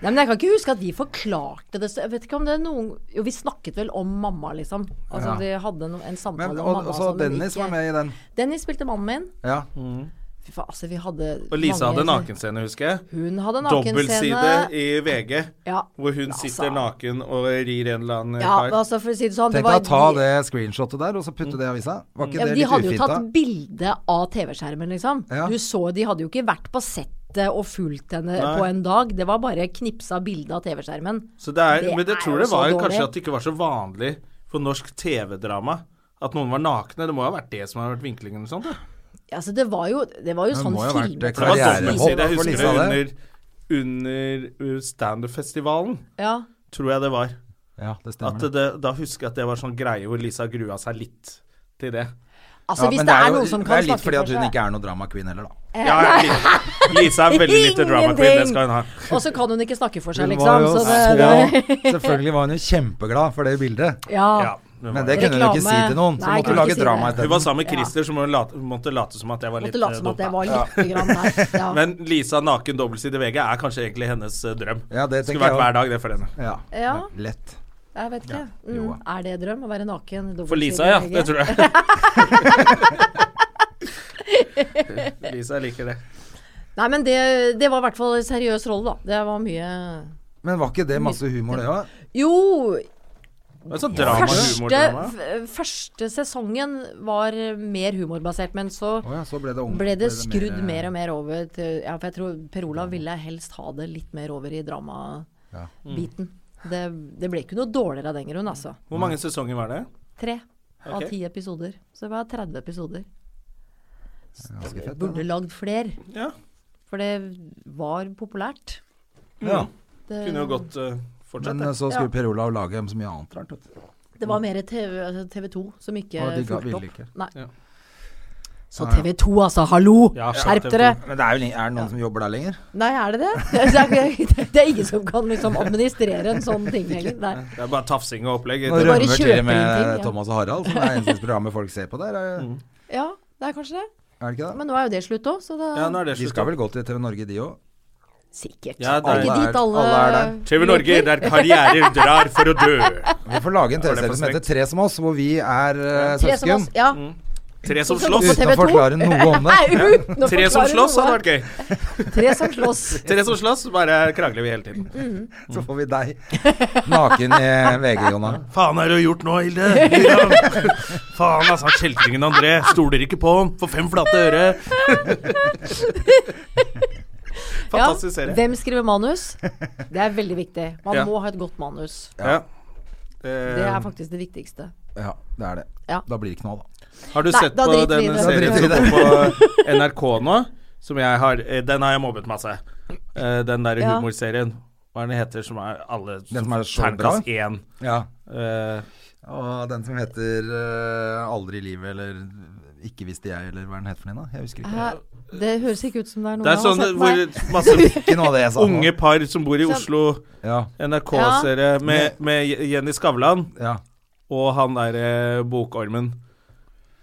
C: Nei, men jeg kan ikke huske at de forklarte det. Så jeg vet ikke om det er noen Jo, vi snakket vel om mamma, liksom. Altså, vi hadde no, en samtale
B: Men,
C: om
B: og,
C: mamma.
B: og så
C: og sånn, men
B: Dennis
C: ikke-
B: var med i den.
C: Dennis spilte mannen min.
B: Ja.
C: Mm. Fy faen, altså, vi hadde
A: Og Lisa
C: mange-
A: hadde nakenscene, husker jeg.
C: Hun hadde
A: Dobbeltside
C: nakenscene.
A: i VG,
C: Ja. altså.
A: hvor hun sitter naken og rir en eller annen
C: Ja,
A: kar.
C: altså, for å si det sånn det
B: Tenk
C: var-
B: deg å ta det screenshotet der, og så putte det i avisa. Var ikke
C: Ja,
B: det
C: de
B: litt
C: hadde jo
B: ufint, da?
C: tatt bilde av TV-skjermen, liksom.
B: Ja.
C: Du så, De hadde jo ikke vært på settet og fulgt henne på en dag. Det var bare knipsa bilde av TV-skjermen.
A: Så det er,
C: Det
A: men jeg
C: er
A: tror
C: jo
A: det
C: så
A: var
C: dårlig.
A: kanskje at det ikke var så vanlig for norsk TV-drama at noen var nakne. Det må jo ha vært det som har vært vinklingen. eller sånt, da.
C: Altså, det var jo, det var jo
B: Det
C: sånn
B: må jo ha vært
A: For
C: filmet.
A: det var
B: Karrierehopp
A: dobbeltside. Jeg
B: for
A: husker
B: Lisa,
A: det under, under uh, standup-festivalen,
C: Ja.
A: tror jeg det var.
B: Ja, det
A: At
B: stemmer.
A: det, da husker jeg at det var sånn greie hvor Lisa grua seg litt til det.
C: Altså,
B: Ja,
C: hvis
B: men
C: det er,
B: jo-
C: noen som
B: Det
C: kan
B: er litt
C: snakke
B: fordi at
C: for
B: hun
C: seg
B: ikke er noe drama queen heller, da.
C: Eh,
A: Ja, Lisa, Lisa er veldig lite drama queen, det skal hun ha.
C: Og så kan hun ikke snakke for seg,
B: Hun
C: liksom. Så det, det,
B: så Selvfølgelig var hun jo kjempeglad for det bildet.
C: ja.
A: Ja, hun
B: Men
A: var-
B: det kunne hun jo ikke si
C: Reklame.
B: til noen, så
C: Nei,
B: måtte
C: kunne
B: hun
C: ikke
B: lage
C: si
B: drama
C: det.
A: hun var
B: isteden.
A: sammen med Christer, som hun late, måtte late som at jeg var litt
C: Måtte late som
A: eh,
C: at jeg
A: dopa.
C: var lite grann der. Ja.
A: Men Lisa naken dobbeltside i VG er kanskje egentlig hennes eh, drøm.
B: Ja, det
A: Skulle
B: tenker jeg
A: vært
B: også.
A: hver dag, det for henne.
B: Ja.
C: Ja.
B: Lett.
C: jeg vet ikke.
B: jo.
C: Mm, er det drøm å være naken?
A: For Lisa, ja. Det tror jeg. Lisa liker det.
C: Nei, men det, det var i hvert fall en seriøs rolle, da. Det var mye
B: Men var ikke det masse humor, det òg?
C: Jo,
A: Det er sånn drama,
C: Første,
A: humordrama.
C: f- første sesongen var mer humorbasert, men så
B: Å ja, så ble det, eh, om-
C: ble det skrudd mer og mer over til Ja, for jeg tror Per Olav ville helst ha det litt mer over i
B: Ja.
C: dramabiten. Det, det ble ikke noe dårligere av den grunn, altså.
A: Hvor mange sesonger var det?
C: Tre. av
A: Ok.
C: ti episoder. Så det var 30 episoder.
B: Ganske fett.
C: Burde
B: det,
C: lagd flere,
A: Ja.
C: for det var populært.
B: da. Ja.
C: Det,
A: Mm. Kunne jo godt eh, fortsatt. det.
B: Men eh, så skulle
C: Ja.
B: Per Olav lage så mye annet rart. vet du.
C: det var mer TV, altså TV2 som ikke
B: Og de ga-
C: fulgte
B: ville
C: opp.
B: ikke.
C: Nei.
A: Ja.
C: Så TV2, altså. Hallo!
A: Ja, skjerp
C: Skjerp dere!
B: Men det er, jo, li- er det noen som jobber der lenger?
C: Nei, er det det? Det er, det er ingen som kan liksom administrere en sånn ting lenger. Nei.
A: Det er bare tafsing og opplegg.
B: Nå
C: bare
B: rømmer til
C: kjøper
B: og med
C: inn ting, ja.
B: Thomas og Harald, som er eneste programmet folk ser på der. Er,
C: Ja, det er kanskje det.
B: er det ikke det?
C: Men nå er jo det slutt òg, så da
A: Ja, nå er det
B: De
A: slutt.
B: skal vel gå til TV Norge, de òg.
C: Sikkert.
A: Ja,
C: det er ikke
B: alle er-
C: dit alle,
B: alle er der.
A: TV Norge, der karrierer drar for å dø.
B: Vi får lage en
A: Var det
B: TV-serie
A: for
B: som heter Tre som oss, hvor vi er eh,
C: Tre som
B: søsken.
C: oss. Ja.
A: Mm. Tre som
C: Som går
A: slåss.
C: på
B: Uten å
C: TV2.
B: forklare noe om det.
C: Nei, uten å
A: Tre som
C: forklare
A: slåss
C: noe.
A: hadde vært gøy.
C: Tre som slåss.
A: Tre som slåss, bare krangler vi hele tiden.
B: Så får vi deg naken i VG, Jonna.
A: Faen er det du har gjort nå, Hilde? Miriam? Faen, altså. han Kjeltringen André. Stoler ikke på ham. Får fem flate øre. Fantastisk
C: Ja,
A: serie.
C: Hvem skriver manus? Det er veldig viktig. Man
A: Ja.
C: må ha et godt manus.
A: Ja.
C: Det
A: Eh,
C: er faktisk det viktigste.
B: Ja, det er det.
C: Ja.
B: Da blir det knall, da.
A: Eh, har du
C: Nei,
A: sett
C: da
A: på
C: driter vi i
A: den
C: det. Da
A: serien
B: driter vi i
A: som går på NRK nå? Som jeg har eh, Den har jeg mobbet masse. Eh, Den derre
C: Ja.
A: humorserien. Hva er den heter som er alle
B: Den som er så
A: terningkast
B: bra?
A: én.
B: Ja.
A: Eh,
B: Og den som heter eh, Aldri i livet, eller Ikke visste jeg, eller hva den het for noe, da. Jeg husker ikke.
C: Hæ? Det høres ikke ut som det er noen
A: det er sånn
C: jeg
A: hvor
C: har sett.
A: masse
B: Ikke noe av det jeg sa. nå.
A: unge par som bor i
C: Sånn.
A: Oslo,
B: Ja,
A: NRK-serie med, med Jenny Skavlan
B: ja.
A: og han derre bokormen.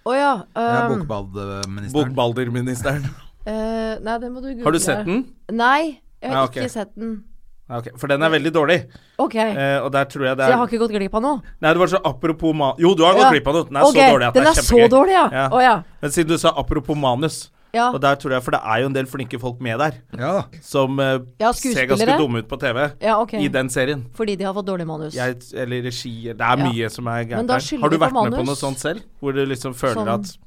C: Å ja. um,
B: Jeg er
C: øhm,
B: bokbadministeren.
A: Bokbalderministeren.
C: eh, nei, det må du google.
A: Har du sett den?
C: Nei, jeg har
A: Ja, ok.
C: ikke sett den.
A: Ja, ok. For den er veldig dårlig.
C: Ok.
A: Eh, og der tror jeg det
C: så jeg
A: er
C: har ikke gått glipp av noe?
A: Nei, det var så apropos ma... Jo, du har gått
C: Ja.
A: glipp av noe. Den er
C: Ok,
A: så dårlig at
C: den
A: det
C: er
A: er
C: så
A: kjempegøy.
C: dårlig, ja.
A: Ja.
C: Å ja.
A: Men siden du sa apropos manus,
C: Ja.
A: og der tror jeg For det er jo en del flinke folk med der
B: Ja da.
A: som eh,
C: Ja,
A: ser
C: skuespillere.
A: ganske dumme ut på TV
C: ja ok.
A: i den serien.
C: Fordi de har fått dårlig manus.
A: Jeg, eller regi Det er
C: Ja.
A: mye som er
C: Men
A: gærent
C: da
A: der.
C: skylder
A: Har du
C: du på
A: vært med på
C: manus.
A: noe sånt selv? Hvor du liksom føler
C: Som-
A: at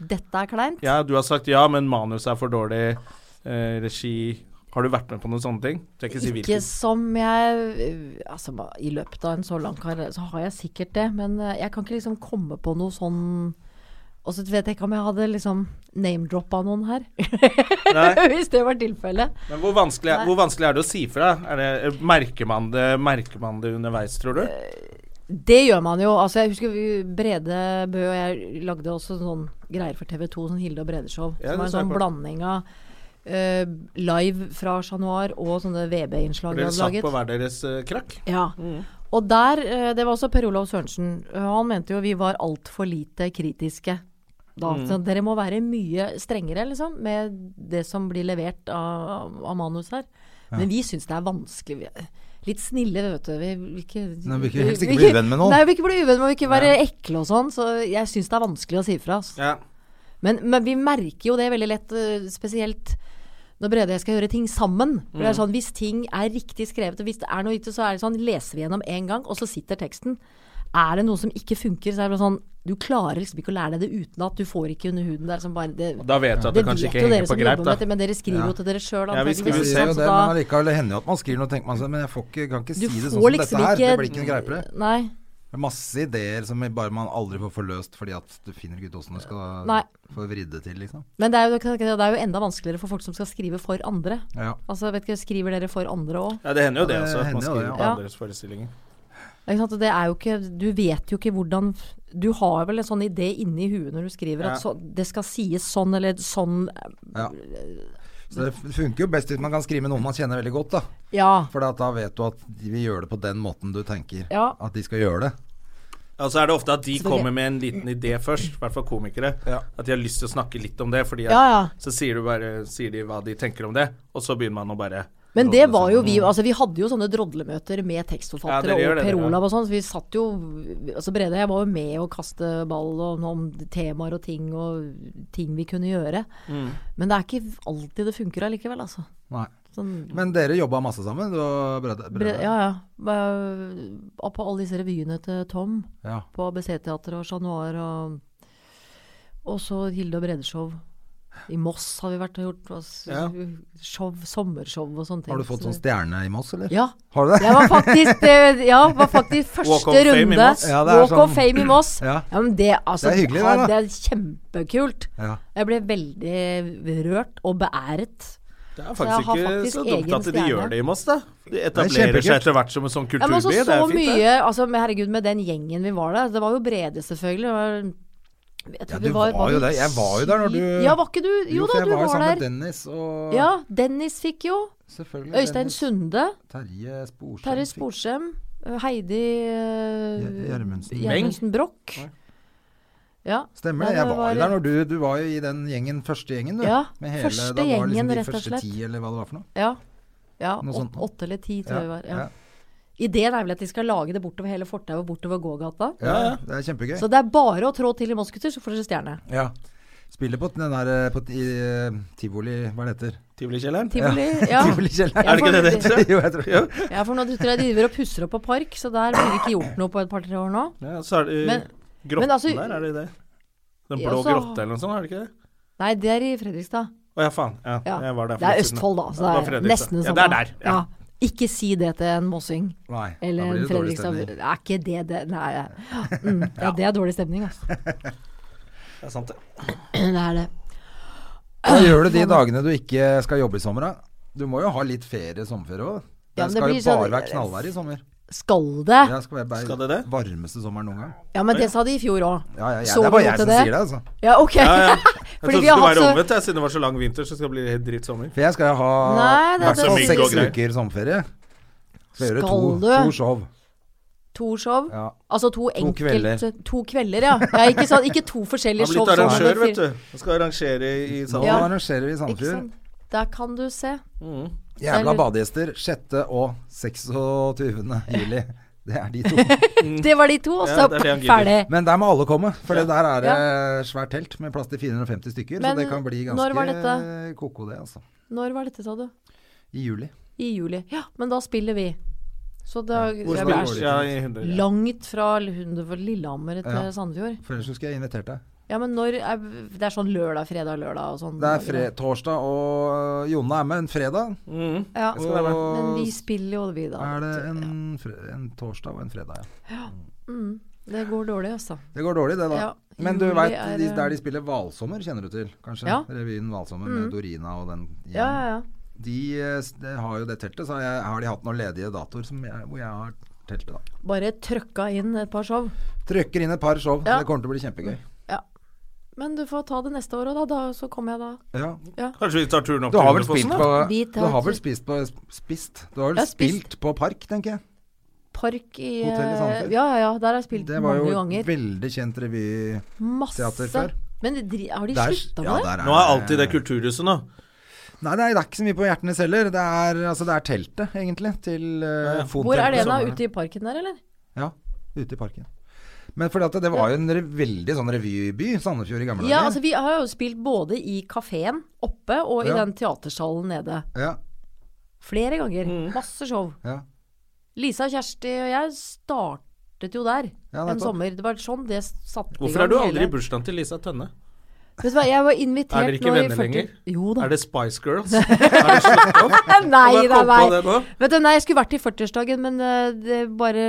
C: Dette er kleint.
A: Ja, du har sagt ja, men manus er for dårlig. Eh, regi Har du vært med på noen sånne ting? Skal ikke si
C: Ikke
A: hvilken.
C: som jeg øh, Altså, ma- i løpet av en så lang karriere så har jeg sikkert det, men øh, jeg kan ikke liksom komme på noe sånn Og så vet jeg ikke om jeg hadde liksom name-droppa noen her.
A: Nei.
C: Hvis det var tilfellet.
A: Men hvor vanskelig, er,
C: Nei.
A: hvor vanskelig er det å si fra? Er det, merker, man det, merker man det underveis, tror du?
C: Eh, Det gjør man jo. Altså, jeg husker vi, Brede Bø og jeg lagde også sånn greier for TV 2, sånn Hilde og Brede-show.
A: Ja, det
C: som er en
A: så jeg
C: sånn
A: på.
C: blanding av øh, live fra Chat Noir og sånne VB-innslag vi
A: Dere
C: hadde
A: satt på
C: laget.
A: hver deres eh, krakk?
C: Ja. Mm. Og der eh, Det var også Per Olav Sørensen. Eh, Han mente jo vi var altfor lite kritiske. Da, så dere må være mye strengere liksom, med det som blir levert av, av manus her. Men vi syns det er vanskelig. Vi- Litt snille, vet du. Vi vil ikke,
B: Nei, vi vil ikke- helst ikke bli uvenn med noen.
C: Nei, vi vil ikke bli uvenn, men vi vil ikke være ekle og sånn. Så jeg syns det er vanskelig å si fra. Altså.
A: Ja.
C: Men, men vi merker jo det veldig lett, øh, spesielt når Brede og jeg skal gjøre ting sammen. For
A: Mm.
C: det er sånn, Hvis ting er riktig skrevet, og hvis det er noe riktig, så er det sånn, leser vi gjennom én gang, og så sitter teksten. Er det noe som ikke funker, så er det bare sånn Du klarer liksom ikke å lære deg det utenat. Du får ikke under huden. Det er liksom bare det,
A: Da vet du at det, kanskje ikke
C: dere
A: henger på
C: som
A: greip,
C: jobber med
A: da.
C: dette, men dere skriver jo til dere sjøl.
A: Ja, vi
B: Vi
A: skriver
C: antageligvis,
B: ser jo
C: så
B: det,
C: da-
B: men allikevel det hender jo at man skriver noe og tenker man sånn Men jeg får ikke, kan ikke si
C: Du
B: det sånn
C: får
B: som
C: liksom
B: dette her.
C: ikke-
B: Det blir ikke noe greie på det.
C: Nei.
B: Det er Masse ideer som bare man aldri får forløst fordi at du finner ikke ut åssen du skal
C: Nei.
B: få vridd det til, liksom.
C: Men det er, jo, det er jo enda vanskeligere for folk som skal skrive for andre.
B: Ja.
C: Altså, vet ikke, Skriver dere for andre òg?
A: Ja, det hender jo det
B: Ja, det
A: også, at man
B: hender jo det,
A: skriver
B: ja.
A: på
C: Ja.
A: andres forestillinger.
C: Ja, Ikke sant? Og Det er jo ikke, du vet jo ikke hvordan Du har vel en sånn idé inni huet når du skriver
A: Ja.
C: at så, det skal sies sånn eller sånn.
B: ja. Så det funker jo best hvis man kan skrive med noen man kjenner veldig godt, da.
C: Ja.
B: For da- da vet du at de vil gjøre det på den måten du tenker
C: Ja.
B: at de skal gjøre det.
A: Ja, så Altså, er det ofte at de
C: Selvfølgelig.
A: kommer med en liten idé først, i hvert fall komikere.
B: Ja.
A: At de har lyst til å snakke litt om det, fordi at,
C: Ja, ja.
A: så sier, du bare, sier de hva de tenker om det, og så begynner man å bare
C: Men det var jo vi altså Vi hadde jo sånne drodlemøter med tekstforfattere
A: Mm. Ja, dere gjør
C: og
A: det,
C: Per
A: dere, ja.
C: Olav og sånn. Så vi satt jo Altså Brede og jeg var jo med å kaste ball og, om temaer og ting og ting vi kunne gjøre.
A: Mm.
C: Men det er ikke alltid det funker allikevel, altså.
B: Nei.
C: Sånn,
B: Men dere jobba masse sammen, du og Brede?
C: Bre-
B: Brede.
C: ja, ja. Eh, På alle disse revyene til Tom.
B: Ja.
C: på ABC-teatret og Chat Noir og og så Hilde og Brede-show. I Moss har vi vært og gjort oss-
B: Ja.
C: show, sommershow og sånne ting.
B: Har du fått
C: så
B: sånn
C: det-
B: stjerne i Moss, eller?
C: Ja.
B: Har du det?
C: Jeg var faktisk, eh, ja, var faktisk
A: Walk of
C: første
A: fame i
C: runde.
A: Moss.
B: Ja, det er
C: Walk of
B: sånn-
C: fame i Moss.
B: Ja.
C: men det, altså,
B: Det er hyggelig,
C: ja,
B: det, da.
C: det er kjempekult.
B: Ja.
C: Jeg ble veldig rørt og beæret.
A: Det er
C: Så jeg
A: faktisk
C: har
A: ikke
C: faktisk
A: så dumt
C: egen
A: at de
C: stjerne.
A: gjør det i Moss, da. De
B: kjempekult.
A: etablerer seg etter hvert som en sånn
C: Ja, men
A: kulturby.
C: også
A: Det
C: så
A: er fint, det.
C: mye altså, men Herregud, med den gjengen vi var der. Det var jo Brede, selvfølgelig. Det var, jeg tror
B: Ja,
C: vi
B: du var jo
C: vi
B: der. Jeg var jo der når du-
C: syv- Ja, var ikke du? Jo,
B: for
C: da, du
B: jeg var jo
C: var
B: sammen med
C: der.
B: Dennis og
C: Ja, Dennis fikk jo.
B: selvfølgelig
C: Øystein
B: Dennis.
C: Sunde.
B: Terje Sporsem.
C: Terje
B: fikk-
C: Sporsem. Heidi eh,
B: Gjer- Gjermundsen.
C: Gjermundsen Broch. Ja.
B: Stemmer
C: Nei,
B: det. Jeg var,
C: var-
B: jo der når du Du var jo i den gjengen, første gjengen, du.
C: Ja,
B: Med
C: første
B: da var det
C: gjengen,
B: liksom de
C: rett og slett.
B: Første ti, eller hva det var for noe.
C: Ja. ja
B: Noe sånt.
C: åt, åtte eller ti, tror jeg vi var.
B: ja.
C: Ja. Ideen er vel at de skal lage det bortover hele fortauet, bortover gågata.
B: Ja, det er kjempegøy.
C: Så det er bare å trå til i Moss, gutter, så får dere stjerne.
B: Ja. Spiller på den der eh, på, i, eh, Tivoli Hva er det heter?
A: Tivolikjelleren.
C: Tivoli. Ja.
B: Tivolikjelleren.
C: Er det ikke det det
A: heter?
B: jo, jeg tror det.
C: Ja, for nå tror jeg de driver og pusser opp på park, så der blir det ikke gjort noe på et par-tre år nå.
A: Ja, så er det
C: Men-
A: grotten
C: men altså-
A: der, er det det? Den
C: Ja, altså-
A: blå
C: så-
A: grotta eller noe sånt, er det ikke det?
C: Nei, det er i Fredrikstad.
A: Å ja, faen. Ja,
C: Ja.
A: jeg var der for
C: Det er
A: litt siden.
C: Østfold, da.
A: Ja,
C: Så
A: det var
C: det er
A: Fredrikstad.
C: nesten
A: Ja,
C: det samme.
A: det er der, ja.
C: Ikke si det til en mossing
B: Nei, da
C: eller
B: blir
C: en
B: det dårlig
C: Fredrikstad.
B: stemning.
C: Er ikke det det Nei. ja. Mm, ja, det er dårlig stemning, altså.
A: Det er sant, det.
C: Det er det.
B: Hva gjør du de dagene du ikke skal jobbe i sommer, da? Du må jo ha litt ferie sommerferie òg. Det
C: Ja, men det
B: skal
C: blir
B: jo
C: sånn-
B: bare være knallvær i sommer.
C: Skal det?
B: Jeg skal være bare
A: Skal det det?
B: varmeste sommeren noen gang.
C: Ja, men det sa de i fjor òg.
B: Ja, ja, jeg,
C: Så
B: det er bare
C: vi mot
B: jeg som
C: det?
B: sier det, altså.
C: Ja, ok.
A: Ja, ja. Jeg
C: Fordi
A: trodde
C: vi
A: det
C: har
A: skulle være
C: hatt så
A: omvendt, jeg, siden det var så lang vinter, så skal det bli helt dritt sommer.
B: For jeg skal ha
C: Nei, det-
B: i hvert
C: det-
B: fall
C: det-
B: seks
A: det-
B: uker sommerferie. Skal gjøre
C: Skal
B: to,
C: du?
B: to show.
C: to show.
B: Ja.
C: Altså to enkelt
B: kvelder.
C: To kvelder, ja. ja ikke, sant? ikke to forskjellige sånn.
A: Han er
C: show.
A: blitt
C: som
A: arrangør,
C: var fire-
A: vet du. Han skal arrangere i
B: Nå
A: salen.
C: Ja.
B: arrangerer vi i
C: Ikke
B: Sandefjord.
C: sant? Der kan du se.
B: Jævla
C: Eller-
B: badegjester 6. og 26. juli. Det er de to.
C: Det var de to, og så
A: Ja, det er det han gidder.
C: ferdig.
B: Men der må alle komme, for det der er det svært telt med plass til 450 stykker.
C: Men
B: så det kan bli
C: når var
B: ganske
C: dette?
B: koko, det, altså.
C: Når var dette, sa du?
B: I juli.
C: I juli. Ja, men da spiller vi. Så da
A: Hvor
C: jeg
A: spiller
C: er
A: du? Ja, i Hundre. Ja.
C: Langt fra Lunde- fra Lillehammer til
B: Ja.
C: Sandefjord.
B: For ellers så skulle jeg invitert deg.
C: Ja, men når er, Det er sånn lørdag, fredag, lørdag og sånn.
B: Det er fre torsdag, og eh, Jonna er med en fredag.
C: Ja.
A: skal være med.
C: Men
B: Og
C: vi spiller jo vi, da.
B: er det en, fre en torsdag og en fredag, ja.
C: Det går dårlig, altså.
B: Det går dårlig, det, da.
C: Ja,
B: Men du
C: juli
B: veit
C: er,
B: de,
C: eh,
B: der de spiller Hvalsommer, kjenner du til, kanskje?
C: Ja. Mm.
B: Revyen Hvalsommer med Dorina og den gjengen.
C: Ja, ja, ja.
B: De, eh, s- de har jo det teltet, så har, jeg, har de hatt noen ledige datoer som jeg, hvor jeg har teltet, da.
C: Bare trøkka inn et par show.
B: Trykker inn et par show,
C: Ja. Mm.
B: så det kommer til å bli kjempegøy.
C: Ja. Men du får ta det neste år òg, da. da. Så kommer jeg da.
B: Ja.
A: Kanskje vi tar turen opp
B: Du har vel
A: Hundefossen,
B: spilt
A: da?
B: på
C: Vi
B: Du
C: tar
B: har vel
C: tur.
B: spist på Spist? Du har vel
C: Jeg har spist.
B: spilt på Park, tenker jeg.
C: Park i eh,
B: Hotell i Sandefjord.
C: Ja, ja, ja. Der har jeg spilt
B: Det var jo
C: mange ganger.
B: et veldig kjent revy
C: Masse.
B: teater før.
C: Men de, dri- har de
B: Der-
C: slutta med det?
B: der
A: Nå er alltid det kulturhuset nå.
B: Nei, det er, det er ikke så mye på hjertenes heller. Det er, altså, det er teltet, egentlig, til eh, fotteltet.
C: Hvor er det
B: som
C: da? Ute i parken der, eller?
B: Ja, ute i parken. Men fordi at det var jo en re veldig sånn revyby, Sandefjord i gamle
C: Ja,
B: dager.
C: altså vi har jo spilt både i kafeen oppe og i
B: Ja.
C: den teatersalen nede.
B: Ja,
C: Flere ganger.
A: Mm.
C: Masse show.
B: ja.
C: Lisa, Kjersti og jeg startet jo der
B: Ja,
C: en
B: nettopp.
C: sommer. Det var sånn det satte i
A: Hvorfor
C: gang
A: er du aldri
C: hele-
A: i bursdagen til Lisa Tønne?
C: Vet du hva, jeg var invitert
A: Er dere ikke
C: nå i
A: venner
C: 40
A: lenger?
C: Jo da.
A: Er det Spice Girls? Er det slutt opp?
C: Nei,
A: Jeg bare
C: nei,
A: kom på
C: nei.
A: det nå.
C: Vet du, nei, jeg skulle vært i 40-årsdagen, men eh, det bare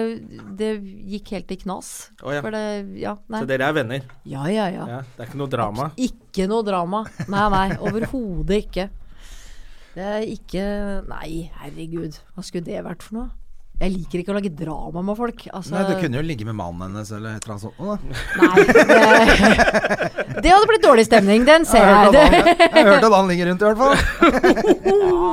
C: Det gikk helt i knas.
A: Å, ja.
C: For det Ja, nei.
A: Så dere er venner?
C: Ja, ja, ja.
A: Ja, det er ikke noe drama?
C: Ikke noe drama. Nei, nei. Overhodet ikke. Det er ikke Nei, herregud. Hva skulle det vært for noe? Jeg liker ikke å lage drama med folk. Altså,
B: Nei, du kunne jo ligge med mannen hennes eller et eller annet sånt. nå, da.
C: nei, det, det hadde blitt dårlig stemning. Den ser
B: Jeg
C: jeg.
B: har hørt at han-
C: Det,
B: jeg har hørt at han ligger rundt, i hvert fall.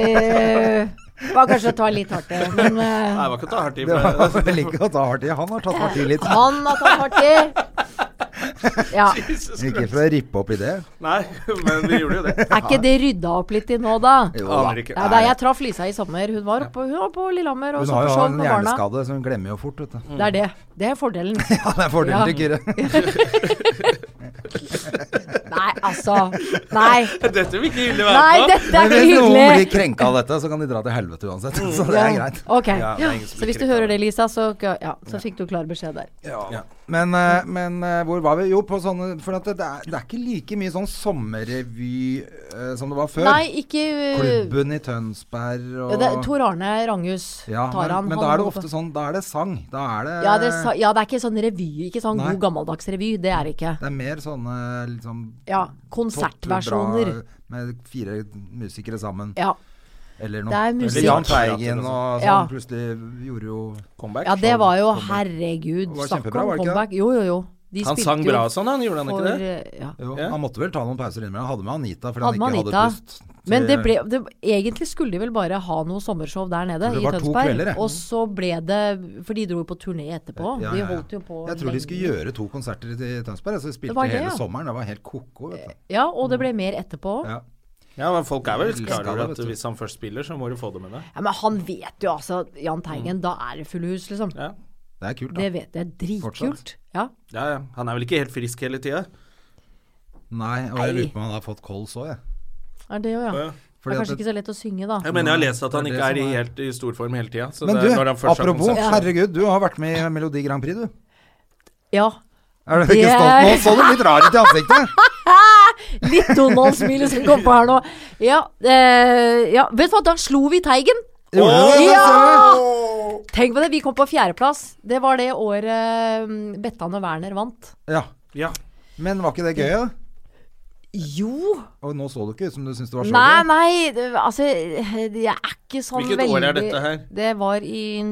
C: det var kanskje å ta litt hardt i, men eh,
A: Nei, det var ikke å ta hardt i.
B: Det
A: for
B: var vel ikke å ta hardt i. Han har tatt hardt i litt.
C: han har tatt hardt i. Ja.
B: Ikke for å rippe opp i det.
A: Nei, men vi gjorde jo det.
C: Er ikke det rydda opp litt i nå, da?
B: Jo da.
A: Aner ikke.
C: Ja, da jeg traff Lisa i sommer. Hun var, oppe, hun var på Lillehammer og
B: Hun
C: så
B: har
C: Sånn på
B: jo
C: show
B: en
C: med barna.
B: hjerneskade, så hun glemmer jo fort, vet du.
C: Det er det. Det er fordelen.
B: Ja, det er fordelen
C: Ja.
B: til Kyrre.
C: Nei, Nei, altså. Nei.
A: Dette vil ikke Hilde
C: Nei,
A: være med på.
C: dette er
B: Men
C: ikke
B: hvis noen blir
C: hyggelig.
B: krenka av dette, så kan de dra til helvete uansett. Så det er greit.
C: Ok.
A: Ja, det er ingen som
C: så
A: blir
C: hvis du
A: krenka av
C: hører det, Lisa, så, ja, så fikk du klar beskjed der.
B: Ja. Men, eh, men eh, hvor var vi? Jo, på sånne For at det, det, er, det er ikke like mye sånn sommerrevy eh, som det var før.
C: Nei, ikke øh,
B: Klubben i Tønsberg og
C: ja, det, er Tor Arne Ranghus
B: Ja,
C: tar han.
B: men, men
C: han
B: da er det
C: holder på-
B: ofte sånn Da er det sang. Da er det
C: ja det, er sa- ja, det er ikke sånn revy. Ikke sånn
B: Nei.
C: god gammeldags revy. Det er det ikke.
B: det er mer sånne liksom
C: Ja. Konsertversjoner.
B: toppbra Med fire musikere sammen,
C: Ja.
B: eller
C: Det
B: noe.
C: er
B: Eller
C: musikk.
B: Jahn Teigen og sånn.
C: Ja.
B: Plutselig gjorde jo
A: Comeback.
C: Ja, det var jo Herregud.
B: Det var
C: Snakk
B: kjempebra,
C: om
B: var det ikke
C: comeback. Jo, jo, jo. De
A: Han
C: spilte
A: sang
C: jo
A: bra og sånn, han gjorde han
C: for,
A: ikke det?
C: eh, ja.
B: jo,
A: Ja.
B: Han måtte vel ta noen pauser innimellom. Han Hadde med Anita fordi
C: Hadde
B: han
C: med
B: ikke
C: Anita.
B: hadde pust.
C: Men det
B: til-
C: ble, det, egentlig skulle de vel bare ha noe sommershow der nede,
B: Det
C: i
B: var to
C: Tønsberg.
B: kvelder, ja.
C: og så ble det For de dro jo på turné etterpå.
B: Ja,
C: De
B: ja, ja.
C: holdt jo på
B: Jeg tror de skulle
C: lenge.
B: gjøre to konserter i Tønsberg. Så de spilte
C: var det,
B: hele
C: ja.
B: sommeren. Det var helt ko-ko. Vet du.
C: Ja, og det ble mer etterpå. Ja.
B: Ja.
A: Ja, men folk er vel klar
B: Elsker
A: over
B: det,
A: at
B: vet du.
A: hvis han først spiller, så må du få det med deg.
C: Men han vet jo altså, Jahn
B: Mm.
C: Teigen, da er det fulle hus, liksom.
A: Ja.
B: Det er kult, da.
C: Det vet jeg. Dritkult.
B: Fortsatt.
C: Ja.
A: Ja, ja. Han er vel ikke helt frisk hele tida?
B: Nei, og jeg
C: Nei.
B: lurer på om han har fått kols òg, jeg.
C: Er det jo, ja.
A: Ja.
C: det
B: Fordi
C: er
B: at
C: kanskje ikke så lett å synge, da.
A: Jeg mener jeg har lest at han
B: Det er
A: ikke
B: det
A: er i,
B: som er-
A: helt, i storform hele tida.
B: Men du, apropos, herregud, du har vært med i Melodi Grand Prix, du.
C: Ja.
B: Er du ikke
C: Det-
B: stolt nå? Så du litt rar ut i ansiktet?
C: Litt Donald-smilet som kom på her nå. Ja, eh, ja. Vet du hva, da slo vi Teigen!
B: Gjorde du det?
C: Ja!
B: Ser du?
C: Tenk på det, vi kom på fjerdeplass. Det var det året mm, Bettan og Werner vant.
B: Ja.
A: Ja.
B: Men var ikke det gøy, da?
C: Jo
B: Og nå så du ikke ut som du syntes det var så
C: Nei,
B: gøy.
C: nei, det- altså Jeg er ikke sånn
A: Hvilket
C: veldig
A: år er dette her?
C: Det var i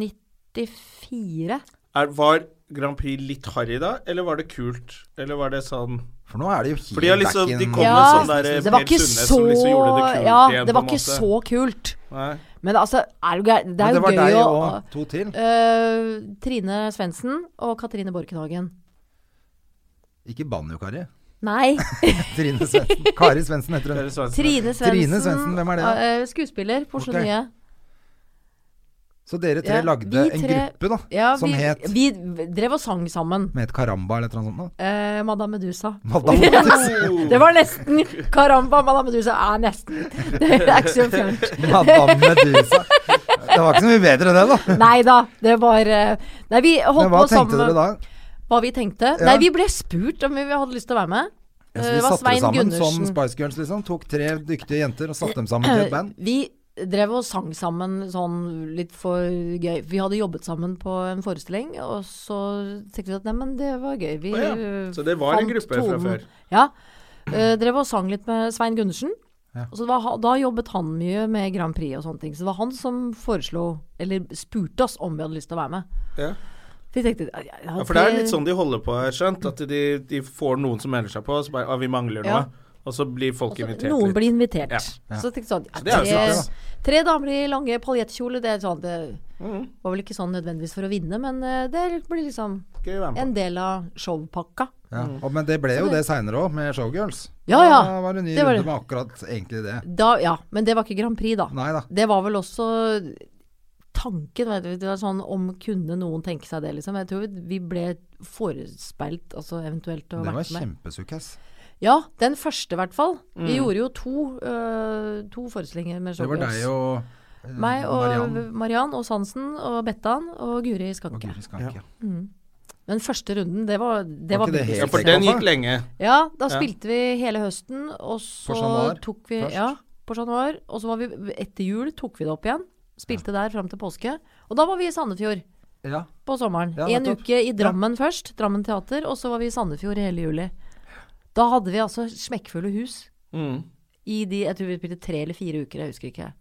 C: 94.
A: Er, var Grand Prix litt harry da, eller var det kult? Eller var det sånn
B: For nå er det jo helt
A: For de har liksom-
B: back in-
A: de kom med
C: Ja,
A: sånn der,
C: det var
A: Per
C: ikke
A: Sundnes
C: så
A: som liksom gjorde det kult
C: Ja,
A: igjen,
C: det
A: på
C: var
A: en
C: ikke
A: måte.
C: så kult.
A: Nei.
C: Men altså, er du gæren? Det
B: Men
C: er
B: det
C: jo
B: var
C: gøy
B: deg
C: å
B: og to til.
C: Øh, Trine Svendsen og Katrine Borkenhagen.
B: Ikke banjo-Kari.
C: Nei,
B: Trine Svendsen. Kari Svendsen heter hun.
A: Dere så-
C: Trine Svendsen.
B: Trine Svendsen, hvem er det, da?
C: øh, skuespiller på Oslo
B: Ok.
C: Nye.
B: Så dere tre
C: Ja,
B: lagde
C: vi
B: en
C: tre-
B: gruppe, da,
C: Ja,
B: som
C: vi,
B: het
C: vi drev og sang sammen.
B: Med et karamba eller et eller annet sånt?
C: Eh, Madame Medusa.
B: da? Madame
A: Oh.
C: Det var nesten. Karamba, Madame Medusa er nesten. Det er ikke så fjernt.
B: Madame Medusa. Det var ikke så mye bedre enn det, da.
C: Nei da, det var eh, Nei, vi holdt
B: Men hva
C: på sammen.
B: tenkte dere da?
C: Hva vi tenkte?
B: Ja.
C: Nei, vi ble spurt om vi hadde lyst til å være med.
B: Ja, så vi
C: Eh, det var
B: satte det
C: Svein
B: sammen
C: Gundersen.
B: som Spice Girls, liksom. Tok tre dyktige jenter og satte dem sammen til et band.
C: Eh, Vi drev og sang sammen sånn litt for gøy. Vi hadde jobbet sammen på en forestilling, og så tenkte vi at neimen, det var gøy. Vi
A: Å ja,
C: eh,
A: så det var en
C: fant
A: gruppe fra før.
C: Ja. Eh, drev og sang litt med Svein Gundersen. Og så det var, ha- da jobbet han mye med Grand Prix og sånne ting. Så det var han som foreslo, eller spurte oss om vi hadde lyst til å være med.
A: Ja.
C: Vi tenkte ja,
A: Ja, for det er litt sånn de holder på, har jeg skjønt. At de, de får noen som melder seg på, og så bare Å, vi mangler noe.
C: Ja.
A: Og så blir folk invitert
C: Altså, Noen
A: litt.
C: blir invitert.
A: Ja.
C: Så tenkte jeg sånn ja,
A: det er jo
C: tre,
B: smart,
C: tre damer i lange paljettkjoler, det er sånn Det var vel ikke sånn nødvendigvis for å vinne, men eh, det blir liksom
A: Skal vi være med på.
C: en del av showpakka.
B: Ja. Og, men det ble jo det seinere òg, med Showgirls.
C: Ja, ja.
B: Da var det en ny
C: Det var
B: runde
C: det.
B: med akkurat egentlig det.
C: Da, ja, men det var ikke Grand Prix, da.
B: Nei da.
C: Det var vel også tanken, vet du. Det var sånn om kunne noen tenke seg det, liksom. Jeg tror vi ble forespeilt, altså eventuelt å
B: Det var
C: vært med.
B: kjempesukkes.
C: Ja, den første i hvert fall. Vi gjorde jo to, øh, to forestillinger med
B: Det var
C: showgirls.
B: deg og eh,
C: Meg og
B: Mariann.
C: Mariann. og Sansen og Bettan og Guri
B: og
C: Skanke.
B: Guri Skanke.
C: Den første runden, det var
B: Var
C: Det var,
B: ikke det
C: veldig
B: helt
A: Ja, for
C: spesielt.
A: den gikk lenge.
C: Ja, da spilte vi hele høsten, og så
B: På Chat Noir
C: tok vi
B: først.
C: Ja, på Chat Noir. Og så var vi Etter jul tok vi det opp igjen. Spilte der fram til påske. Og da var vi i Sandefjord
B: Ja.
C: på sommeren.
B: Ja,
C: en
B: nettopp.
C: uke i Drammen først, Drammen teater, og så var vi i Sandefjord hele juli. Da hadde vi altså smekkfulle hus
A: Mm.
C: i de Jeg tror vi spilte tre eller fire uker, jeg husker ikke.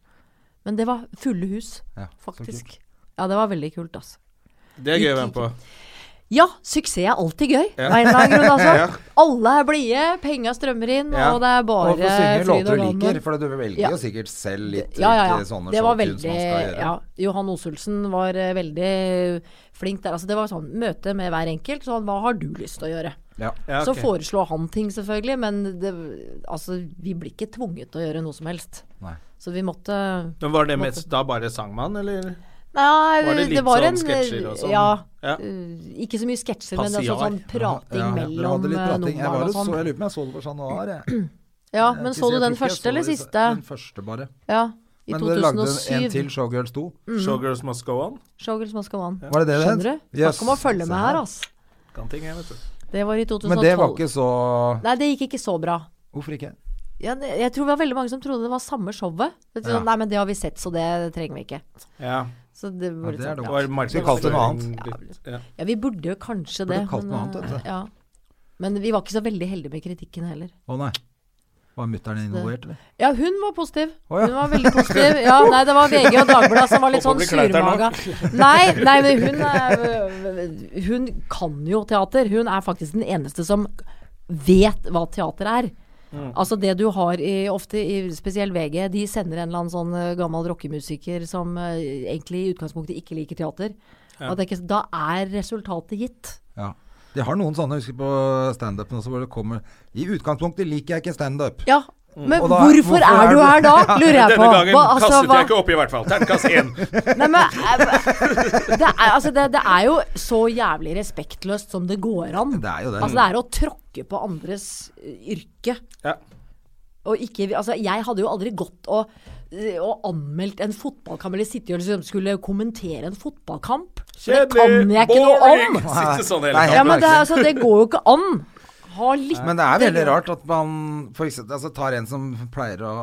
C: Men det var fulle hus,
B: Ja, så
C: faktisk. Ja, det var veldig kult, altså.
A: Det er gøy å være med på.
C: Ja, suksess er alltid gøy. av en eller annen grunn, altså. Alle er blide, penga strømmer inn,
A: Ja.
C: og det er bare
B: Og for å synge
C: fryd
B: låter du
C: gammen.
B: liker, for du velger
C: Ja.
B: jo sikkert selv litt
C: Ja, ja, ja.
B: hvilke eh, sånne
C: Det var
B: showtunes
C: veldig
B: man skal gjøre.
C: ja, Johan Oselsen var eh, veldig flink der. Altså, det var sånn møte med hver enkelt. Sånn, hva har du lyst til å gjøre?
B: Ja.
A: Ja,
C: Så
A: ok.
C: foreslår han ting, selvfølgelig, men det, altså, vi blir ikke tvunget til å gjøre noe som helst.
B: Nei.
C: Så vi måtte
A: Men var det mest da bare sang man, eller?
C: Nei,
A: Var det litt
C: var
A: sånn
C: en,
A: sketsjer og sånn?
C: Ja.
A: Ja.
C: eh, ikke så mye sketsjer, men det er
A: Passiar.
C: sånn, sånn prating
B: Ja, dere
C: mellom
B: hadde litt
C: eh,
B: prating. Jeg, var jo
C: numrene
B: så,
C: og sånn.
B: jeg lurer på om jeg så det på Chat Noir. jeg.
C: Ja,
B: Jeg
C: men
B: skal si,
C: så du
B: jeg tror
C: den
B: ikke jeg så
C: første eller
B: det i-
C: siste?
B: Den første, bare.
C: Ja. I Mm,
B: Men dere lagde en, en
C: 2007.
B: til, Showgirls 2.
C: Mhm.
A: Showgirls must go on.
C: Showgirls Must Go On.
B: Var det det det het?
C: Skjønner du? Snakk om å
B: Jøss,
C: følge
B: se
C: med her, altså.
A: Kan ting, jeg, vet du.
C: Det var i 2012.
B: Men det var ikke så
C: Nei, det gikk ikke så bra.
B: Hvorfor ikke?
C: Ja, det- jeg tror det var veldig mange som trodde det var samme showet. Det,
B: Ja.
C: sånn, Nei, men det har vi sett, så det trenger vi ikke.
A: Ja.
C: Så det var litt
B: det er dumt.
C: sånn,
A: Det
C: ja.
A: var
B: Skulle kalt det noe
A: markedsføring litt. Ja.
C: ja, vi burde jo kanskje det.
B: kalt
C: men,
B: noe annet,
C: eh,
B: vet du.
C: ja. Men vi var ikke så veldig heldige med kritikken heller.
B: Å nei. Var mutter'n involvert, eller?
C: Ja, hun var positiv.
B: Å, ja.
C: Hun var veldig positiv. Ja, nei, det var VG og Dagbladet som var litt sånn
A: Håper det blir kleint
C: surmaga.
A: her
C: Nei, nei, men hun er, Hun kan jo teater. Hun er faktisk den eneste som vet hva teater er.
A: Mm.
C: Altså det du har i, ofte i spesiell VG, de sender en eller annen sånn eh, gammel rockemusiker som eh, egentlig i utgangspunktet ikke liker teater. Og det er ikke, da er resultatet gitt.
B: Ja. De har noen sånne, jeg husker på standupen også, hvor det kommer I utgangspunktet liker jeg ikke standup.
C: Ja, men
B: Og da-
C: hvorfor, er du her da, lurer jeg på.
A: Denne gangen
C: Hva- altså,
A: kastet
C: hva-
A: jeg ikke opp, i hvert fall. Terningkast én.
C: Nei, men eh, det er, altså, det, det er jo så jævlig respektløst som det går an.
B: Det er jo det.
C: Altså, det er å tråkke på andres eh, yrke.
A: Ja.
C: Og ikke, altså, jeg hadde jo aldri gått og, eh, og anmeldt en fotballkamp, eller sittet og liksom skulle kommentere en fotballkamp. Det kan jeg ikke noe om!
A: Sitte sånn hele
B: Nei,
A: tiden.
C: Ja, men det, er- altså, det går jo ikke an. Ha litt
B: Men det er veldig rart at man for eksempel, altså, tar en som pleier å,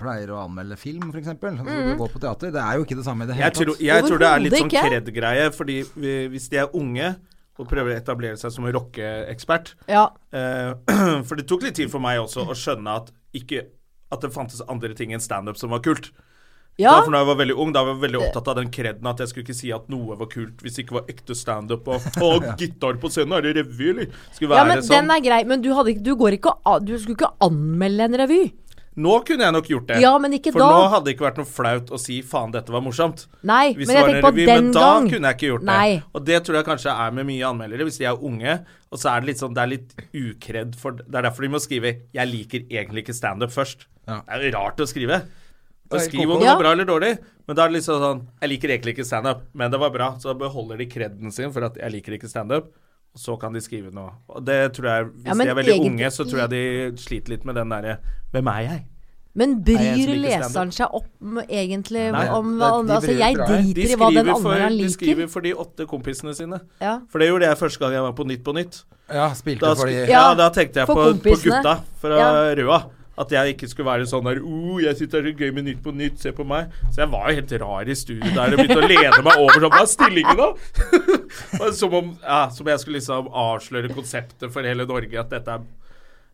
B: pleier å anmelde film, f.eks.
C: Mm.
B: Altså, Gå på teater. Det er jo ikke det samme i det hele
A: Jeg
B: tatt.
A: tror, jeg tror det er litt
C: Overhodet
A: sånn
C: ikke.
A: kred-greie, fordi vi- hvis de er unge og prøver å etablere seg som en rockeekspert
C: Ja.
A: eh, For det tok litt tid for meg også å skjønne at, ikke, at det fantes andre ting enn standup som var kult.
C: ja.
A: Da, for da jeg var veldig ung, da var jeg veldig opptatt av den kreden at jeg skulle ikke si at noe var kult hvis det ikke var ekte standup og, og gitar på scenen, er det revy, eller? Skulle
C: Ja,
A: være
C: men
A: sånn.
C: den er grei, men du, hadde, ikke- du, går ikke, a- du skulle ikke anmelde en revy.
A: Nå kunne jeg nok gjort det.
C: Ja, men ikke
A: for
C: da.
A: nå hadde det ikke vært noe flaut å si 'faen, dette var morsomt'.
C: Nei,
A: Hvis
C: men
A: det
C: jeg
A: var en
C: tenker på
A: revy,
C: den
A: men da
C: gang.
A: kunne jeg ikke gjort
C: Nei.
A: det. Og det tror jeg kanskje er med mye anmeldere, hvis de er unge. Og så er det litt sånn, det er litt ukredd for Det er derfor de må skrive 'Jeg liker egentlig ikke standup' først.
B: Ja.
A: Det er jo rart å skrive. Og
B: Det er
A: skriv om
B: koko.
A: det
C: Ja.
A: var bra eller dårlig, men da er det liksom sånn 'Jeg liker egentlig ikke standup, men det var bra'. Så da beholder de kreden sin for at 'jeg liker ikke standup'. Og så kan de skrive noe. Og det tror jeg, Hvis
C: Ja, men
A: de er veldig
C: egentlig-
A: unge, så tror jeg de sliter litt med den derre 'Hvem er jeg?' Nei,
C: Men
A: jeg
C: bryr
A: som ikke
C: leseren seg opp med, egentlig
A: Nei,
C: om
B: det-
C: hva
B: de
C: Altså,
B: bryr-
C: jeg
B: Nei,
A: De
C: driter i hva den
A: skriver, for,
C: andre han
A: de
C: liker.
A: skriver for de åtte kompisene sine.
C: Ja.
A: For det gjorde jeg første gang jeg var på Nytt på Nytt.
B: Ja, spilte
A: Da,
B: for
A: sku-
B: de
A: ja,
C: Ja,
A: da tenkte jeg
C: for
A: på, på
C: kompisene.
A: gutta fra
C: Ja.
A: Røa. At jeg ikke skulle være sånn der oh, jeg synes det er så gøy med Nytt på Nytt, se på meg. Så jeg var jo helt rar i studio der og begynte å lene meg over sånn, hva er stillingen da? Og som om ja, som jeg skulle liksom avsløre konseptet for hele Norge, at dette er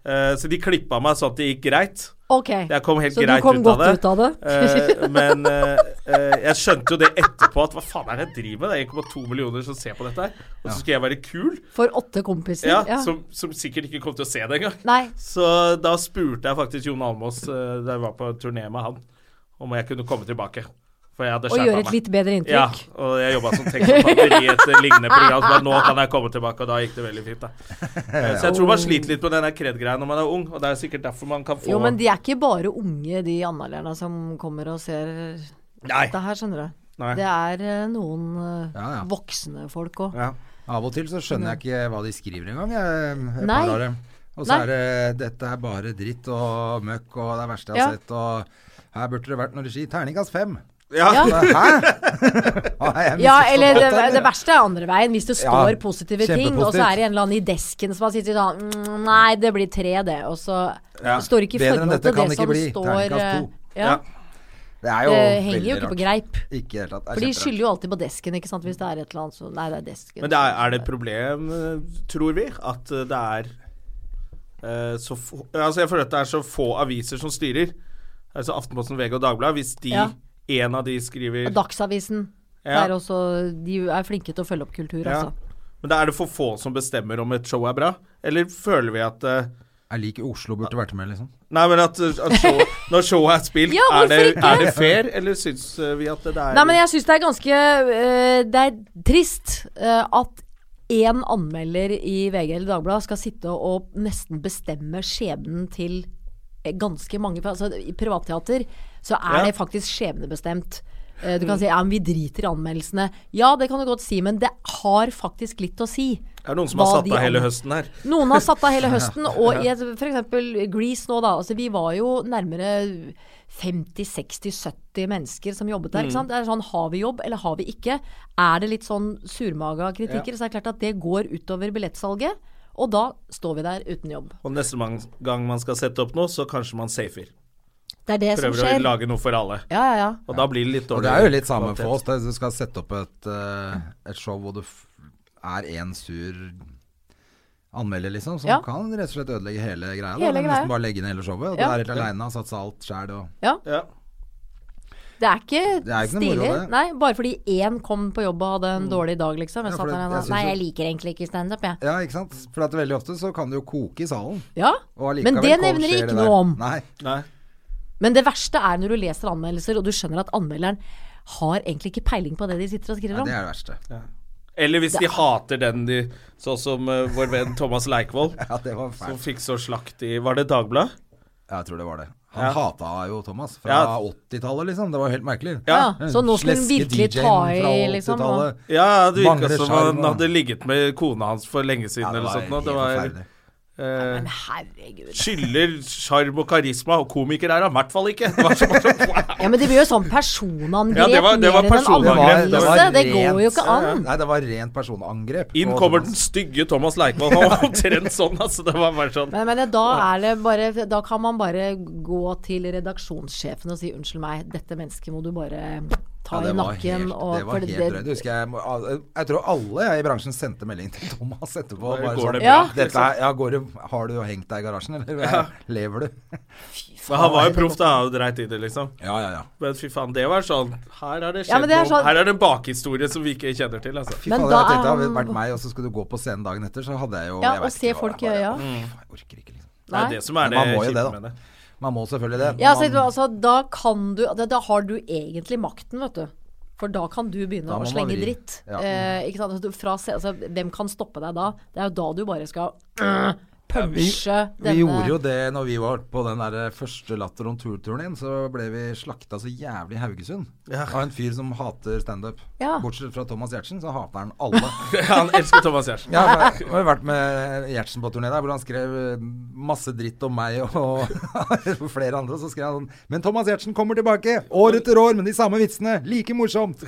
A: Eh, Så de klippa meg sånn at det gikk greit.
C: Ok.
A: Jeg kom helt
C: Så du
A: greit
C: kom
A: ut,
C: godt
A: av det.
C: ut av det?
A: Eh, men eh, eh, jeg skjønte jo det etterpå, at hva faen er det jeg driver med? Det er 1,2 millioner som ser på dette her. Og så skal jeg være kul,
C: For åtte kompiser?
A: um, ja,
C: Ja.
A: Som, som sikkert ikke kom til å se det engang.
C: Nei.
A: Så da spurte jeg faktisk Jon Almaas eh, da jeg var på turné med han, om jeg kunne komme tilbake. For jeg hadde
C: Og
A: skjerpa
C: gjøre
A: meg.
C: et litt bedre
A: ja,
C: inntrykk?
A: og jeg jobba som tekstforfatter i et eh, lignende program. Så bare, nå kan jeg komme tilbake, og da gikk det veldig fint. Da. Eh, Så jeg tror man sliter litt på den kred-greia når man er ung, og det er sikkert derfor man kan få
C: Jo, men de er ikke bare unge, de anmelderne som kommer og ser
A: Nei.
C: det her, skjønner du.
A: Nei.
C: Det er eh, noen eh,
B: Ja, ja.
C: voksne folk òg.
A: Ja.
B: Av og til så skjønner jeg ikke hva de skriver engang. jeg- et
C: Nei.
B: par av dem. Og så
C: Nei.
B: er det 'dette er bare dritt og møkk og det er verste jeg har
C: Ja.
B: sett' og 'her burde det vært noe regi'. Terningkast fem!
A: Ja.
C: Ja.
B: Hæ?! Har jeg
C: Ja,
B: misforstått
C: eller det,
B: dette, eller?
C: det verste er andre veien. Hvis det
B: Ja,
C: står positive ting, og så
B: kjempepositivt.
C: er det en eller annen i desken som har sittet sånn «Mm, Nei, det blir tre, det. Og så
A: Ja,
C: står det ikke i
B: bedre enn
C: forhold
B: dette
C: til
B: kan
C: det
B: det
C: som
B: ikke bli.
C: står
B: Terningkast
C: eh,
B: to.
C: Ja,
B: Det er jo
C: Det henger
B: veldig
C: jo ikke på
B: rart.
C: greip.
B: Ikke i det hele tatt. Det er
C: For de
B: kjemperart.
C: skylder jo alltid på desken, ikke sant. Hvis det er et eller annet så Nei, det er desken.
A: Men det er, er det et problem, eh, tror vi, at eh, det er eh, så få Altså, jeg føler at det er så få aviser som styrer. Altså Aftenposten, VG og Dagbladet. Hvis de,
C: Ja.
A: en av de skriver
C: Og Dagsavisen.
A: Ja.
C: Der også, de er flinke til å følge opp kultur,
A: Ja.
C: altså.
A: Men da er det for få som bestemmer om et show er bra? Eller føler vi at eh,
B: Jeg liker Oslo burde vært med, liksom.
A: Nei, men at, eh, at show, når showet er spilt,
C: Ja,
A: er, det,
C: hvorfor ikke?
A: er det fair, eller syns eh, vi at det er
C: Nei, men jeg syns det er ganske øh, Det er trist øh, at én anmelder i VG eller Dagbladet skal sitte og nesten bestemme skjebnen til eh, ganske mange. For Altså, I privatteater så er
A: Ja. Mm.
C: det faktisk skjebnebestemt. Eh, Du kan si ja, men vi driter i anmeldelsene. Ja, det kan du godt si, men det har faktisk litt å si.
A: Er det noen som har
C: hva
A: satt
C: de
A: av hele
C: anmelder.
A: høsten her?
C: Noen har satt av hele høsten, og i et- for eksempel Grease nå, da. Altså, vi var jo nærmere 50-60-70 mennesker som
B: Mm.
C: jobbet der. Ikke sant? Det er sånn, Har vi jobb, eller har vi ikke? Er det litt sånn surmaga kritikker, så er det klart at det går utover billettsalget. Og da står vi der uten jobb.
A: Og neste man- gang man skal sette opp noe, så kanskje man safer.
C: Det er det som
A: Prøver å
C: skjer.
A: lage noe for alle.
C: Ja, ja, ja.
A: Og da blir det litt dårlig.
B: Og det er jo litt samme for oss. Det, du skal sette opp et, eh, et show hvor du f er én sur anmelder, liksom, som
C: Ja.
B: kan rett og slett ødelegge hele greia. da.
C: Hele
B: Du må
C: greia.
B: Nesten bare legge ned hele showet. Og
C: Ja.
B: Du er helt aleine og har satsa alt sjæl. Og...
A: Ja.
C: Det er ikke,
B: Det er ikke noe moro,
C: stilig.
B: det. Mm.
C: Nei, bare fordi én kom på jobb og hadde en dårlig dag, liksom. Jeg
B: Ja, for
C: satt
B: det-
C: der og
B: jeg
C: sa
B: synes
C: nei,
B: jo-
C: jeg liker egentlig ikke standup, jeg.
B: Ja, ikke sant. For at veldig ofte så kan det jo koke i salen.
C: Ja,
B: Og allikevel
C: men det
B: kom-
C: nevner de
B: skjer
C: ikke
B: der.
C: noe om.
B: Nei.
A: Nei.
C: Men det verste er når du leser anmeldelser, og du skjønner at anmelderen har egentlig ikke peiling på det de sitter og skriver
B: Nei,
C: om.
B: det er det verste.
A: Eller hvis de hater den de Sånn som eh, vår venn Thomas Leikvoll,
B: Ja, det var
A: som
B: fælt.
A: fikk så slakt i Var det Dagbladet?
B: Ja, jeg tror det var det. Han
A: Ja.
B: hata jo Thomas fra
A: Ja.
B: 80-tallet, liksom. Det var helt merkelig.
C: Ja, så nå skulle hun
B: Sleske
C: virkelig
B: DJ-en
C: ta
B: fra
C: i, liksom. og-
B: 80-tallet.
A: Ja, det virka
B: Mangler
A: som
B: sjarm,
A: han
B: da.
A: hadde ligget med kona hans for lenge siden
B: Ja, det
A: eller
B: var
A: sånt. nå. sånn
B: helt
A: Det var, eh,
B: forferdelig.
C: Men herregud.
A: skylder sjarm og karisma, og komiker er han i hvert fall ikke. Det var sånn, wow.
C: Ja, men det blir jo sånn personangrep
A: Ja, det var- det var
C: mer enn en
A: personangrep. Det
C: anmeldelse. Det,
A: var-
C: går jo ikke an.
B: Nei, det var rent personangrep.
A: Inn
B: på
A: kommer den
B: Thomas.
A: stygge Thomas Leikvoll. Han var omtrent sånn, altså. Det var bare sånn.
C: Men, men da, er det bare, da kan man bare gå til redaksjonssjefen og si unnskyld meg, dette mennesket må du bare ta
B: det
C: i
B: var
C: nakken.
B: helt,
C: og,
B: det var
C: for
B: helt drøyt. Det husker jeg, jeg, jeg tror alle jeg i bransjen sendte melding til Thomas etterpå.
A: Bare,
B: Bare
A: går det
B: sånn,
A: bra? liksom."
C: Ja.
B: dette er, ja, går det, har du hengt deg i garasjen, eller lever du?
A: Men han var jo proff, da. Og dreit i det, liksom.
B: Ja, ja, ja.
A: Men fy faen, det var sånn Her er det
C: Ja,
A: skjedd
C: men det er
A: noe.
C: sånn-
A: Her er det en bakhistorie som vi ikke kjenner til, altså.
B: Fy
C: Men
B: faen, jeg
C: da er
B: tenkte, hadde det
C: han-
B: vært meg, og så skulle du gå på scenen dagen etter, så hadde jeg jo
C: Ja,
B: jeg
C: og
B: vet
C: se
B: ikke hva
C: folk i
B: jeg
C: øya.
B: bare, «Åh, Jeg orker ikke, liksom.
A: Det Mm. er det som er
B: Men
A: det
B: man må jo det,
A: kjipe
B: da.
A: med det.
B: Man må selvfølgelig det.
C: Ja, så,
B: men man,
C: altså, da kan du da, da har du egentlig makten, vet du. For da kan du begynne
B: Da må
C: å
B: man
C: slenge
B: vri.
C: dritt.
B: Ja.
C: Eh, ikke sant? Altså, du- Fra, se- altså, hvem kan stoppe deg da? Det er jo da du bare skal øh, punche denne
B: Vi gjorde jo det når vi var på den der første Latter on tour-turneen. Så ble vi slakta så jævlig i Haugesund av en fyr som hater standup.
C: Ja.
B: Bortsett fra Thomas Giertsen, så hater han alle.
A: Han elsker Thomas Giertsen.
B: Jeg har jeg har vært med Gjertsen på turné der, hvor han skrev eh, masse dritt om meg og og flere andre. Og så skrev han sånn Men Thomas Giertsen kommer tilbake! År etter år med de samme vitsene! Like morsomt!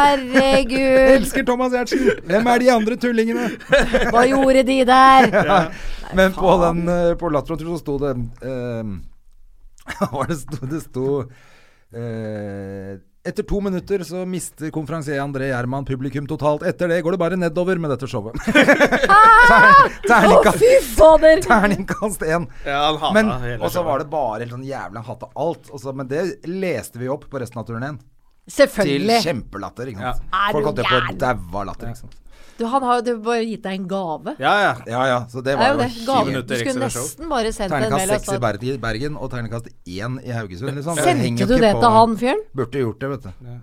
C: Herregud,
B: Elsker Thomas Giertsen! Hvem er de andre tullingene?
C: hva gjorde de der?
B: Men på, den, eh, på Latter on tour så sto det eh, hva var det sto, Det sto eh, etter to minutter så mister konferansier André Gjerman publikum totalt. Etter det går det bare nedover med dette showet. Ter-
C: Å,
B: Terningkast
C: fy fader!
B: Terningkast én.
A: Ja, han hatet
B: Men,
A: hele
B: og så
A: showet.
B: var det bare helt sånn jævla hata alt. Og så, men det leste vi opp på resten av turneen. Til
C: Selvfølgelig.
B: kjempelatter, ikke sant.
C: Er du
B: Folk holdt jo på å
C: gæren?
B: daue av latter, ikke sant.
C: Du, han har jo det har bare gitt deg en gave.
A: Ja, ja.
B: Ja ja, så det
C: Det
B: var
C: er jo
B: jo
C: det.
B: helt-
C: Gave.
A: minutter
C: Du
A: ekstra
C: skulle
A: show.
C: nesten bare sendt en mail.
B: Terningkast
C: og
B: seks i
C: sagt,
B: Berg- Bergen og terningkast én i Haugesund, liksom. Det henger
C: Sendte
B: jo
C: du
B: ikke
C: det
B: på-
C: til han fyren?
B: Burde gjort det, vet du.
C: Ja,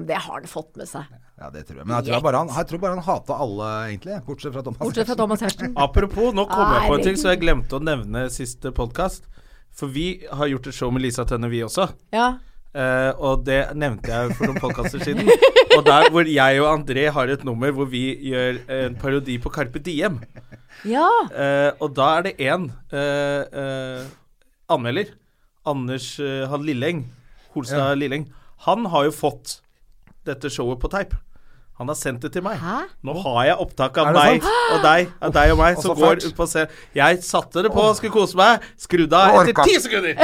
C: men det har han fått med seg.
B: Ja, det tror jeg. Men jeg tror bare han, jeg tror bare han hata alle, egentlig. Bortsett fra Thomas.
C: Bortsett fra Thomas Hersten.
A: Apropos, nå kom jeg på en ting
C: Herregud.
A: som jeg glemte å nevne siste podkast. For vi har gjort et show med Lisa Tønne, vi også.
C: Ja.
A: Eh, og det nevnte jeg for noen podkaster siden. Og der hvor jeg og André har et nummer hvor vi gjør en parodi på Carpe Diem.
C: ja.
A: Eh, og da er det én eh, eh, anmelder. Anders eh, han Lilleng. Holstad Lilleng. Han har jo fått dette showet på teip. Han har sendt det til meg.
C: Hæ?
A: Nå har jeg opptak av
B: Er det
A: meg
B: sant?
A: og deg av deg og meg
B: Og
A: som
B: så
A: går
B: fælt.
A: ut på scenen. Jeg satte det på, skulle kose meg. Skrudde av etter
B: Du orka
A: ti
B: ikke.
A: sekunder.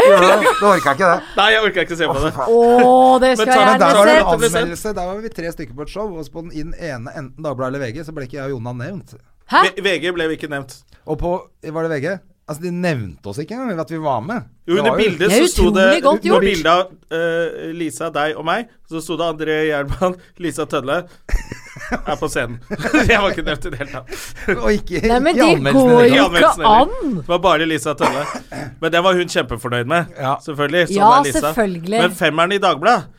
B: Du orka ikke det.
A: Nei, jeg orka ikke se på det.
C: Å, det skal jeg
A: tar han-
B: Der
A: tar
B: var det en
C: gjerne
A: han- ble
C: se!
A: sendt.
B: anmeldelse. Der var vi tre stykker på et show, og på den inn- ene, enten Dagbladet eller VG, så ble ikke jeg og Jonna nevnt.
C: Hæ?
A: V- VG ble ikke nevnt.
B: Og på Var det VG? Altså, de nevnte oss ikke engang at vi var med.
A: Jo,
B: Det
A: under
B: var
A: bildet
C: Det er
A: så sto
C: utrolig
A: det
C: godt
A: Under
C: gjort.
A: bildet av eh, Lisa, deg og meg, så sto det André Gjerman, Lisa Tønne er på scenen. jeg var ikke nevnt i det hele tatt.
B: Og ikke,
C: Nei,
B: ikke
C: men
B: i
C: det
B: anmeldelsen
C: går
B: heller.
C: jo
A: Ikke
C: ikke
A: anmeldelsen heller.
C: an!
A: Det var bare Lisa Tønne. Men den var hun kjempefornøyd med,
B: Ja.
A: selvfølgelig. Sånn
C: Ja,
A: er Lisa.
C: selvfølgelig.
A: Men femmeren i Dagbladet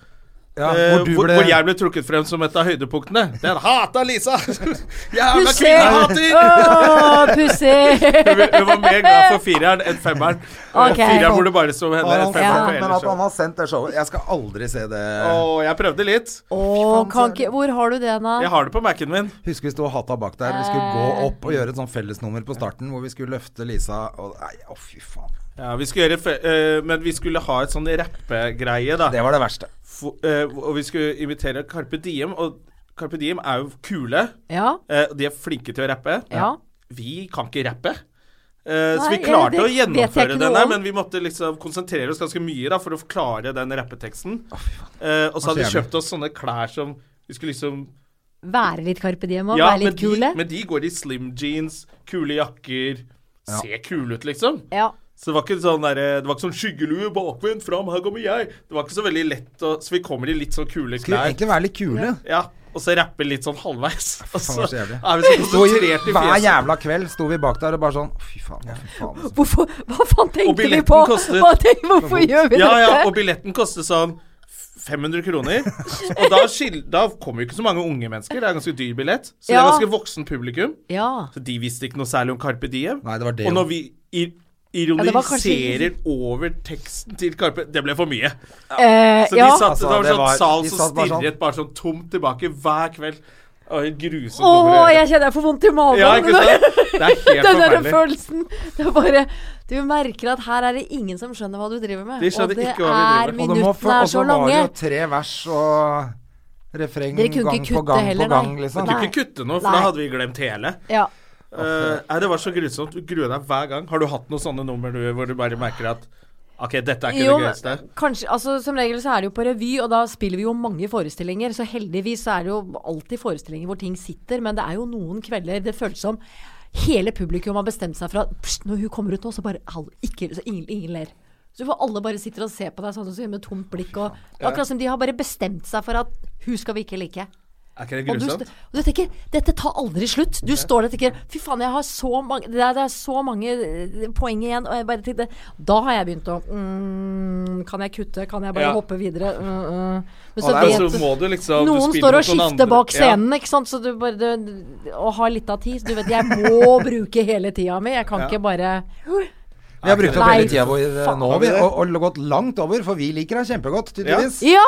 B: Ja,
A: eh,
B: hvor du
A: hvor,
B: ble-
A: hvor jeg ble trukket frem som et av høydepunktene. Den hata Lisa! Jævla
C: Pussig!
A: kvinnehater!
C: Åh, pussig!
A: Hun hun var mer glad for fireren enn femmeren.
C: Ok.
A: Fireren burde bare stå med henne.
B: Har
A: enn
B: han
A: femmeren
C: Ja.
A: på
B: sendt, men
A: hele
B: at han
A: showet.
B: har sendt det showet Jeg skal aldri se det.
A: Åh, jeg prøvde litt.
C: Åh, kan ikke Hvor har du den, da?
A: Jeg har det på Mac-en min.
B: Husker vi sto og hata bak der. Vi skulle
C: Eh.
B: gå opp og gjøre et sånn fellesnummer på starten hvor vi skulle løfte Lisa og Nei, å fy faen.
A: Ja, vi skulle gjøre fe eh, Men vi skulle ha et sånn rappegreie, da.
B: Det var det verste.
A: Fo- eh, og vi skulle invitere Carpe Diem, og Carpe Diem er jo kule.
C: Ja.
A: eh, og de er flinke til å rappe.
C: Ja.
A: Vi kan ikke rappe. Eh, så
C: Nei,
A: vi klarte
C: det
A: å
C: vet jeg
A: gjennomføre
C: ikke
A: den
C: noe
A: der,
C: om.
A: men vi måtte liksom konsentrere oss ganske mye da for å klare den rappeteksten. Eh, og så hadde vi
B: jævlig.
A: kjøpt oss sånne klær som vi skulle liksom
C: Være litt Carpe Diem og være
A: men
C: litt
A: de,
C: kule.
A: men de går i slim jeans, kule jakker. Se kule ut, liksom.
C: Ja.
A: Så det var ikke sånn der, det var ikke sånn skyggelue bakvendt fram, her kommer jeg. Det var ikke så veldig lett å Så vi kommer i litt sånn kule
B: Skulle
A: klær.
B: egentlig være litt kule.
A: Ja, og så rappe litt sånn halvveis. Og
B: faen,
A: så er
B: det var så jævlig.
A: vi så
B: Sto i,
A: konsentrert i
B: hver
A: fjeset.
B: jævla kveld sto vi bak der og bare sånn «Å, Fy faen, å, fy faen. altså».
C: Hvorfor Hva faen
A: Og
C: tenkte vi
A: billetten
C: på?
A: kostet-
C: Hva tenk, hvorfor gjør vi
A: Ja, ja,
C: dette?
A: og billetten koster sånn 500 kroner. Og da, skil- da kommer jo ikke så mange unge mennesker. Det er en ganske dyr billett. Så det er
C: Ja.
A: ganske voksen publikum.
C: ja.
A: Så de visste ikke noe særlig om Carpe Diem.
B: Nei, det var det
A: og
B: jo.
A: når vi ir
C: det var kanskje-
A: ironiserer over teksten til Carpe Det ble for mye.
C: Eh,
A: Så
C: ja.
A: de satt,
B: Altså,
A: det var
B: det
A: en
B: var-
A: sånn sal
B: de
A: som
B: satt bare sånn.
A: stirret bare sånn tomt tilbake hver kveld. Og helt grusomt.
C: Åh,
A: over å gjøre.
C: jeg kjenner jeg får vondt i magen.
A: ja, ikke sant? Det er helt
C: Den der
A: forferdelig.
C: følelsen. Det er bare Du merker at her er det ingen som skjønner hva du driver med.
A: De skjønner
C: og det
A: ikke hva vi driver
C: er
A: med.
B: Og det må altså, for-
C: Minuttene
B: og
C: er
B: så
C: så
B: var det
C: lange.
B: jo tre vers og refreng
C: Dere kunne
B: gang
C: ikke
B: på
C: kutte
B: gang
C: heller,
B: på gang,
C: nei.
B: liksom.
C: Nei.
A: Ikke kutte noe, for
C: Nei.
A: da hadde vi glemt hele.
C: Ja.
A: Eh, nei, det var så grusomt. Du gruer deg hver gang. Har du hatt noen sånne nummer du, hvor du bare merker at OK, dette er ikke
C: Jo,
A: det
C: men-
A: gøyeste?
C: kanskje, altså, som regel så er det jo på revy, og da spiller vi jo mange forestillinger. Så heldigvis så er det jo alltid forestillinger hvor ting sitter, men det er jo noen kvelder det føles som hele publikum har bestemt seg for at pst, når hun kommer ut nå, så bare hall, ikke, så ingen, ingen ler. Så for alle bare sitter og ser på deg sånn som så, med tomt blikk. Og, akkurat som de har bare bestemt seg for at hun skal vi ikke like.
A: Er ikke det
C: Og du, st-
A: grusomt?
C: og du tenker dette tar aldri slutt. Du står der og tenker fy faen, jeg har så mange det er, det er så mange eh, poeng igjen. Og jeg bare tenkte Da har jeg begynt å mm, Kan jeg kutte? Kan jeg bare
A: Ja.
C: hoppe videre? Mm, mm. Men
A: Og
C: vet
A: så
C: du-
A: må du liksom du
C: noen
A: spiller
C: står
A: mot
C: og
A: noen andre.
C: skifter bak
A: Ja.
C: scenen, ikke sant? Så du bare, du, og har litt av tid. Så du vet, jeg må bruke hele tida mi. Jeg kan ikke bare
B: Vi har brukt opp
C: Nei,
B: hele tida vår eh, nå,
A: Har vi
B: vi,
A: det?
B: og, og gått langt over, for vi liker deg kjempegodt, tydeligvis.
C: Ja!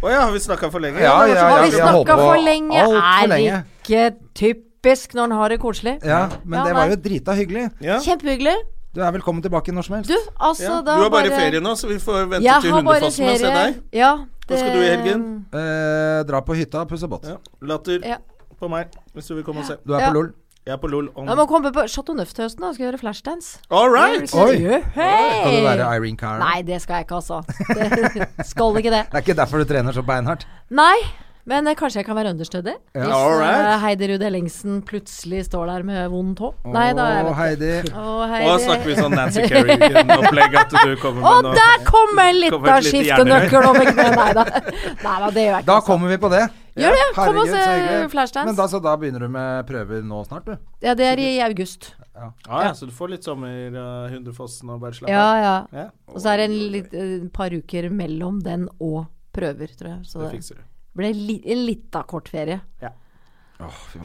A: Å ja, har vi snakka for lenge?
B: Ja,
A: det var så
B: ja,
C: Har
A: bra.
C: vi
B: jeg holdt
C: snakka
B: på
C: for lenge?
B: alt for
C: Er
B: lenge.
C: ikke typisk når en har det koselig?
B: Ja, men
C: Ja,
B: det var
C: nei.
B: jo drita hyggelig.
A: Ja.
C: Kjempehyggelig.
B: Du er velkommen tilbake når som helst.
C: Du, altså
A: Ja.
C: da
A: Du har bare ferie nå, så vi får vente
C: Jeg
A: til
C: har bare
A: Hundefossen og se
C: ferie.
A: deg.
C: Ja,
A: Hva skal du i helgen?
B: Eh, dra på hytta og pusse båt.
A: Ja. Latter
C: Ja.
A: på meg, hvis du vil komme og se.
B: Du er
C: Ja.
B: på LOL.
A: Jeg er på LOL om
C: Jeg må komme på Chateau Neuf til høsten. da. Skal jeg gjøre flashdance.
A: All right!
B: Oi! Skal du være
C: Hey!
B: Irene Cara?
C: Eh, Nei, det skal jeg ikke, altså. Det skal ikke det.
B: Det er ikke derfor du trener så beinhardt.
C: Nei, men eh, kanskje jeg kan være understudy? Hvis
A: All right.
C: eh, Heidi Ruud Ellingsen plutselig står der med vond tå. Nei, da er jeg
B: Å,
C: vet
B: Heidi.
C: ikke. Å,
A: Og da snakker vi
C: Heidi.
A: sånn Nancy Kerrigan-opplegg at du kommer med
C: Og
A: noe
C: der kommer litt
A: Kommer
C: av
A: et lite hjernevei.
C: skiftenøkkelen om ikke mer. Nei da. Nei da, det gjør jeg ikke.
B: Da
C: altså.
B: kommer vi på det.
C: Gjør det. Kom og
B: Herregud,
C: se
B: så hyggelig.
C: Flashdance.
B: Men da, så da begynner du med prøver nå snart, du?
C: Ja, det er i august.
A: Ja, ja, så du får litt sommer, uh, Hundefossen og bare slappe
C: Ja,
A: av.
C: ja.
A: Ja,
C: Og så er det en litt, eh, par uker mellom den og prøver, tror jeg. Så
A: det
C: det
A: fikser du.
C: ble li, en lita kort ferie.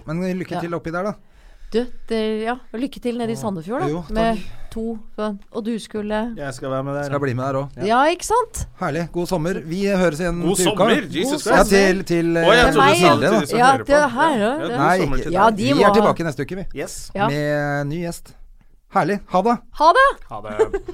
B: Men lykke til oppi der, da.
C: Du, det, ja, lykke til nede i Sandefjord, da.
B: Jo, takk.
C: med to Og du skulle
A: Jeg skal være med der.
B: Skal bli med der òg.
C: Ja, ikke sant?
B: Herlig. God sommer. Vi høres igjen
A: God
B: til uka.
A: sommer! Jesus
B: Ja,
A: Christ.
B: til, til
A: Å, jeg
B: eh,
A: trodde du sa det til
B: Hilde, da.
A: de som
C: Ja,
A: hører på.
C: det her, ja.
A: ja,
C: Det-
A: god
B: Nei,
A: sommer
B: ikke.
A: til
C: Ja,
A: deg.
C: de
B: vi
C: må
B: er
C: ha
B: tilbake neste uke, vi.
A: Yes.
C: Ja.
B: Med ny gjest. Herlig. Ha det.
C: Ha det!
A: Ha det.